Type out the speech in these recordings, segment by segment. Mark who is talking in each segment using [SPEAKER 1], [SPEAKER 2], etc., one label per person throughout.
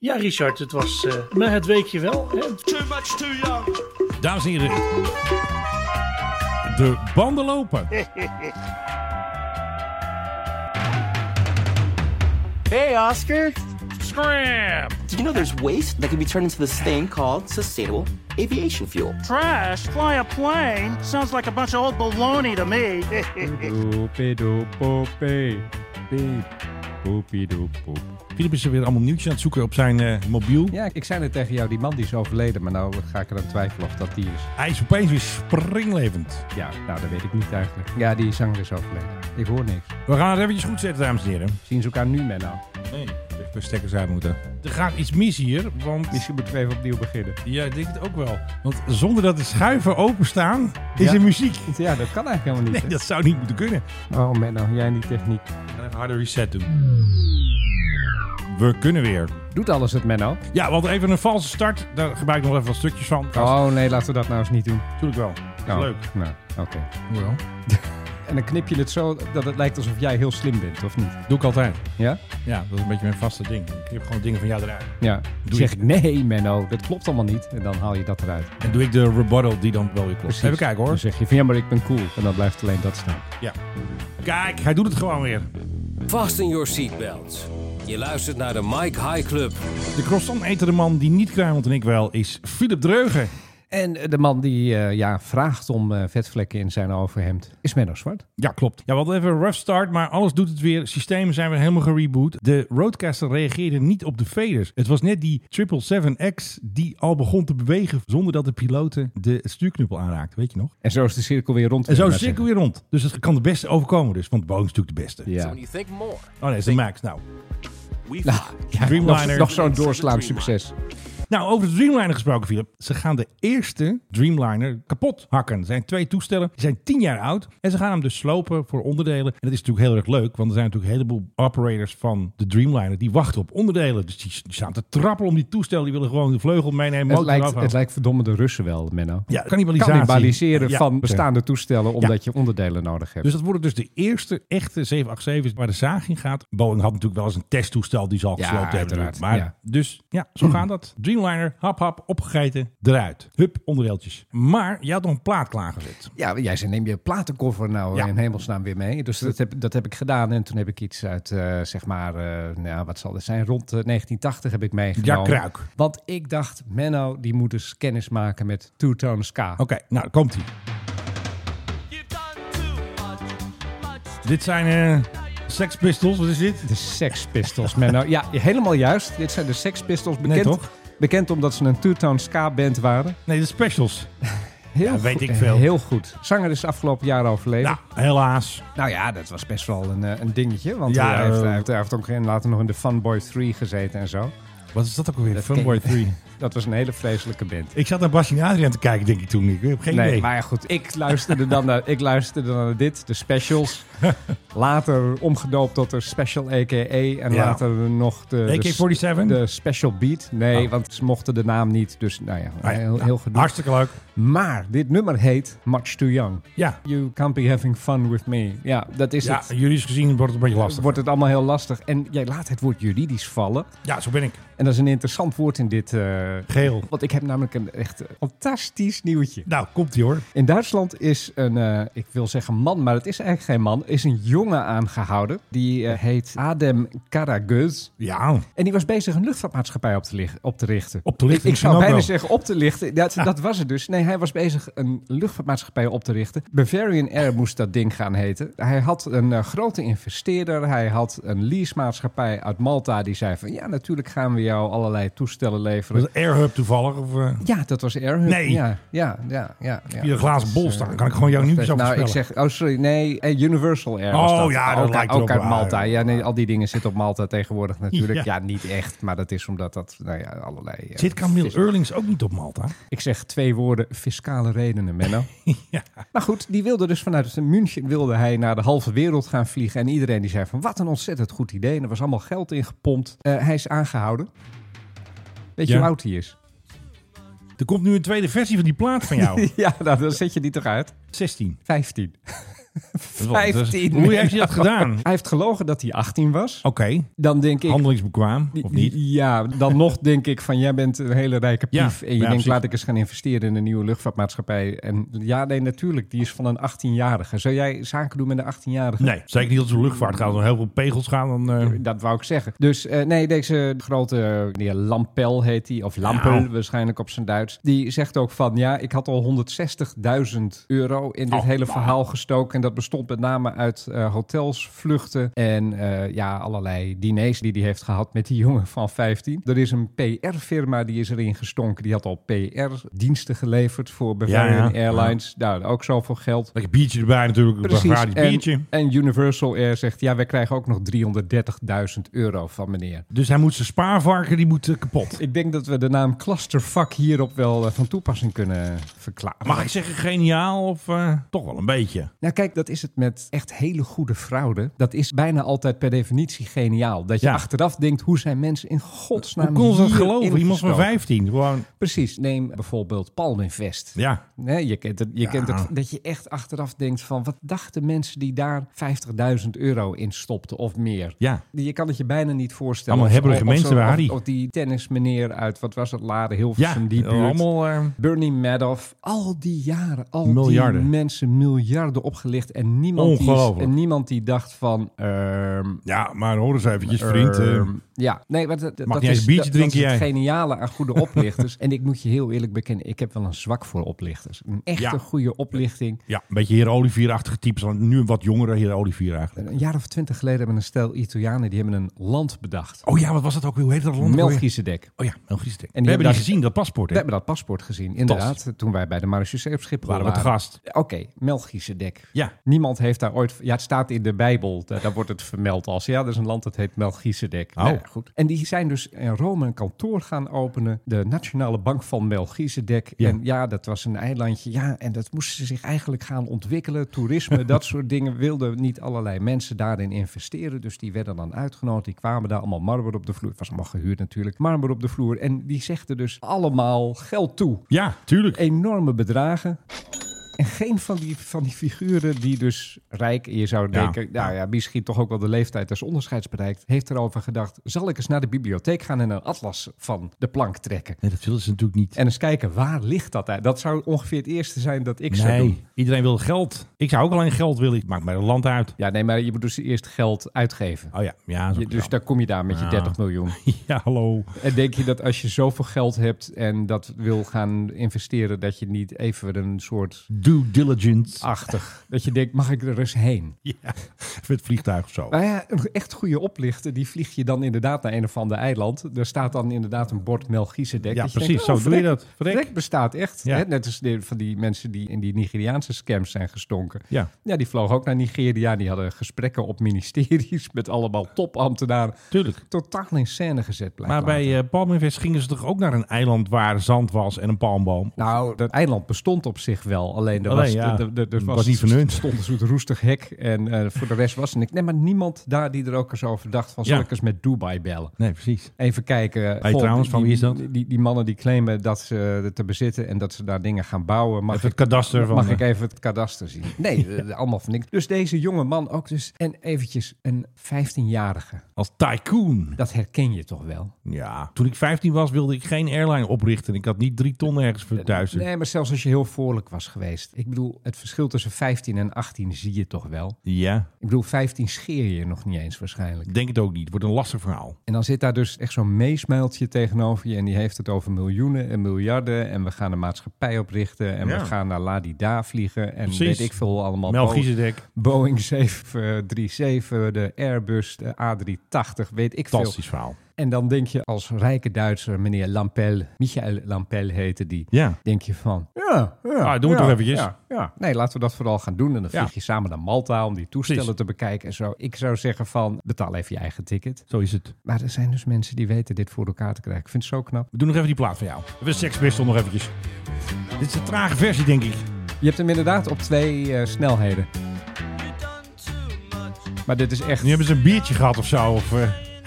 [SPEAKER 1] Ja, Richard, het was eh, maar het weekje wel. Hè?
[SPEAKER 2] Too much too young.
[SPEAKER 3] Dames en heren, de banden lopen.
[SPEAKER 4] Hey, Oscar.
[SPEAKER 3] Scram!
[SPEAKER 4] Did you know there's waste that can be turned into this thing called sustainable aviation fuel?
[SPEAKER 2] Trash, fly a plane. Sounds like a bunch of old baloney to me.
[SPEAKER 3] Filip is er weer allemaal nieuwtjes aan het zoeken op zijn eh, mobiel.
[SPEAKER 5] Ja, ik zei net tegen jou, die man die is overleden, maar nou ga ik er aan twijfelen of dat die is.
[SPEAKER 3] Hij is opeens weer springlevend.
[SPEAKER 5] Ja, nou dat weet ik niet eigenlijk. Ja, die zanger is overleden. Ik hoor niks.
[SPEAKER 3] We gaan het eventjes goed zetten, dames en heren.
[SPEAKER 5] Zien ze elkaar nu, Menno?
[SPEAKER 3] Nee, echt de stekkers uit moeten. Er gaat iets mis hier, want...
[SPEAKER 5] Misschien moeten we even opnieuw beginnen.
[SPEAKER 3] Ja, ik denk het ook wel. Want zonder dat de schuiven openstaan, is
[SPEAKER 5] Ja.
[SPEAKER 3] er muziek.
[SPEAKER 5] Ja, dat kan eigenlijk helemaal niet.
[SPEAKER 3] Nee, dat zou niet moeten kunnen.
[SPEAKER 5] hè? Oh, Menno, jij en die techniek.
[SPEAKER 3] We gaan even harde reset doen. We kunnen weer.
[SPEAKER 5] Doet alles het, Menno?
[SPEAKER 3] Ja, want even een valse start. Daar gebruik ik nog even wat stukjes van.
[SPEAKER 5] Oh nee, laten we dat nou eens niet doen.
[SPEAKER 3] natuurlijk wel. Dat is
[SPEAKER 5] Oh,
[SPEAKER 3] leuk.
[SPEAKER 5] Nou, oké.
[SPEAKER 3] Hoewel.
[SPEAKER 5] En dan knip je het zo dat het lijkt alsof jij heel slim bent, of niet?
[SPEAKER 3] Doe ik altijd.
[SPEAKER 5] Ja?
[SPEAKER 3] Ja, dat is een beetje mijn vaste ding. Ik heb gewoon dingen van jou eruit.
[SPEAKER 5] Ja.
[SPEAKER 3] Doe
[SPEAKER 5] Dan zeg
[SPEAKER 3] je.
[SPEAKER 5] ik, nee Menno, dat klopt allemaal niet. En dan haal je dat eruit.
[SPEAKER 3] En doe ik de rebuttal die dan wel weer klopt. Even kijken
[SPEAKER 5] Dan
[SPEAKER 3] hoor.
[SPEAKER 5] zeg je van ja, maar ik ben cool. En dan blijft alleen dat staan.
[SPEAKER 3] Ja. Kijk, hij doet het gewoon weer.
[SPEAKER 6] Fasten your seatbelts. Je luistert naar de Mike High Club.
[SPEAKER 3] De croissant etende man die niet kruimelt en ik wel is Philip Dreugen.
[SPEAKER 5] En eh, de man die eh, ja, vraagt om eh, vetvlekken in zijn overhemd is Menno Zwart.
[SPEAKER 3] Ja, klopt. Ja, we hadden even een rough start, maar alles doet het weer. Systemen zijn weer helemaal gereboot. De Roadcaster reageerde niet op de faders. Het was net die 777X die al begon te bewegen zonder dat de piloten de stuurknuppel aanraakten. Weet je nog?
[SPEAKER 5] En zo is de cirkel weer rond.
[SPEAKER 3] En
[SPEAKER 5] wil
[SPEAKER 3] zo
[SPEAKER 5] je
[SPEAKER 3] is
[SPEAKER 5] maar
[SPEAKER 3] het cirkel weer rond. Dus het kan de beste overkomen dus, want Boeing is natuurlijk de beste.
[SPEAKER 5] zeggen.
[SPEAKER 6] So when you think more.
[SPEAKER 3] Oh nee, het is de Max nou.
[SPEAKER 5] Ja. Nou, ja,
[SPEAKER 3] Dreamliner.
[SPEAKER 5] nog, nog zo'n doorslaand succes.
[SPEAKER 3] Nou, over de Dreamliner gesproken, Philip. Ze gaan de eerste Dreamliner kapot hakken. Er zijn twee toestellen, die zijn tien jaar oud. En ze gaan hem dus slopen voor onderdelen. En dat is natuurlijk heel erg leuk, want er zijn natuurlijk een heleboel operators van de Dreamliner die wachten op onderdelen. Dus die, die staan te trappelen om die toestel. Die willen gewoon de vleugel meenemen,
[SPEAKER 5] Het
[SPEAKER 3] motor
[SPEAKER 5] lijkt,
[SPEAKER 3] eraf halen.
[SPEAKER 5] het lijkt verdomme de Russen wel, Menno.
[SPEAKER 3] Ja, cannibalisatie.
[SPEAKER 5] Cannibaliseren
[SPEAKER 3] Ja,
[SPEAKER 5] van
[SPEAKER 3] ja.
[SPEAKER 5] bestaande toestellen omdat je onderdelen nodig hebt.
[SPEAKER 3] Dus dat worden dus de eerste echte 787's waar de zaag in gaat. Boeing had natuurlijk wel eens een testtoestel die ze al
[SPEAKER 5] Ja,
[SPEAKER 3] gesloopt hebben.
[SPEAKER 5] uiteraard,
[SPEAKER 3] Maar
[SPEAKER 5] ja.
[SPEAKER 3] dus ja, zo gaat dat. Dreamliner, hap hap, opgegeten, eruit. Hup, onderdeeltjes. Maar je had nog een plaat klaargezet.
[SPEAKER 5] Ja, jij zei neem je platenkoffer nou
[SPEAKER 3] Ja.
[SPEAKER 5] in hemelsnaam weer mee. Dus dat heb, dat heb ik gedaan. En toen heb ik iets uit, eh, zeg maar, eh, nou, wat zal het zijn? Rond eh, 1980 heb ik meegenomen.
[SPEAKER 3] Ja, kruik.
[SPEAKER 5] Want ik dacht, Menno, die moet eens kennis maken met Two Tone Ska.
[SPEAKER 3] Oké, nou komt ie.
[SPEAKER 2] You've done too much, much
[SPEAKER 3] Dit zijn eh Sex Pistols, wat is dit?
[SPEAKER 5] De Sex Pistols, Menno. Ja, helemaal juist. Dit zijn de Sex Pistols. Bekend,
[SPEAKER 3] toch?
[SPEAKER 5] bekend omdat ze een Two Tone Ska band waren.
[SPEAKER 3] Nee, de Specials.
[SPEAKER 5] Heel
[SPEAKER 3] Ja, weet
[SPEAKER 5] goed-
[SPEAKER 3] ik veel.
[SPEAKER 5] Heel goed. Zanger is afgelopen jaar overleden.
[SPEAKER 3] Nou, helaas.
[SPEAKER 5] Nou ja, dat was best wel een, eh, een dingetje. Want
[SPEAKER 3] Ja,
[SPEAKER 5] hij, heeft,
[SPEAKER 3] eh,
[SPEAKER 5] hij, heeft, hij heeft ook geen- later nog in de Funboy 3 gezeten en zo.
[SPEAKER 3] Wat is dat ook alweer?
[SPEAKER 5] Dat
[SPEAKER 3] Funboy
[SPEAKER 5] ken-
[SPEAKER 3] 3.
[SPEAKER 5] Dat was een hele vreselijke band.
[SPEAKER 3] Ik zat naar Basje en Adriaan te kijken, denk ik toen. Ik heb geen
[SPEAKER 5] nee,
[SPEAKER 3] idee.
[SPEAKER 5] maar ja, goed. Ik luisterde, dan naar, ik luisterde dan naar dit, de specials. Later omgedoopt tot de Special AKA. En
[SPEAKER 3] Ja.
[SPEAKER 5] later nog de, de,
[SPEAKER 3] AK-47?
[SPEAKER 5] de Special Beat. Nee,
[SPEAKER 3] Oh.
[SPEAKER 5] want ze mochten de naam niet. Dus nou ja,
[SPEAKER 3] Ah, ja.
[SPEAKER 5] heel, heel gedoe.
[SPEAKER 3] Hartstikke leuk.
[SPEAKER 5] Maar dit nummer heet Much Too Young.
[SPEAKER 3] Ja,
[SPEAKER 5] You can't be having fun with me. Ja, dat is
[SPEAKER 3] ja
[SPEAKER 5] het.
[SPEAKER 3] juridisch gezien wordt het een beetje lastig.
[SPEAKER 5] Wordt het allemaal heel lastig. En jij laat het woord juridisch vallen.
[SPEAKER 3] Ja, zo ben ik.
[SPEAKER 5] En dat is een interessant woord in dit... eh,
[SPEAKER 3] Geel.
[SPEAKER 5] want ik heb namelijk een echt fantastisch nieuwtje.
[SPEAKER 3] Nou, komt ie hoor.
[SPEAKER 5] In Duitsland is een, eh, ik wil zeggen man, maar het is eigenlijk geen man, is een jongen aangehouden. Die eh, heet Adem Karagöz.
[SPEAKER 3] Ja,
[SPEAKER 5] En die was bezig een luchtvaartmaatschappij op te, lig- op te richten.
[SPEAKER 3] Op te lichten
[SPEAKER 5] Ik, ik
[SPEAKER 3] misschien
[SPEAKER 5] zou
[SPEAKER 3] ook
[SPEAKER 5] bijna
[SPEAKER 3] wel.
[SPEAKER 5] zeggen op te lichten. Dat, dat was het dus. Nee, hij was bezig een luchtvaartmaatschappij op te richten. Bavarian Air moest dat ding gaan heten. Hij had een eh, grote investeerder. Hij had een leasemaatschappij uit Malta. Die zei van ja, natuurlijk gaan we jou allerlei toestellen
[SPEAKER 3] was
[SPEAKER 5] leveren.
[SPEAKER 3] het Airhub toevallig? Of, eh,
[SPEAKER 5] Ja, dat was Airhub.
[SPEAKER 3] Nee.
[SPEAKER 5] Ja, ja, ja. ja, ja.
[SPEAKER 3] Hier een glazen bol staan. Dan kan ik gewoon jouw nieuws
[SPEAKER 5] eh, Nou,
[SPEAKER 3] afspelen.
[SPEAKER 5] ik zeg, oh sorry, nee, eh, Universal Air
[SPEAKER 3] Oh,
[SPEAKER 5] was dat.
[SPEAKER 3] ja, dat
[SPEAKER 5] ook,
[SPEAKER 3] lijkt
[SPEAKER 5] ook
[SPEAKER 3] erop.
[SPEAKER 5] uit
[SPEAKER 3] Ah,
[SPEAKER 5] Malta.
[SPEAKER 3] ja.
[SPEAKER 5] Ja, nee, al die dingen zitten op Malta tegenwoordig natuurlijk.
[SPEAKER 3] Ja.
[SPEAKER 5] Ja, niet echt, maar dat is omdat dat, nou ja, allerlei... eh,
[SPEAKER 3] Zit Camille
[SPEAKER 5] vis-
[SPEAKER 3] Eurlings ook niet op Malta?
[SPEAKER 5] Ik zeg twee woorden, fiscale redenen, Menno. Maar goed, die wilde dus vanuit München wilde hij naar de halve wereld gaan vliegen. En iedereen die zei van, wat een ontzettend goed idee. En er was allemaal geld in gepompt. Eh, hij is aangehouden. Weet je
[SPEAKER 3] Ja.
[SPEAKER 5] hoe oud hij is?
[SPEAKER 3] Er Oh. komt nu een tweede versie van die plaat van jou.
[SPEAKER 5] ja, nou, dan zet je die toch uit.
[SPEAKER 3] 16.
[SPEAKER 5] 15.
[SPEAKER 3] Dat is wel- dat is-
[SPEAKER 5] 15
[SPEAKER 3] Hoe heeft hij dat gedaan? Oké,
[SPEAKER 5] Hij heeft gelogen dat hij 18 was. Dan denk ik...
[SPEAKER 3] handelingsbekwaam of niet?
[SPEAKER 5] Ja, dan nog denk ik van jij bent een hele rijke
[SPEAKER 3] Ja,
[SPEAKER 5] pief. en
[SPEAKER 3] ja,
[SPEAKER 5] je denkt,
[SPEAKER 3] precies.
[SPEAKER 5] laat ik eens gaan investeren in een nieuwe luchtvaartmaatschappij. En ja, nee, natuurlijk, die is van een 18-jarige. Zou jij zaken doen met een 18-jarige?
[SPEAKER 3] Nee, zeker niet als het om luchtvaart gaat. Als er heel veel pegels gaan, dan... eh,
[SPEAKER 5] Dat wou ik zeggen. Dus eh, nee, deze grote die Lampel heet die, of Lampel
[SPEAKER 3] Nou.
[SPEAKER 5] waarschijnlijk op zijn Duits. Die zegt ook van, ja, ik had al 160.000 euro in dit
[SPEAKER 3] Oh,
[SPEAKER 5] hele
[SPEAKER 3] wow.
[SPEAKER 5] verhaal gestoken. En dat bestond met name uit eh, hotels, vluchten en eh, ja, allerlei diners die hij heeft gehad met die jongen van 15. Er is een PR-firma die is erin gestonken. Die had al PR-diensten geleverd voor Bavarian
[SPEAKER 3] ja.
[SPEAKER 5] Airlines. Nou, ook zoveel geld.
[SPEAKER 3] Lekker biertje erbij natuurlijk. Een
[SPEAKER 5] Precies.
[SPEAKER 3] gratis biertje.
[SPEAKER 5] En, en Universal Air zegt, ja, wij krijgen ook nog 330.000 euro van meneer.
[SPEAKER 3] Dus hij moet zijn spaarvarken, die moet eh, kapot.
[SPEAKER 5] Ik denk dat we de naam clusterfuck hierop wel eh, van toepassing kunnen verklaren.
[SPEAKER 3] Mag ik zeggen geniaal of eh, toch wel een beetje?
[SPEAKER 5] Nou kijk, dat is het met echt hele goede fraude. Dat is bijna altijd per definitie geniaal. Dat je
[SPEAKER 3] Ja.
[SPEAKER 5] achteraf denkt, hoe zijn mensen in godsnaam
[SPEAKER 3] Hoe kon ze dat
[SPEAKER 5] hierin
[SPEAKER 3] geloven? Iemand van
[SPEAKER 5] gestoken?
[SPEAKER 3] 15. Gewoon,
[SPEAKER 5] Precies, neem bijvoorbeeld Palminvest.
[SPEAKER 3] ja.
[SPEAKER 5] Nee, je kent het, je
[SPEAKER 3] Ja.
[SPEAKER 5] kent het dat je echt achteraf denkt van... wat dachten mensen die daar 50.000 euro in stopten of meer?
[SPEAKER 3] Ja.
[SPEAKER 5] Je kan het je bijna niet voorstellen.
[SPEAKER 3] Allemaal
[SPEAKER 5] Of-
[SPEAKER 3] hebberige
[SPEAKER 5] of- of
[SPEAKER 3] mensen
[SPEAKER 5] zo-
[SPEAKER 3] waren
[SPEAKER 5] of-
[SPEAKER 3] die.
[SPEAKER 5] Of die tennismeneer uit, wat was dat, Lade
[SPEAKER 3] Ja,
[SPEAKER 5] Hilversum, die buurt.
[SPEAKER 3] allemaal... eh,
[SPEAKER 5] Bernie Madoff. Al die jaren, al
[SPEAKER 3] Miljarden.
[SPEAKER 5] die mensen miljarden opgelicht. En niemand, die,
[SPEAKER 3] Ongelooflijk.
[SPEAKER 5] en niemand die dacht van... ehm,
[SPEAKER 3] ja, maar hoor eens eventjes, vriend. eh,
[SPEAKER 5] Ehm, ja, nee, maar dat, dat
[SPEAKER 3] niet eens
[SPEAKER 5] is,
[SPEAKER 3] biertje
[SPEAKER 5] dat,
[SPEAKER 3] drinken
[SPEAKER 5] dat is het
[SPEAKER 3] jij?
[SPEAKER 5] geniale aan goede oplichters. en ik moet je heel eerlijk bekennen, ik heb wel een zwak voor oplichters. Een echte
[SPEAKER 3] Ja.
[SPEAKER 5] goede oplichting.
[SPEAKER 3] ja, een beetje heer Olivier-achtige types. want Nu een wat jongere heer Olivier eigenlijk.
[SPEAKER 5] Een jaar of twintig geleden hebben een stel Italianen die hebben een land bedacht.
[SPEAKER 3] Oh ja, wat was dat ook weer? Hoe heet dat land? ook weer?
[SPEAKER 5] Melchizedek.
[SPEAKER 3] Oh ja, Melchizedek. We
[SPEAKER 5] die
[SPEAKER 3] hebben die
[SPEAKER 5] hebben
[SPEAKER 3] gezien, dat paspoort.
[SPEAKER 5] We
[SPEAKER 3] hè?
[SPEAKER 5] hebben dat paspoort gezien, inderdaad. Toen wij bij de marechaussee op Schiphol
[SPEAKER 3] Waren
[SPEAKER 5] waren.
[SPEAKER 3] we te gast.
[SPEAKER 5] Oké, Melchizedek.
[SPEAKER 3] Ja.
[SPEAKER 5] Niemand heeft daar ooit... Ja, het staat in de Bijbel. Daar, daar wordt het vermeld als... Ja, er is een land dat heet Melchizedek.
[SPEAKER 3] Oh.
[SPEAKER 5] Nou ja, goed. En die zijn dus in Rome een kantoor gaan openen. De Nationale Bank van Melchizedek.
[SPEAKER 3] Ja.
[SPEAKER 5] En ja, dat was een eilandje. Ja, en dat moesten ze zich eigenlijk gaan ontwikkelen. Toerisme, dat soort dingen. Wilden niet allerlei mensen daarin investeren. Dus die werden dan uitgenodigd. Die kwamen daar allemaal marmer op de vloer. Het was allemaal gehuurd natuurlijk. Marmer op de vloer. En die zegden dus allemaal geld toe
[SPEAKER 3] Ja, tuurlijk.
[SPEAKER 5] enorme bedragen. En geen van die, van die figuren die dus rijk, je zou
[SPEAKER 3] Ja.
[SPEAKER 5] denken, nou ja, misschien toch ook wel de leeftijd als onderscheids bereikt, heeft erover gedacht, zal ik eens naar de bibliotheek gaan en een atlas van de plank trekken.
[SPEAKER 3] Nee, dat willen ze natuurlijk niet.
[SPEAKER 5] En eens kijken, waar ligt dat uit? Dat zou ongeveer het eerste zijn dat ik zou doen.
[SPEAKER 3] Nee, iedereen wil geld. Ik zou ook alleen geld willen. Ik maak mij een land uit.
[SPEAKER 5] Ja, nee, maar je moet dus eerst geld uitgeven.
[SPEAKER 3] Oh ja, ja.
[SPEAKER 5] Je-
[SPEAKER 3] Zo
[SPEAKER 5] dus daar kom je daar met je
[SPEAKER 3] Ja.
[SPEAKER 5] 30 miljoen.
[SPEAKER 3] Ja, hallo.
[SPEAKER 5] En denk je dat als je zoveel geld hebt en dat wil gaan investeren, dat je niet even een soort
[SPEAKER 3] Due diligence.
[SPEAKER 5] Ah. achtig, dat je denkt, mag ik er eens heen?
[SPEAKER 3] Ja, met het vliegtuig of zo.
[SPEAKER 5] Nou ja, een echt goede oplichter, die vlieg je dan inderdaad naar een of ander eiland. Er staat dan inderdaad een bord Melchizedek.
[SPEAKER 3] Ja,
[SPEAKER 5] Dat je
[SPEAKER 3] precies.
[SPEAKER 5] denkt,
[SPEAKER 3] zo
[SPEAKER 5] oh,
[SPEAKER 3] doe je
[SPEAKER 5] verrek,
[SPEAKER 3] dat. Verrek.
[SPEAKER 5] verrek bestaat echt.
[SPEAKER 3] Ja.
[SPEAKER 5] Hè? Net als de- van die mensen die in die Nigeriaanse scams zijn gestonken.
[SPEAKER 3] Ja.
[SPEAKER 5] Ja, die vlogen ook naar Nigeria. Die hadden gesprekken op ministeries met allemaal topambtenaren.
[SPEAKER 3] Tuurlijk.
[SPEAKER 5] Totaal in scène gezet blijkt
[SPEAKER 3] Maar bij
[SPEAKER 5] later.
[SPEAKER 3] eh, Palminvest gingen ze toch ook naar een eiland waar zand was en een palmboom?
[SPEAKER 5] Nou, dat eiland bestond op zich wel. Alleen er
[SPEAKER 3] Alleen,
[SPEAKER 5] was,
[SPEAKER 3] ja.
[SPEAKER 5] er- er- er
[SPEAKER 3] Het
[SPEAKER 5] was,
[SPEAKER 3] was niet verneund.
[SPEAKER 5] stond een soort roestig hek. En eh, voor de rest was er niks. Nee, maar niemand daar die er ook eens over dacht van... zal
[SPEAKER 3] Ja.
[SPEAKER 5] ik eens met Dubai bellen?
[SPEAKER 3] Nee, precies.
[SPEAKER 5] Even kijken.
[SPEAKER 3] Hey,
[SPEAKER 5] Goh,
[SPEAKER 3] trouwens,
[SPEAKER 5] die-
[SPEAKER 3] van wie is dat?
[SPEAKER 5] Die, die, die mannen die claimen dat ze het te bezitten en dat ze daar dingen gaan bouwen. Mag,
[SPEAKER 3] Even
[SPEAKER 5] ik,
[SPEAKER 3] het kadaster van...
[SPEAKER 5] mag
[SPEAKER 3] eh,
[SPEAKER 5] ik even het kadaster zien? Nee, eh, allemaal van niks. Dus deze jonge man ook dus. En eventjes een 15-jarige.
[SPEAKER 3] Als tycoon.
[SPEAKER 5] Dat herken je toch wel?
[SPEAKER 3] Ja. Toen ik 15 was, wilde ik geen airline oprichten. Ik had niet drie ton ergens voor duizend.
[SPEAKER 5] Nee, maar zelfs als je heel voorlijk was geweest. Ik bedoel, het verschil tussen 15 en 18 zie je toch wel?
[SPEAKER 3] Ja,
[SPEAKER 5] Ik bedoel, 15 scheer je nog niet eens waarschijnlijk.
[SPEAKER 3] ik denk het ook niet. Het wordt een lastig verhaal.
[SPEAKER 5] En dan zit daar dus echt zo'n meesmuiltje tegenover je. En die heeft het over miljoenen en miljarden. En we gaan een maatschappij oprichten. En
[SPEAKER 3] Ja.
[SPEAKER 5] we gaan naar Ladida vliegen. En
[SPEAKER 3] Precies.
[SPEAKER 5] weet ik veel allemaal.
[SPEAKER 3] Mel
[SPEAKER 5] Bo-
[SPEAKER 3] Giezedek.
[SPEAKER 5] Boeing 737, de Airbus, de A380, weet ik veel.
[SPEAKER 3] Fantastisch verhaal.
[SPEAKER 5] En dan denk je als rijke Duitser, meneer Lampel, Michael Lampel heette die.
[SPEAKER 3] Ja.
[SPEAKER 5] Denk je van, ja, ja
[SPEAKER 3] Ah, doen we
[SPEAKER 5] ja,
[SPEAKER 3] toch eventjes.
[SPEAKER 5] Ja, ja. Nee, laten we dat vooral gaan doen. En dan
[SPEAKER 3] Ja.
[SPEAKER 5] vlieg je samen naar Malta om die toestellen
[SPEAKER 3] Precies.
[SPEAKER 5] te bekijken en zo. Ik zou zeggen van, betaal even je eigen ticket.
[SPEAKER 3] Zo is het.
[SPEAKER 5] Maar er zijn dus mensen die weten dit voor elkaar te krijgen. Ik vind het zo knap.
[SPEAKER 3] We doen nog even die plaat van jou. Even Sex Pistol nog eventjes. Dit is een trage versie, denk ik.
[SPEAKER 5] Je hebt hem inderdaad op twee eh, snelheden. Maar dit is echt...
[SPEAKER 3] Nu hebben ze een biertje gehad of zo. Of, eh,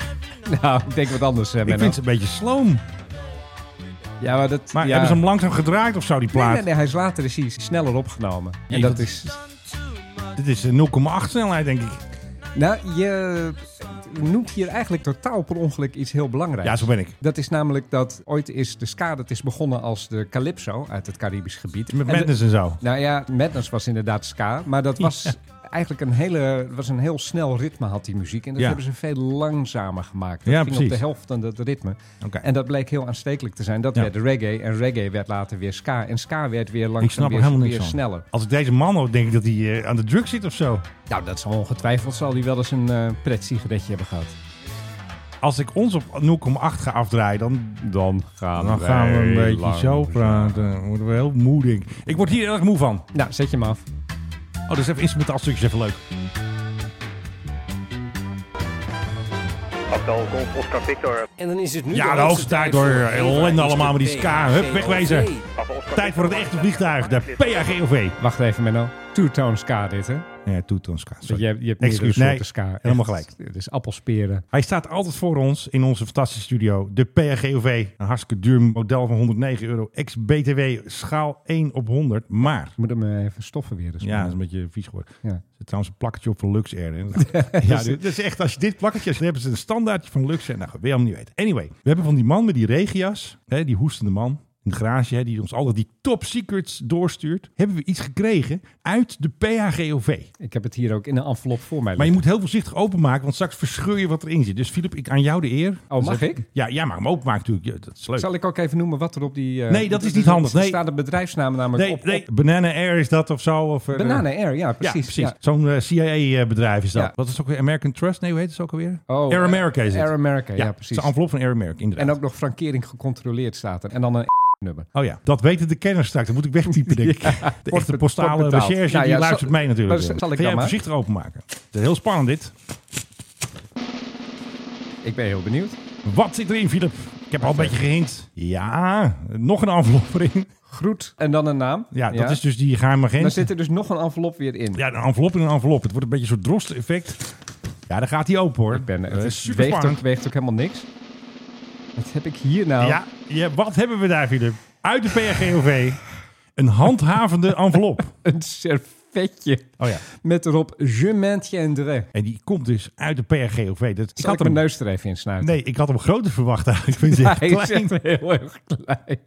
[SPEAKER 5] Nou, ik denk wat anders, eh,
[SPEAKER 3] ik
[SPEAKER 5] Menno.
[SPEAKER 3] vind het een beetje sloom.
[SPEAKER 5] Ja, maar dat...
[SPEAKER 3] Maar
[SPEAKER 5] ja.
[SPEAKER 3] hebben ze hem langzaam gedraaid of zo, die
[SPEAKER 5] Nee,
[SPEAKER 3] plaat?
[SPEAKER 5] nee, nee, hij is later is hij sneller opgenomen.
[SPEAKER 3] Jezus.
[SPEAKER 5] En dat is...
[SPEAKER 3] Dit Dit is eh, 0,8 snelheid, denk ik.
[SPEAKER 5] Nou, je noemt hier eigenlijk totaal per ongeluk iets heel belangrijks.
[SPEAKER 3] Ja, zo ben ik.
[SPEAKER 5] Dat is namelijk dat ooit is de ska, dat is begonnen als de Calypso uit het Caribisch gebied.
[SPEAKER 3] Met
[SPEAKER 5] En de-
[SPEAKER 3] madness en zo.
[SPEAKER 5] nou ja, Madness was inderdaad ska, maar dat was eigenlijk een, hele, het was een heel snel ritme had die muziek. En dat
[SPEAKER 3] Ja.
[SPEAKER 5] hebben ze veel langzamer gemaakt. Dat
[SPEAKER 3] Ja,
[SPEAKER 5] ging op
[SPEAKER 3] precies.
[SPEAKER 5] de helft van het ritme.
[SPEAKER 3] Oké.
[SPEAKER 5] En dat bleek heel aanstekelijk te zijn. Dat
[SPEAKER 3] Ja.
[SPEAKER 5] werd reggae en reggae werd later weer ska. En ska werd weer langzaam
[SPEAKER 3] Ik snap er
[SPEAKER 5] weer,
[SPEAKER 3] helemaal
[SPEAKER 5] weer
[SPEAKER 3] niks
[SPEAKER 5] sneller.
[SPEAKER 3] van. Als ik deze man hoor, denk ik dat hij eh, aan de drugs zit of zo.
[SPEAKER 5] Nou, dat zal ongetwijfeld zal hij wel eens een eh pret-sigaretje hebben gehad.
[SPEAKER 3] Als ik ons op 0,8 ga afdraaien, dan,
[SPEAKER 5] Dan gaan,
[SPEAKER 3] dan gaan we een beetje zo praten. Dan worden we heel moe, denk ik. Ik word hier erg moe van.
[SPEAKER 5] Nou, zet je hem af.
[SPEAKER 3] Oh, dus even instrumentaal stukjes even leuk.
[SPEAKER 7] Pascal, Golf, Oscar, Victor.
[SPEAKER 6] En dan is het nu
[SPEAKER 3] Ja, de hoogste tijd,
[SPEAKER 6] voor
[SPEAKER 3] hoor.
[SPEAKER 6] Eva
[SPEAKER 3] Ellende
[SPEAKER 6] is de
[SPEAKER 3] allemaal met die
[SPEAKER 6] P,
[SPEAKER 3] ska. Hup,
[SPEAKER 6] G,
[SPEAKER 3] wegwezen.
[SPEAKER 6] O, V.
[SPEAKER 7] Papa Oscar,
[SPEAKER 3] Tijd voor het echte vliegtuig, de PAGOV.
[SPEAKER 5] Wacht even, Menno. Two-tone ska dit, hè?
[SPEAKER 3] Ja, toetron ska.
[SPEAKER 5] Je,
[SPEAKER 3] sorry.
[SPEAKER 5] je hebt meerdere
[SPEAKER 3] Excuus,
[SPEAKER 5] soorten
[SPEAKER 3] nee,
[SPEAKER 5] ska. Echt,
[SPEAKER 3] helemaal gelijk.
[SPEAKER 5] Het is appelsperen.
[SPEAKER 3] Hij staat altijd voor ons in onze fantastische studio, de PAGOV. Een hartstikke duur model van 109 euro, ex-BTW, schaal 1 op 100. Maar,
[SPEAKER 5] Ik moet hem eh, even stoffen weer. Dus
[SPEAKER 3] ja, dat is een beetje vies geworden.
[SPEAKER 5] Ja. dus-
[SPEAKER 3] Er zit trouwens een plakketje op van Luxair. hè. ja, dit is echt, als je dit plakketje, als je- dan hebben ze een standaardje van Luxair. Nou, goed, wil je hem niet weten. Anyway, we hebben van die man met die regenjas, hè, die hoestende man. Een garage hè, die ons altijd die top secrets doorstuurt. Hebben we iets gekregen uit de PHGOV.
[SPEAKER 5] Ik heb het hier ook in een envelop voor
[SPEAKER 3] Maar
[SPEAKER 5] mij.
[SPEAKER 3] je
[SPEAKER 5] liggen.
[SPEAKER 3] moet heel voorzichtig openmaken, want straks verscheur je wat erin zit. Dus Filip, ik aan jou de eer.
[SPEAKER 5] Oh, mag
[SPEAKER 3] Dus-
[SPEAKER 5] ik?
[SPEAKER 3] Ja, jij mag hem openmaken natuurlijk. Ja, dat is leuk.
[SPEAKER 5] Zal ik ook even noemen wat er op die... eh,
[SPEAKER 3] Nee, dat is niet
[SPEAKER 5] er-
[SPEAKER 3] handig, nee.
[SPEAKER 5] Er staat een bedrijfsnaam namelijk
[SPEAKER 3] nee,
[SPEAKER 5] op.
[SPEAKER 3] nee,
[SPEAKER 5] op-
[SPEAKER 3] Banana Air is dat of zo? Of, eh,
[SPEAKER 5] Banana Air, ja,
[SPEAKER 3] Ja,
[SPEAKER 5] precies.
[SPEAKER 3] precies. Zo'n eh, CIA-bedrijf is dat.
[SPEAKER 5] Ja.
[SPEAKER 3] Wat is het ook weer? American Trust? Nee, hoe heet het ook alweer?
[SPEAKER 5] Oh,
[SPEAKER 3] Air America is het.
[SPEAKER 5] Air America, ja,
[SPEAKER 3] Het is
[SPEAKER 5] precies.
[SPEAKER 3] een envelop van Air America, inderdaad.
[SPEAKER 5] En ook nog frankering gecontroleerd staat er. En dan een nummer.
[SPEAKER 3] Oh ja, dat weten de kenners straks. Dat moet ik wegtypen, denk ik. De
[SPEAKER 5] wordt
[SPEAKER 3] echte
[SPEAKER 5] be-
[SPEAKER 3] postale
[SPEAKER 5] wordt betaald.
[SPEAKER 3] recherche,
[SPEAKER 5] Nou ja,
[SPEAKER 3] die
[SPEAKER 5] zal-
[SPEAKER 3] luistert mee natuurlijk.
[SPEAKER 5] Maar zal ik
[SPEAKER 3] Ga
[SPEAKER 5] dan
[SPEAKER 3] jij
[SPEAKER 5] maar?
[SPEAKER 3] voorzichtig openmaken. Het is heel spannend dit.
[SPEAKER 5] Ik ben heel benieuwd.
[SPEAKER 3] Wat zit erin, Filip? Ik heb al een beetje gehint. Ja, nog een envelop erin.
[SPEAKER 5] Groet en dan een naam.
[SPEAKER 3] Ja, dat is dus die geheime agent.
[SPEAKER 5] Dan zit er dus nog een envelop weer in.
[SPEAKER 3] Ja, een envelop in een envelop. Het wordt een beetje zo'n drost-effect. Ja, daar gaat hij open hoor.
[SPEAKER 5] Ik ben,
[SPEAKER 3] dat
[SPEAKER 5] het
[SPEAKER 3] is super
[SPEAKER 5] weegt, ook,
[SPEAKER 3] spannend.
[SPEAKER 5] weegt ook helemaal niks. Wat heb ik hier nou?
[SPEAKER 3] Ja, ja, wat hebben we daar, Filip? Uit de PRGOV. Een handhavende envelop.
[SPEAKER 5] Een servetje.
[SPEAKER 3] Oh ja.
[SPEAKER 5] Met erop Je maintiendrai.
[SPEAKER 3] En die komt dus uit de PRGOV. Dat, ik
[SPEAKER 5] Zal ik nou-
[SPEAKER 3] had
[SPEAKER 5] mijn
[SPEAKER 3] hem,
[SPEAKER 5] neus er even in snuiten?
[SPEAKER 3] nee, ik had hem groter verwacht eigenlijk. Ik vind het echt
[SPEAKER 5] Hij is
[SPEAKER 3] klein.
[SPEAKER 5] echt heel erg klein.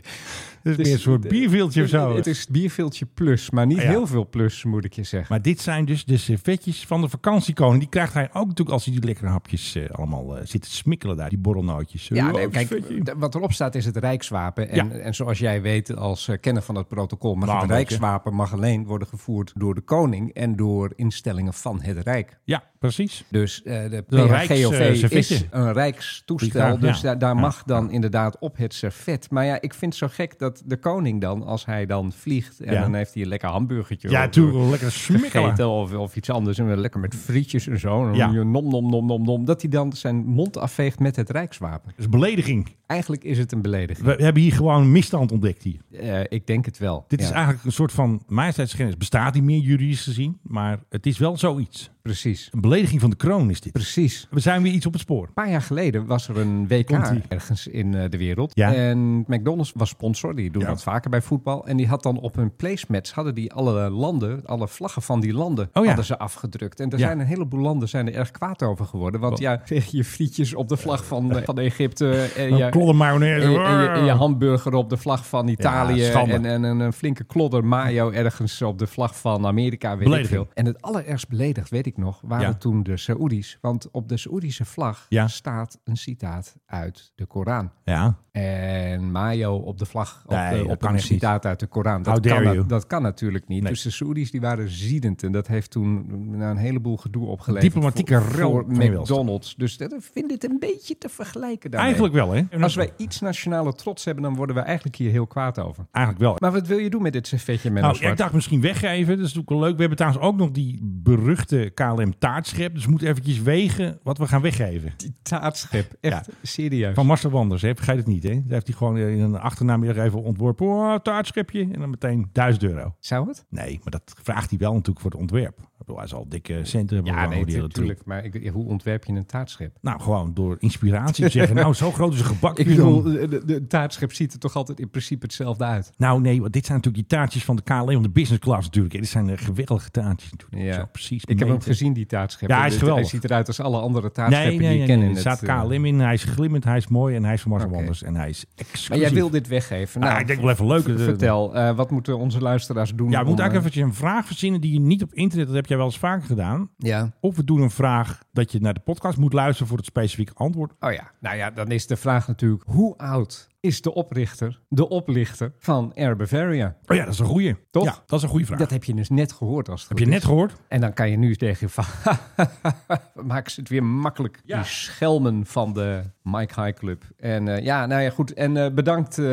[SPEAKER 3] Het is meer een soort bierveeltje of zo. Ah,
[SPEAKER 5] Het is bierveeltje plus, maar niet
[SPEAKER 3] Ja.
[SPEAKER 5] heel veel plus, moet ik je zeggen.
[SPEAKER 3] Maar dit zijn dus de servetjes van de vakantiekoning. Die krijgt hij ook natuurlijk als hij die lekkere hapjes eh, allemaal eh, zit te smikkelen daar. Die borrelnootjes.
[SPEAKER 5] Ja,
[SPEAKER 3] Oh,
[SPEAKER 5] nee, kijk,
[SPEAKER 3] servetje.
[SPEAKER 5] d- wat erop staat is het Rijkswapen. En,
[SPEAKER 3] Ja.
[SPEAKER 5] en zoals jij weet als eh, kenner van het protocol... mag
[SPEAKER 3] Nou,
[SPEAKER 5] het
[SPEAKER 3] een beetje.
[SPEAKER 5] Rijkswapen mag alleen worden gevoerd door de koning... en door instellingen van het Rijk.
[SPEAKER 3] ja, precies.
[SPEAKER 5] Dus eh, de
[SPEAKER 3] Een Rijks, eh,
[SPEAKER 5] PRGOV
[SPEAKER 3] servetje.
[SPEAKER 5] is een rijkstoestel.
[SPEAKER 3] Ja,
[SPEAKER 5] dus
[SPEAKER 3] ja.
[SPEAKER 5] da- daar
[SPEAKER 3] Ja,
[SPEAKER 5] mag dan inderdaad op het servet. Maar ja, ik vind het zo gek dat de koning dan, als hij dan vliegt... en
[SPEAKER 3] Ja.
[SPEAKER 5] dan heeft hij een lekker hamburgertje
[SPEAKER 3] Ja,
[SPEAKER 5] of-
[SPEAKER 3] natuurlijk. Lekker smikkelen.
[SPEAKER 5] gegeten of, of iets anders. En lekker met frietjes en zo. En
[SPEAKER 3] Ja.
[SPEAKER 5] Nom, nom, nom, nom, nom. Dat hij dan zijn mond afveegt met het Rijkswapen.
[SPEAKER 3] Dat is belediging.
[SPEAKER 5] Eigenlijk is het een belediging.
[SPEAKER 3] We hebben hier gewoon een misstand ontdekt hier.
[SPEAKER 5] Eh, ik denk het wel.
[SPEAKER 3] Dit
[SPEAKER 5] Ja,
[SPEAKER 3] is eigenlijk een soort van majesteitsschennis. Bestaat die meer juridisch gezien, maar het is wel zoiets.
[SPEAKER 5] Precies.
[SPEAKER 3] Een belediging van de kroon is dit.
[SPEAKER 5] Precies.
[SPEAKER 3] We zijn weer iets op het spoor.
[SPEAKER 5] Een paar jaar geleden was er een WK
[SPEAKER 3] Komt-ie.
[SPEAKER 5] ergens in eh, de wereld.
[SPEAKER 3] Ja.
[SPEAKER 5] En McDonald's was sponsor, die doen
[SPEAKER 3] Ja.
[SPEAKER 5] dat vaker bij voetbal. En die had dan op hun placemats, hadden die alle landen, alle vlaggen van die landen,
[SPEAKER 3] Oh ja.
[SPEAKER 5] hadden ze afgedrukt. En er
[SPEAKER 3] Ja.
[SPEAKER 5] zijn een heleboel landen zijn er erg kwaad over geworden. Want ja, je frietjes op de vlag van, eh, van Egypte. En
[SPEAKER 3] Ja,
[SPEAKER 5] je,
[SPEAKER 3] Klodder mayonaise.
[SPEAKER 5] En je, en je- en je hamburger op de vlag van Italië.
[SPEAKER 3] Ja, schande.
[SPEAKER 5] en, en een- een flinke klodder mayo ergens op de vlag van Amerika. Weet ik
[SPEAKER 3] Belediging.
[SPEAKER 5] veel. En het allerergst beledigd, weet ik nog, waren
[SPEAKER 3] Ja.
[SPEAKER 5] toen de Saoedi's. Want op de Saoedische vlag
[SPEAKER 3] Ja.
[SPEAKER 5] staat een citaat uit de Koran.
[SPEAKER 3] ja.
[SPEAKER 5] En mayo op de vlag op,
[SPEAKER 3] Nee,
[SPEAKER 5] de-
[SPEAKER 3] dat
[SPEAKER 5] op
[SPEAKER 3] kan
[SPEAKER 5] een
[SPEAKER 3] echt niet.
[SPEAKER 5] citaat uit de Koran.
[SPEAKER 3] How
[SPEAKER 5] Dat
[SPEAKER 3] dare
[SPEAKER 5] kan, na-
[SPEAKER 3] you.
[SPEAKER 5] dat kan natuurlijk niet.
[SPEAKER 3] Nee.
[SPEAKER 5] Dus de Saoedi's die waren ziedend. En dat heeft toen nou, een heleboel gedoe opgeleverd.
[SPEAKER 3] Diplomatieke
[SPEAKER 5] voor,
[SPEAKER 3] rel
[SPEAKER 5] voor
[SPEAKER 3] van je welste.
[SPEAKER 5] McDonald's. Dus dat, ik vind dit een beetje te vergelijken daarmee.
[SPEAKER 3] Eigenlijk wel, hè?
[SPEAKER 5] En Als wij iets nationale trots hebben, dan worden we eigenlijk hier heel kwaad over.
[SPEAKER 3] Eigenlijk wel.
[SPEAKER 5] Maar wat wil je doen met dit servetje, Menno
[SPEAKER 3] Nou, ik
[SPEAKER 5] Zwart?
[SPEAKER 3] dacht misschien weggeven. Dat is natuurlijk wel leuk. We hebben trouwens ook nog die beruchte KLM taartschep. Dus we moeten eventjes wegen wat we gaan weggeven.
[SPEAKER 5] Die taartschip, echt serieus.
[SPEAKER 3] Van Marcel Wanders, hè? Vergeet het niet, hè? Daar heeft hij gewoon gewoon in een achternamiddag even ontworpen. Oh, taartschipje. En dan meteen 1000 euro.
[SPEAKER 5] Zou het?
[SPEAKER 3] Nee, maar dat vraagt hij wel natuurlijk voor het ontwerp. Ik bedoel, Hij zal dikke centen hebben. voor die hele troep.
[SPEAKER 5] natuurlijk. Maar ik- hoe ontwerp je een taartschip?
[SPEAKER 3] Nou, gewoon door inspiratie te zeggen. Nou, zo groot is een gebak.
[SPEAKER 5] Ik
[SPEAKER 3] dus dan-
[SPEAKER 5] bedoel, de, de- de taartschip ziet er toch altijd in principe hetzelfde uit.
[SPEAKER 3] Nou nee, want dit zijn natuurlijk die taartjes van de KLM, van de business class natuurlijk. Dit zijn eh, geweldige taartjes natuurlijk.
[SPEAKER 5] Ja.
[SPEAKER 3] Zo precies
[SPEAKER 5] Ik heb hem
[SPEAKER 3] gemeten.
[SPEAKER 5] gezien, die taartschip.
[SPEAKER 3] Ja, hij is
[SPEAKER 5] Dus
[SPEAKER 3] geweldig.
[SPEAKER 5] ziet eruit als alle andere
[SPEAKER 3] Nee, nee,
[SPEAKER 5] taartscheppen
[SPEAKER 3] nee,
[SPEAKER 5] die je
[SPEAKER 3] nee,
[SPEAKER 5] kent.
[SPEAKER 3] nee.
[SPEAKER 5] in
[SPEAKER 3] Er
[SPEAKER 5] het,
[SPEAKER 3] staat
[SPEAKER 5] eh,
[SPEAKER 3] KLM in, hij is glimmend, hij is mooi en hij is van Mars
[SPEAKER 5] Oké.
[SPEAKER 3] Wonders. En hij is exclusief.
[SPEAKER 5] Maar jij wil dit weggeven.
[SPEAKER 3] Ah,
[SPEAKER 5] Nou,
[SPEAKER 3] ik denk wel even leuk.
[SPEAKER 5] v- Vertel, eh, wat moeten onze luisteraars doen?
[SPEAKER 3] Ja, we
[SPEAKER 5] om,
[SPEAKER 3] moeten
[SPEAKER 5] eh,
[SPEAKER 3] eigenlijk eventjes een vraag verzinnen die je niet op internet, dat heb jij wel eens vaker gedaan.
[SPEAKER 5] Ja.
[SPEAKER 3] Of we doen een vraag dat je naar de podcast moet luisteren voor het specifieke antwoord.
[SPEAKER 5] Oh ja, nou ja, dan is de vraag natuurlijk... hoe oud is de oprichter, de oplichter van Air Bavaria?
[SPEAKER 3] Oh ja, dat is een goeie.
[SPEAKER 5] Toch?
[SPEAKER 3] Ja, dat is een goede vraag.
[SPEAKER 5] Dat heb je dus net gehoord als het
[SPEAKER 3] heb
[SPEAKER 5] goed
[SPEAKER 3] je net
[SPEAKER 5] is.
[SPEAKER 3] gehoord?
[SPEAKER 5] En dan kan je nu tegen je van... maak ze het weer makkelijk. Die schelmen van de Mike High Club. En eh, ja, nou ja, goed. En eh, bedankt eh,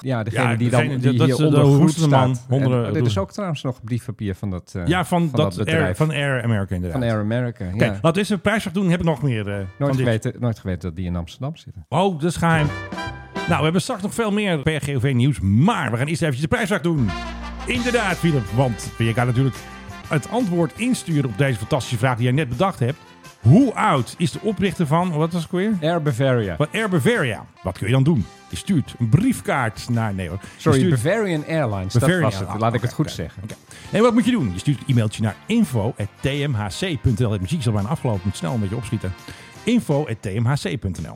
[SPEAKER 5] ja, degene
[SPEAKER 3] Ja,
[SPEAKER 5] die
[SPEAKER 3] degene-
[SPEAKER 5] dan die
[SPEAKER 3] dat is
[SPEAKER 5] hier
[SPEAKER 3] de
[SPEAKER 5] onder groet
[SPEAKER 3] hoestende man,
[SPEAKER 5] staat.
[SPEAKER 3] onder
[SPEAKER 5] En-
[SPEAKER 3] de-
[SPEAKER 5] oh, dit is ook trouwens nog briefpapier van dat, eh,
[SPEAKER 3] Ja, van, dat,
[SPEAKER 5] dat bedrijf.
[SPEAKER 3] Air, van Air America inderdaad.
[SPEAKER 5] van Air America.
[SPEAKER 3] Oké,
[SPEAKER 5] ja.
[SPEAKER 3] laten we eens een prijsvraag doen. Heb ik nog meer eh, van
[SPEAKER 5] Nooit
[SPEAKER 3] dit?
[SPEAKER 5] geweten, nooit geweten dat die in Amsterdam zitten.
[SPEAKER 3] Oh, dat is geheim. Nou, we hebben straks nog veel meer PRGOV nieuws. Maar we gaan eerst even de prijsvraag doen. Inderdaad, Philip. Want je kan natuurlijk het antwoord insturen op deze fantastische vraag die jij net bedacht hebt. Hoe oud is de oprichter van, wat was het ook weer?
[SPEAKER 5] Air Bavaria.
[SPEAKER 3] Van Air Bavaria. Wat kun je dan doen? Je stuurt een briefkaart naar... Nee hoor. Je
[SPEAKER 5] Sorry,
[SPEAKER 3] stuurt-
[SPEAKER 5] Bavarian Airlines.
[SPEAKER 3] Bavarian
[SPEAKER 5] dat was het.
[SPEAKER 3] Airlines.
[SPEAKER 5] Laat ik het
[SPEAKER 3] Oké,
[SPEAKER 5] goed
[SPEAKER 3] oké.
[SPEAKER 5] zeggen.
[SPEAKER 3] Oké. En wat moet je doen? Je stuurt een e-mailtje naar info.tmhc.nl. Het muziek is al bijna afgelopen. Moet snel een beetje opschieten. info.tmhc.nl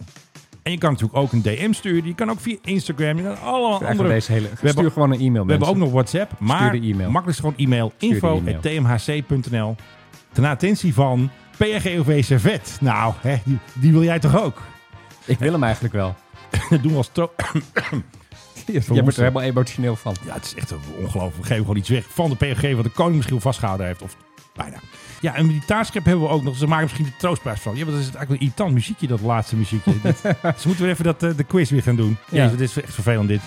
[SPEAKER 3] En je kan natuurlijk ook een DM sturen. Je kan ook via Instagram. Je kan allemaal
[SPEAKER 5] Eigenlijk
[SPEAKER 3] andere...
[SPEAKER 5] Deze hele,
[SPEAKER 3] we hebben,
[SPEAKER 5] stuur gewoon een e-mail.
[SPEAKER 3] we hebben ook
[SPEAKER 5] mensen.
[SPEAKER 3] nog WhatsApp. Maar
[SPEAKER 5] Stuur de e-mail.
[SPEAKER 3] makkelijk is gewoon e-mail. info.tmhc.nl Ten attentie van PRGOV Servet. Nou, hè, die, die wil jij toch ook?
[SPEAKER 5] Ik wil hem eigenlijk wel.
[SPEAKER 3] Dat doen we als... tro-
[SPEAKER 5] Je wordt er helemaal emotioneel van.
[SPEAKER 3] Ja, het is echt ongelooflijk. We geven gewoon iets weg van de PNG wat de koning misschien vastgehouden heeft. Of bijna. Ja, en die taartschep hebben we ook nog. Ze maken misschien de troostprijs van. Ja, wat is het eigenlijk een irritant muziekje, dat laatste muziekje. Dit- dus moeten we even dat, eh, de quiz weer gaan doen.
[SPEAKER 5] Ja.
[SPEAKER 3] Ja. Dit is echt vervelend dit.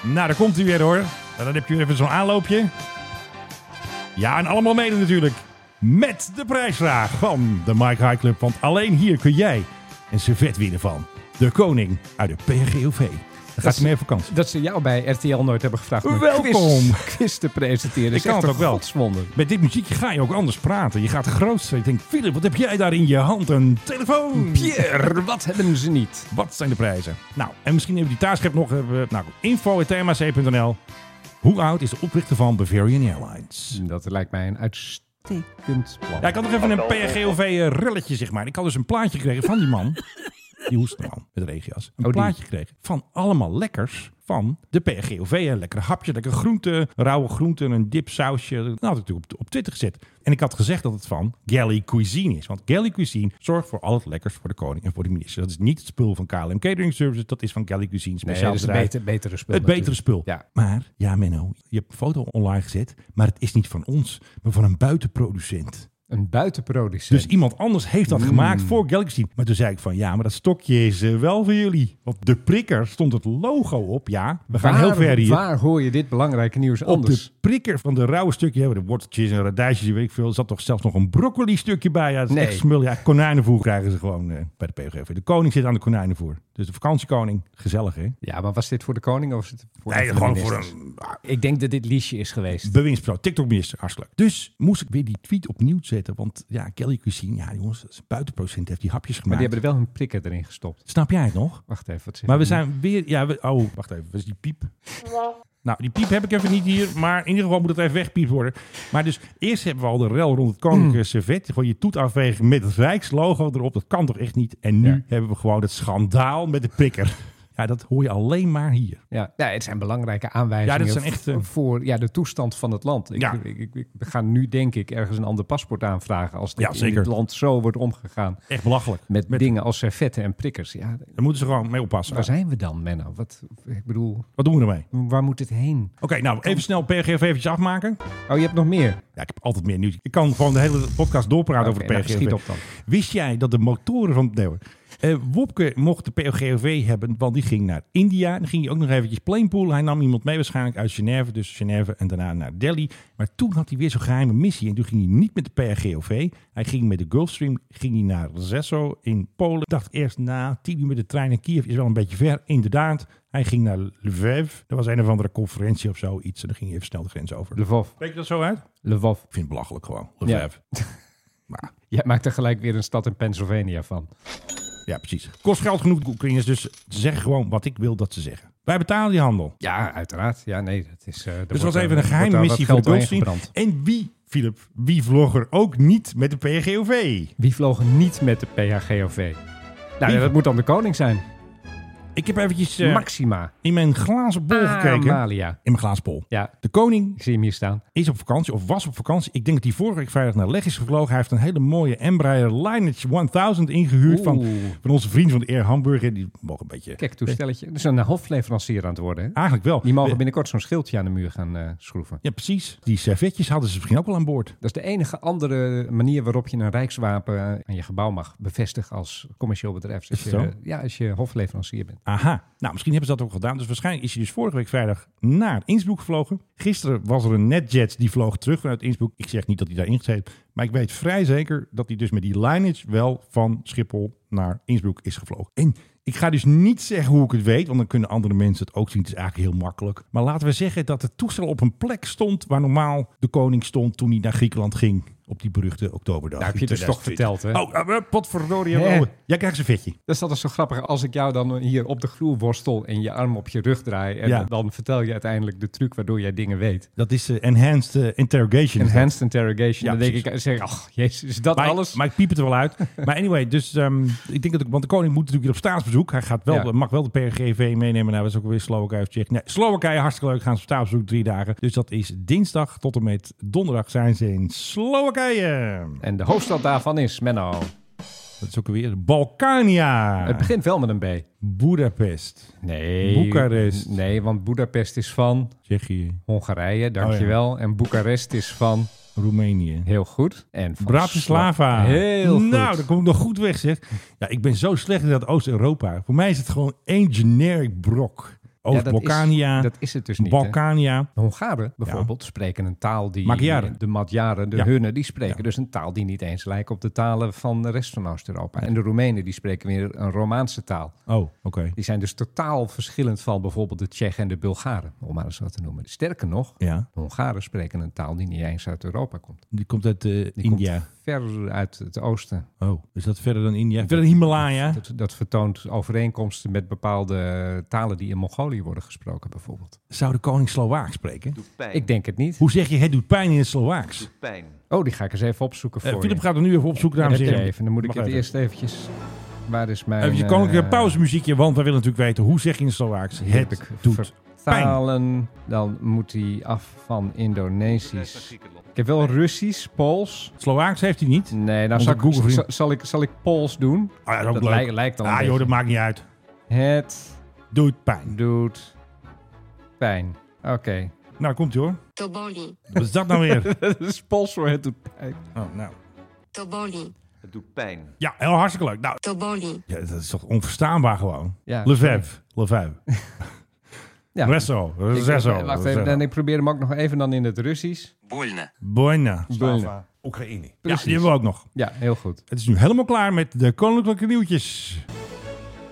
[SPEAKER 3] Nou, daar komt hij weer hoor. En dan heb je weer even zo'n aanloopje. Ja, en allemaal mede natuurlijk. Met de prijsvraag van de Mike High Club. Want alleen hier kun jij een servet winnen van de koning uit de PNGOV. Dan gaat
[SPEAKER 5] is-
[SPEAKER 3] hij mee op vakantie.
[SPEAKER 5] Dat ze jou bij RTL nooit hebben gevraagd om een
[SPEAKER 3] Welkom.
[SPEAKER 5] quiz, quiz te presenteren.
[SPEAKER 3] Ik kan het ook wel.
[SPEAKER 5] Godswonder.
[SPEAKER 3] Met dit muziekje ga je ook anders praten. Je gaat groot zijn. Je denkt, Philip, wat heb jij daar in je hand? Een telefoon.
[SPEAKER 5] Pierre, wat hebben ze niet?
[SPEAKER 3] Wat zijn de prijzen? Nou, en misschien hebben we die taartschep nog. eh, we- Nou, info.tmac.nl. Hoe oud is de oprichter van Bavarian Airlines?
[SPEAKER 5] Dat lijkt mij een uitstekend plan.
[SPEAKER 3] Ja, ik had nog even een PRGOV-relletje, eh, zeg maar. Ik had dus een plaatje gekregen van die man. Die hoestende man met de regenjas. Een
[SPEAKER 5] Oh, die.
[SPEAKER 3] plaatje gekregen van allemaal lekkers van de PRGOV. Een lekker hapje, lekker groente, rauwe groenten, een dip sausje. Dat had ik natuurlijk op, op Twitter gezet. En ik had gezegd dat het van Galley Cuisine is. Want Galley Cuisine zorgt voor al het lekkers voor de koning en voor de minister. Dat is niet het spul van KLM Catering Services. Dat is van Galley Cuisine.
[SPEAKER 5] Nee,
[SPEAKER 3] Speciaal
[SPEAKER 5] dat is een
[SPEAKER 3] bedrijf.
[SPEAKER 5] beter, betere spul.
[SPEAKER 3] Het betere
[SPEAKER 5] natuurlijk.
[SPEAKER 3] spul.
[SPEAKER 5] Ja.
[SPEAKER 3] Maar, ja Menno, je hebt een foto online gezet. Maar het is niet van ons, maar van een buitenproducent.
[SPEAKER 5] Een buitenproducent.
[SPEAKER 3] Dus iemand anders heeft dat gemaakt
[SPEAKER 5] Mm.
[SPEAKER 3] voor Galaxy. Maar toen zei ik van ja, maar dat stokje is eh, wel voor jullie. Op de prikker stond het logo op. Ja, we gaan
[SPEAKER 5] waar,
[SPEAKER 3] heel ver hier.
[SPEAKER 5] Waar hoor je dit belangrijke nieuws
[SPEAKER 3] op de
[SPEAKER 5] anders?
[SPEAKER 3] prikker van de rauwe stukje hebben de worteltjes en radijsjes, weet ik veel. Er zat toch zelfs nog een broccoli stukje bij. Ja, dat is
[SPEAKER 5] Nee.
[SPEAKER 3] echt smul. Ja, konijnenvoer krijgen ze gewoon eh, bij de PGV. De koning zit aan de konijnenvoer. Dus de vakantiekoning, gezellig hè?
[SPEAKER 5] Ja, maar was dit voor de koning of was het voor
[SPEAKER 3] Nee,
[SPEAKER 5] de
[SPEAKER 3] gewoon voor
[SPEAKER 5] ministers?
[SPEAKER 3] een
[SPEAKER 5] Ik denk dat dit liedje is geweest.
[SPEAKER 3] bewindspersoon, TikTok-minister, hartstikke leuk. Dus moest ik weer die tweet opnieuw zetten. Want ja, Kelly Cuisine, ja jongens, dat is een buitenprocent heeft die hapjes
[SPEAKER 5] Maar
[SPEAKER 3] gemaakt.
[SPEAKER 5] die hebben er wel hun prikken erin gestopt.
[SPEAKER 3] Snap jij het nog?
[SPEAKER 5] Wacht even, wat zit
[SPEAKER 3] Maar we
[SPEAKER 5] er nu?
[SPEAKER 3] zijn weer. Ja, we, oh, wacht even. Wat is die piep? Nou, die piep heb ik even niet hier. Maar in ieder geval moet het even wegpiept worden. Maar dus eerst hebben we al de rel rond het
[SPEAKER 5] Mm.
[SPEAKER 3] koninklijke servet. Gewoon je toet afwegen met het Rijkslogo erop. Dat kan toch echt niet? En nu
[SPEAKER 5] Ja.
[SPEAKER 3] hebben we gewoon het schandaal met de prikker. Ja, dat hoor je alleen maar hier.
[SPEAKER 5] Ja, ja, het zijn belangrijke aanwijzingen
[SPEAKER 3] Ja, dat zijn echt, eh,
[SPEAKER 5] voor ja, de toestand van het land. Ik,
[SPEAKER 3] Ja.
[SPEAKER 5] ik, ik, ik ga nu denk ik ergens een ander paspoort aanvragen als dit
[SPEAKER 3] Ja,
[SPEAKER 5] in
[SPEAKER 3] zeker.
[SPEAKER 5] het land zo wordt omgegaan
[SPEAKER 3] Echt belachelijk.
[SPEAKER 5] met, dingen als servetten en prikkers. Ja,
[SPEAKER 3] Daar moeten ze gewoon mee oppassen.
[SPEAKER 5] waar zijn we dan, Menno? Wat, ik bedoel,
[SPEAKER 3] Wat doen we ermee?
[SPEAKER 5] waar moet dit heen?
[SPEAKER 3] Oké, nou even snel PRGV eventjes afmaken.
[SPEAKER 5] Oh, je hebt nog meer.
[SPEAKER 3] Ja, ik heb altijd meer nieuws. Ik kan gewoon de hele podcast doorpraten
[SPEAKER 5] Oké,
[SPEAKER 3] over de
[SPEAKER 5] nou,
[SPEAKER 3] PRGV.
[SPEAKER 5] schiet op dan.
[SPEAKER 3] Wist jij dat de motoren van... Nee hoor. Eh, Wopke mocht de POGOV hebben, want die ging naar India. Dan ging hij ook nog eventjes planepool. Hij nam iemand mee waarschijnlijk uit Genève, dus Genève en daarna naar Delhi. Maar toen had hij weer zo'n geheime missie en toen ging hij niet met de POGOV. Hij ging met de Gulfstream ging hij naar Rzeszo in Polen. Dacht eerst na tien uur met de trein naar Kiev is wel een beetje ver. Inderdaad, hij ging naar Lviv. Dat was een of andere conferentie of zoiets en dan ging hij even snel de grens over.
[SPEAKER 5] Lvov.
[SPEAKER 3] Spreek je dat zo uit?
[SPEAKER 5] Lvov.
[SPEAKER 3] Ik vind het belachelijk gewoon.
[SPEAKER 5] Ja.
[SPEAKER 3] Lviv.
[SPEAKER 5] Jij maakt er gelijk weer een stad in Pennsylvania van.
[SPEAKER 3] Ja, precies. Kost geld genoeg de Oekraïners, dus ze zeggen gewoon wat ik wil dat ze zeggen. Wij betalen die handel.
[SPEAKER 5] Ja, uiteraard. Ja, nee, dat is... eh, er
[SPEAKER 3] Dus het
[SPEAKER 5] wordt,
[SPEAKER 3] was
[SPEAKER 5] eh,
[SPEAKER 3] even een
[SPEAKER 5] wordt
[SPEAKER 3] geheime
[SPEAKER 5] daar
[SPEAKER 3] missie
[SPEAKER 5] wat
[SPEAKER 3] voor
[SPEAKER 5] geld
[SPEAKER 3] de Goldstein.
[SPEAKER 5] doorheen gebrand.
[SPEAKER 3] En wie, Philip, wie vlog er ook niet met de PGOV?
[SPEAKER 5] Wie vlogen niet met de PHGOV? Nou,
[SPEAKER 3] Wie-
[SPEAKER 5] ja, dat moet dan de koning zijn.
[SPEAKER 3] Ik heb eventjes eh,
[SPEAKER 5] Maxima.
[SPEAKER 3] in mijn glazen bol
[SPEAKER 5] Ah,
[SPEAKER 3] gekeken.
[SPEAKER 5] Amalia.
[SPEAKER 3] In mijn glazen bol.
[SPEAKER 5] Ja,
[SPEAKER 3] De koning
[SPEAKER 5] ik zie hem hier staan.
[SPEAKER 3] is op vakantie, of was op vakantie. Ik denk dat hij vorige week vrijdag naar Leg is gevlogen. Hij heeft een hele mooie Embraer Lineage 1000 ingehuurd van,
[SPEAKER 5] Oeh.
[SPEAKER 3] van onze vriend van de Air Hamburger. Die mogen een beetje...
[SPEAKER 5] Kijk, toestelletje. Dus een hofleverancier aan het worden, hè?
[SPEAKER 3] Eigenlijk wel.
[SPEAKER 5] Die mogen
[SPEAKER 3] Eh,
[SPEAKER 5] binnenkort zo'n schildje aan de muur gaan eh, schroeven.
[SPEAKER 3] Ja, precies. Die servetjes hadden ze misschien ook wel aan boord.
[SPEAKER 5] Dat is de enige andere manier waarop je een rijkswapen eh, aan je gebouw mag bevestigen als commercieel bedrijf.
[SPEAKER 3] Is
[SPEAKER 5] Als je,
[SPEAKER 3] het zo?
[SPEAKER 5] eh, ja, als je hofleverancier bent.
[SPEAKER 3] Aha. Nou, misschien hebben ze dat ook gedaan. Dus waarschijnlijk is hij dus vorige week vrijdag naar Innsbruck gevlogen. Gisteren was er een netjet die vloog terug vanuit Innsbruck. Ik zeg niet dat hij daar ingezeten heeft. Maar ik weet vrij zeker dat hij dus met die Lineage wel van Schiphol naar Innsbruck is gevlogen. En ik ga dus niet zeggen hoe ik het weet, want dan kunnen andere mensen het ook zien. Het is eigenlijk heel makkelijk. Maar laten we zeggen dat het toestel op een plek stond waar normaal de koning stond toen hij naar Griekenland ging. Op die beruchte oktoberdag.
[SPEAKER 5] Daar heb je
[SPEAKER 3] in
[SPEAKER 5] dus toch
[SPEAKER 3] 2020.
[SPEAKER 5] verteld, hè?
[SPEAKER 3] Oh, eh, potverdorie.
[SPEAKER 5] Hè?
[SPEAKER 3] oh, Jij krijgt een vetje.
[SPEAKER 5] Dus dat is zo grappig als ik jou dan eh, hier op de vloer worstel en je arm op je rug draai. En
[SPEAKER 3] Ja.
[SPEAKER 5] dan vertel je uiteindelijk de truc waardoor jij dingen weet.
[SPEAKER 3] Dat is eh, enhanced eh, interrogation.
[SPEAKER 5] Enhanced interrogation.
[SPEAKER 3] Ja,
[SPEAKER 5] dan denk ik, eh, zeg ik, ach, jezus, is dat
[SPEAKER 3] Maar,
[SPEAKER 5] alles?
[SPEAKER 3] maar ik piep het er wel uit. maar anyway, dus ehm, ik denk dat ik, want de koning moet natuurlijk weer op staatsbezoek. Hij gaat wel,
[SPEAKER 5] Ja.
[SPEAKER 3] mag wel de PRGV meenemen. Nou, dat is ook weer Slowakije of Tsjechië. Nee, Slowakije, hartstikke leuk. Gaan ze op staatsbezoek drie dagen. Dus dat is dinsdag tot en met donderdag zijn ze in Slowakije.
[SPEAKER 5] En de hoofdstad daarvan is, Menno,
[SPEAKER 3] Dat is ook weer Balkania.
[SPEAKER 5] het begint wel met een B.
[SPEAKER 3] Budapest.
[SPEAKER 5] Nee.
[SPEAKER 3] Boekarest.
[SPEAKER 5] Nee, want Boedapest is van
[SPEAKER 3] Tsjechië.
[SPEAKER 5] Hongarije, dankjewel.
[SPEAKER 3] Oh,
[SPEAKER 5] En Boekarest is van,
[SPEAKER 3] Roemenië.
[SPEAKER 5] heel goed. En van
[SPEAKER 3] Bratislava.
[SPEAKER 5] Sla- Heel goed.
[SPEAKER 3] Nou, dan kom ik nog goed weg, zeg. Ja, ik ben zo slecht in dat Oost-Europa. Voor mij is het gewoon één generic brok.
[SPEAKER 5] Ja, dat is-
[SPEAKER 3] Oost-Balkania.
[SPEAKER 5] Dat is het dus niet. hè?
[SPEAKER 3] Balkania.
[SPEAKER 5] De Hongaren bijvoorbeeld spreken een taal die...
[SPEAKER 3] Magyaren.
[SPEAKER 5] De Magyaren, de
[SPEAKER 3] Ja.
[SPEAKER 5] Hunnen, die spreken dus een taal die niet eens lijkt op de talen van de rest van Oost-Europa. En de Roemenen, die spreken weer een Romaanse taal.
[SPEAKER 3] Oh, oké.
[SPEAKER 5] Die zijn dus totaal verschillend van bijvoorbeeld de Tsjechen en de Bulgaren, om maar eens wat te noemen. Sterker nog,
[SPEAKER 3] Ja,
[SPEAKER 5] de Hongaren spreken een taal die niet eens uit Europa komt.
[SPEAKER 3] die komt uit eh,
[SPEAKER 5] Die
[SPEAKER 3] India.
[SPEAKER 5] komt ver uit het oosten.
[SPEAKER 3] Oh, is dat verder dan India? Verder dan Himalaya?
[SPEAKER 5] Dat, dat vertoont overeenkomsten met bepaalde talen die in Mongolië worden gesproken bijvoorbeeld.
[SPEAKER 3] Zou de koning Slovaak spreken?
[SPEAKER 5] Ik denk het niet.
[SPEAKER 3] Hoe zeg je, het doet pijn in het Slovaaks?
[SPEAKER 5] Oh, die ga ik eens even opzoeken
[SPEAKER 3] Eh,
[SPEAKER 5] voor
[SPEAKER 3] Philip
[SPEAKER 5] je.
[SPEAKER 3] gaat er nu even op zoek,
[SPEAKER 5] Ja,
[SPEAKER 3] dames en
[SPEAKER 5] dat
[SPEAKER 3] heren.
[SPEAKER 5] je even. Dan moet ik
[SPEAKER 3] Wacht
[SPEAKER 5] het
[SPEAKER 3] even.
[SPEAKER 5] eerst eventjes... Waar is mijn...
[SPEAKER 3] Even je koninklijke
[SPEAKER 5] eh,
[SPEAKER 3] pauzemuziekje, want wij willen natuurlijk weten, hoe zeg je in het Slovaaks? Het doet.
[SPEAKER 5] Vertalen. Dan moet hij af van Indonesisch. Ik heb wel Russisch, Pools.
[SPEAKER 3] Slovaaks heeft hij niet.
[SPEAKER 5] Nee, nou
[SPEAKER 3] Onze
[SPEAKER 5] zal ik,
[SPEAKER 3] Google vriend.
[SPEAKER 5] zal, zal ik, zal ik Pools doen.
[SPEAKER 3] Ah, ja, dat is ook
[SPEAKER 5] Dat
[SPEAKER 3] leuk.
[SPEAKER 5] lijkt, lijkt dan een
[SPEAKER 3] ah joh, dat
[SPEAKER 5] beetje.
[SPEAKER 3] maakt niet uit.
[SPEAKER 5] Het
[SPEAKER 3] Doet pijn.
[SPEAKER 5] doet pijn. Oké.
[SPEAKER 3] Nou, komt ie hoor.
[SPEAKER 7] To boli,
[SPEAKER 3] Wat is dat nou weer?
[SPEAKER 5] Dat is Pools voor het doet pijn.
[SPEAKER 3] Oh, nou.
[SPEAKER 7] to boli,
[SPEAKER 3] Ja, heel hartstikke leuk. Nou,
[SPEAKER 7] to boli,
[SPEAKER 3] ja, dat is toch onverstaanbaar gewoon.
[SPEAKER 5] Ja,
[SPEAKER 3] Lefebvre. Lefebvre.
[SPEAKER 5] Ja.
[SPEAKER 3] Resso.
[SPEAKER 5] Ik- eh,
[SPEAKER 3] Resso.
[SPEAKER 5] Wacht even,
[SPEAKER 3] Resso.
[SPEAKER 5] en ik probeer hem ook nog even dan in het Russisch.
[SPEAKER 3] Buena.
[SPEAKER 5] Boelen.
[SPEAKER 8] Oekraïne.
[SPEAKER 3] Ja,
[SPEAKER 5] Precies.
[SPEAKER 3] die hebben we ook nog.
[SPEAKER 5] Ja, heel goed.
[SPEAKER 3] Het is nu helemaal klaar met de koninklijke nieuwtjes.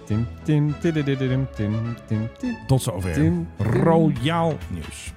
[SPEAKER 5] Tim, tim, tididididim, tim, tim, tim.
[SPEAKER 3] Tot zover.
[SPEAKER 5] Tim, tim.
[SPEAKER 3] Royaal nieuws.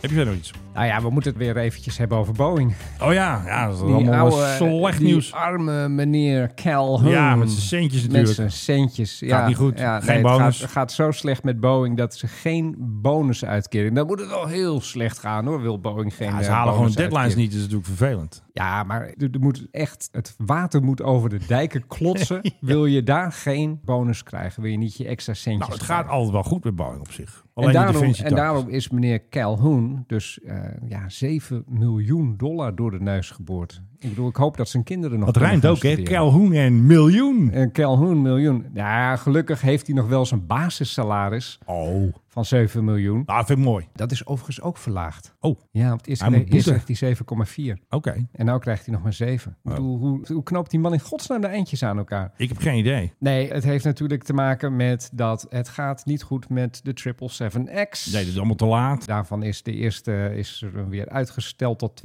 [SPEAKER 3] Heb je verder nog iets?
[SPEAKER 5] Nou ja, we moeten het weer eventjes hebben over Boeing.
[SPEAKER 3] Oh ja, ja dat is
[SPEAKER 5] Die
[SPEAKER 3] allemaal
[SPEAKER 5] oude, eh,
[SPEAKER 3] slecht
[SPEAKER 5] die
[SPEAKER 3] nieuws.
[SPEAKER 5] arme meneer Calhoun.
[SPEAKER 3] Ja, met zijn centjes
[SPEAKER 5] Met
[SPEAKER 3] natuurlijk.
[SPEAKER 5] zijn centjes. Ja,
[SPEAKER 3] niet goed.
[SPEAKER 5] Ja,
[SPEAKER 3] Geen
[SPEAKER 5] het
[SPEAKER 3] bonus.
[SPEAKER 5] gaat, gaat zo slecht met Boeing dat ze geen bonus uitkeren. Dan moet het wel heel slecht gaan hoor, wil Boeing geen
[SPEAKER 3] Ja, ze
[SPEAKER 5] eh,
[SPEAKER 3] halen gewoon
[SPEAKER 5] bonus
[SPEAKER 3] deadlines
[SPEAKER 5] uitkeren.
[SPEAKER 3] niet, dat is natuurlijk vervelend.
[SPEAKER 5] Ja, maar er- er moet echt, het water moet over de dijken klotsen. Wil je daar geen bonus krijgen? Wil je niet je extra centjes
[SPEAKER 3] Nou, het
[SPEAKER 5] krijgen?
[SPEAKER 3] gaat altijd wel goed met Boeing op zich. Alleen
[SPEAKER 5] En
[SPEAKER 3] die
[SPEAKER 5] daarom,
[SPEAKER 3] defensietax.
[SPEAKER 5] en daarom is meneer Calhoun dus eh, ja, 7 miljoen dollar door de neus geboord. Ik bedoel, ik hoop dat zijn kinderen nog...
[SPEAKER 3] Dat
[SPEAKER 5] kunnen
[SPEAKER 3] rijmt
[SPEAKER 5] gaan
[SPEAKER 3] ook, hè?
[SPEAKER 5] studeren.
[SPEAKER 3] Calhoun en miljoen.
[SPEAKER 5] Eh, Calhoun, miljoen. Ja, gelukkig heeft hij nog wel zijn basissalaris.
[SPEAKER 3] Oh,
[SPEAKER 5] van 7 miljoen.
[SPEAKER 3] Nou, vind ik mooi.
[SPEAKER 5] Dat is overigens ook verlaagd.
[SPEAKER 3] Oh, oké.
[SPEAKER 5] Ja, want eerst,
[SPEAKER 3] Hij moet
[SPEAKER 5] kreeg, eerst
[SPEAKER 3] boeten.
[SPEAKER 5] kreeg hij 7,4. En nou krijgt hij nog maar 7. Ik bedoel, hoe, hoe knoopt die man in godsnaam de eindjes aan elkaar?
[SPEAKER 3] Ik heb geen idee.
[SPEAKER 5] Nee, het heeft natuurlijk te maken met dat het gaat niet goed met de 777X.
[SPEAKER 3] Nee, dit is allemaal te laat.
[SPEAKER 5] Daarvan is de eerste is er weer uitgesteld tot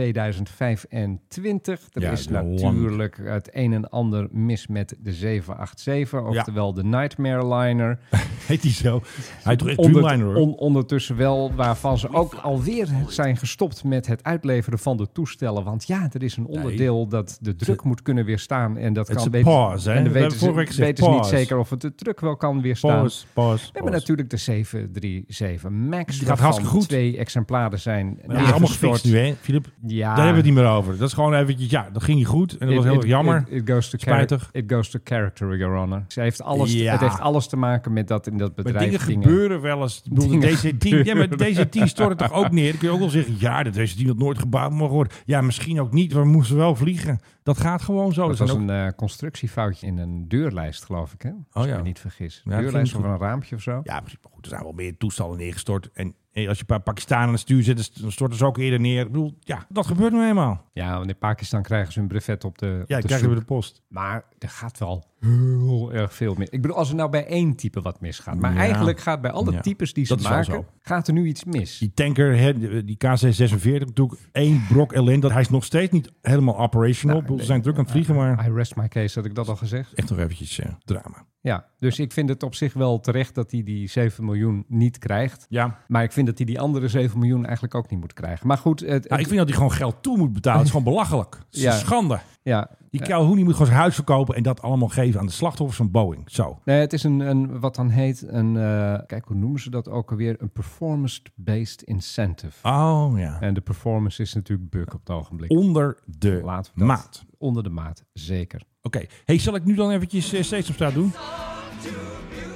[SPEAKER 5] 2025. Er
[SPEAKER 3] Ja,
[SPEAKER 5] is
[SPEAKER 3] dat is lang.
[SPEAKER 5] natuurlijk het een en ander mis met de 787, oftewel de Nightmare Liner.
[SPEAKER 3] Heet die zo? Hij is toch echt
[SPEAKER 5] Ondert-
[SPEAKER 3] Dreamliner hoor.
[SPEAKER 5] on- ondertussen wel, waarvan ze ook alweer zijn gestopt met het uitleveren van de toestellen. Want ja, er is een onderdeel dat de druk moet kunnen weerstaan. En dat
[SPEAKER 3] Het is
[SPEAKER 5] kan
[SPEAKER 3] een
[SPEAKER 5] weten-
[SPEAKER 3] pause, hè? We
[SPEAKER 5] En dan weten
[SPEAKER 3] hebben
[SPEAKER 5] ze,
[SPEAKER 3] vorige week gezegd
[SPEAKER 5] weten ze niet
[SPEAKER 3] pause.
[SPEAKER 5] zeker of het de druk wel kan weerstaan.
[SPEAKER 3] Pause, pause,
[SPEAKER 5] We hebben
[SPEAKER 3] pause.
[SPEAKER 5] natuurlijk de 737 MAX.
[SPEAKER 3] gaat
[SPEAKER 5] waarvan
[SPEAKER 3] hartstikke goed.
[SPEAKER 5] Twee exemplaren zijn
[SPEAKER 3] Maar dat is allemaal
[SPEAKER 5] neergestort.
[SPEAKER 3] gefixt nu, hè, Filip? Daar
[SPEAKER 5] Ja.
[SPEAKER 3] hebben we het niet meer over. Dat is gewoon eventjes, ja, dat ging niet goed. En dat was
[SPEAKER 5] It-
[SPEAKER 3] heel
[SPEAKER 5] it-
[SPEAKER 3] jammer.
[SPEAKER 5] It, it goes to
[SPEAKER 3] Spijtig.
[SPEAKER 5] Spijtig. It goes to character, Your Honor. Ze heeft alles,
[SPEAKER 3] Ja.
[SPEAKER 5] Het heeft alles te maken met dat in dat
[SPEAKER 3] maar
[SPEAKER 5] bedrijf.
[SPEAKER 3] dingen gebeuren wel eens. Ik bedoel, de
[SPEAKER 5] Dingen
[SPEAKER 3] DC-10, ja, maar de
[SPEAKER 5] gebeuren.
[SPEAKER 3] DC-10 stort het toch ook neer? Dan kun je ook wel zeggen, ja, de DC-10 had nooit gebouwd mogen worden. Ja, misschien ook niet, maar we moesten wel vliegen. Dat gaat gewoon zo.
[SPEAKER 5] Dat
[SPEAKER 3] Er
[SPEAKER 5] was
[SPEAKER 3] zijn Oh, ook-
[SPEAKER 5] een eh, constructiefoutje in een deurlijst, geloof ik. Hè?
[SPEAKER 3] Oh
[SPEAKER 5] Als ik
[SPEAKER 3] ja.
[SPEAKER 5] me niet vergis.
[SPEAKER 3] Ja, dat
[SPEAKER 5] deurlijst
[SPEAKER 3] ging
[SPEAKER 5] of
[SPEAKER 3] goed.
[SPEAKER 5] een raampje of zo.
[SPEAKER 3] Ja, precies. Maar goed, er zijn wel meer toestanden neergestort. En eh, als je een paar Pakistanen aan het stuur zet, dan st- dan storten ze ook eerder neer. Ik bedoel, ja, dat gebeurt nu eenmaal.
[SPEAKER 5] Ja, want in Pakistan krijgen ze hun brevet op de,
[SPEAKER 3] Ja,
[SPEAKER 5] op
[SPEAKER 3] ik
[SPEAKER 5] de
[SPEAKER 3] krijg je
[SPEAKER 5] stoep.
[SPEAKER 3] bij de post.
[SPEAKER 5] Maar er gaat wel heel erg veel mis. Ik bedoel, als er nou bij één type wat misgaat. Maar
[SPEAKER 3] Ja.
[SPEAKER 5] eigenlijk gaat bij alle
[SPEAKER 3] Ja.
[SPEAKER 5] types die ze
[SPEAKER 3] Dat is wel
[SPEAKER 5] maken,
[SPEAKER 3] zo.
[SPEAKER 5] gaat er nu iets mis.
[SPEAKER 3] Die tanker, hè, die KC-46, natuurlijk één brok ellende. Dat Hij is nog steeds niet helemaal operational. Ik bedoel, Ze zijn druk aan het vliegen, maar
[SPEAKER 5] I rest my case, had ik dat al gezegd.
[SPEAKER 3] echt nog eventjes eh, drama.
[SPEAKER 5] Ja, dus ik vind het op zich wel terecht dat hij die 7 miljoen niet krijgt.
[SPEAKER 3] Ja.
[SPEAKER 5] Maar ik vind dat hij die andere 7 miljoen eigenlijk ook niet moet krijgen. Maar goed, het,
[SPEAKER 3] Nou, ik vind dat hij gewoon geld toe moet betalen. Het is gewoon belachelijk. Het is
[SPEAKER 5] Ja.
[SPEAKER 3] een schande.
[SPEAKER 5] ja,
[SPEAKER 3] Die Calhoun die moet gewoon zijn huis verkopen en dat allemaal geven aan de slachtoffers van Boeing. Zo.
[SPEAKER 5] Nee, het is een, een wat dan heet een, eh, kijk hoe noemen ze dat ook alweer, een performance-based incentive.
[SPEAKER 3] Oh ja.
[SPEAKER 5] En de performance is natuurlijk buk op het ogenblik.
[SPEAKER 3] Onder de
[SPEAKER 5] Laten we dat-
[SPEAKER 3] maat.
[SPEAKER 5] Onder de maat, zeker.
[SPEAKER 3] Oké. Hey, zal ik nu dan eventjes eh, steeds op straat doen?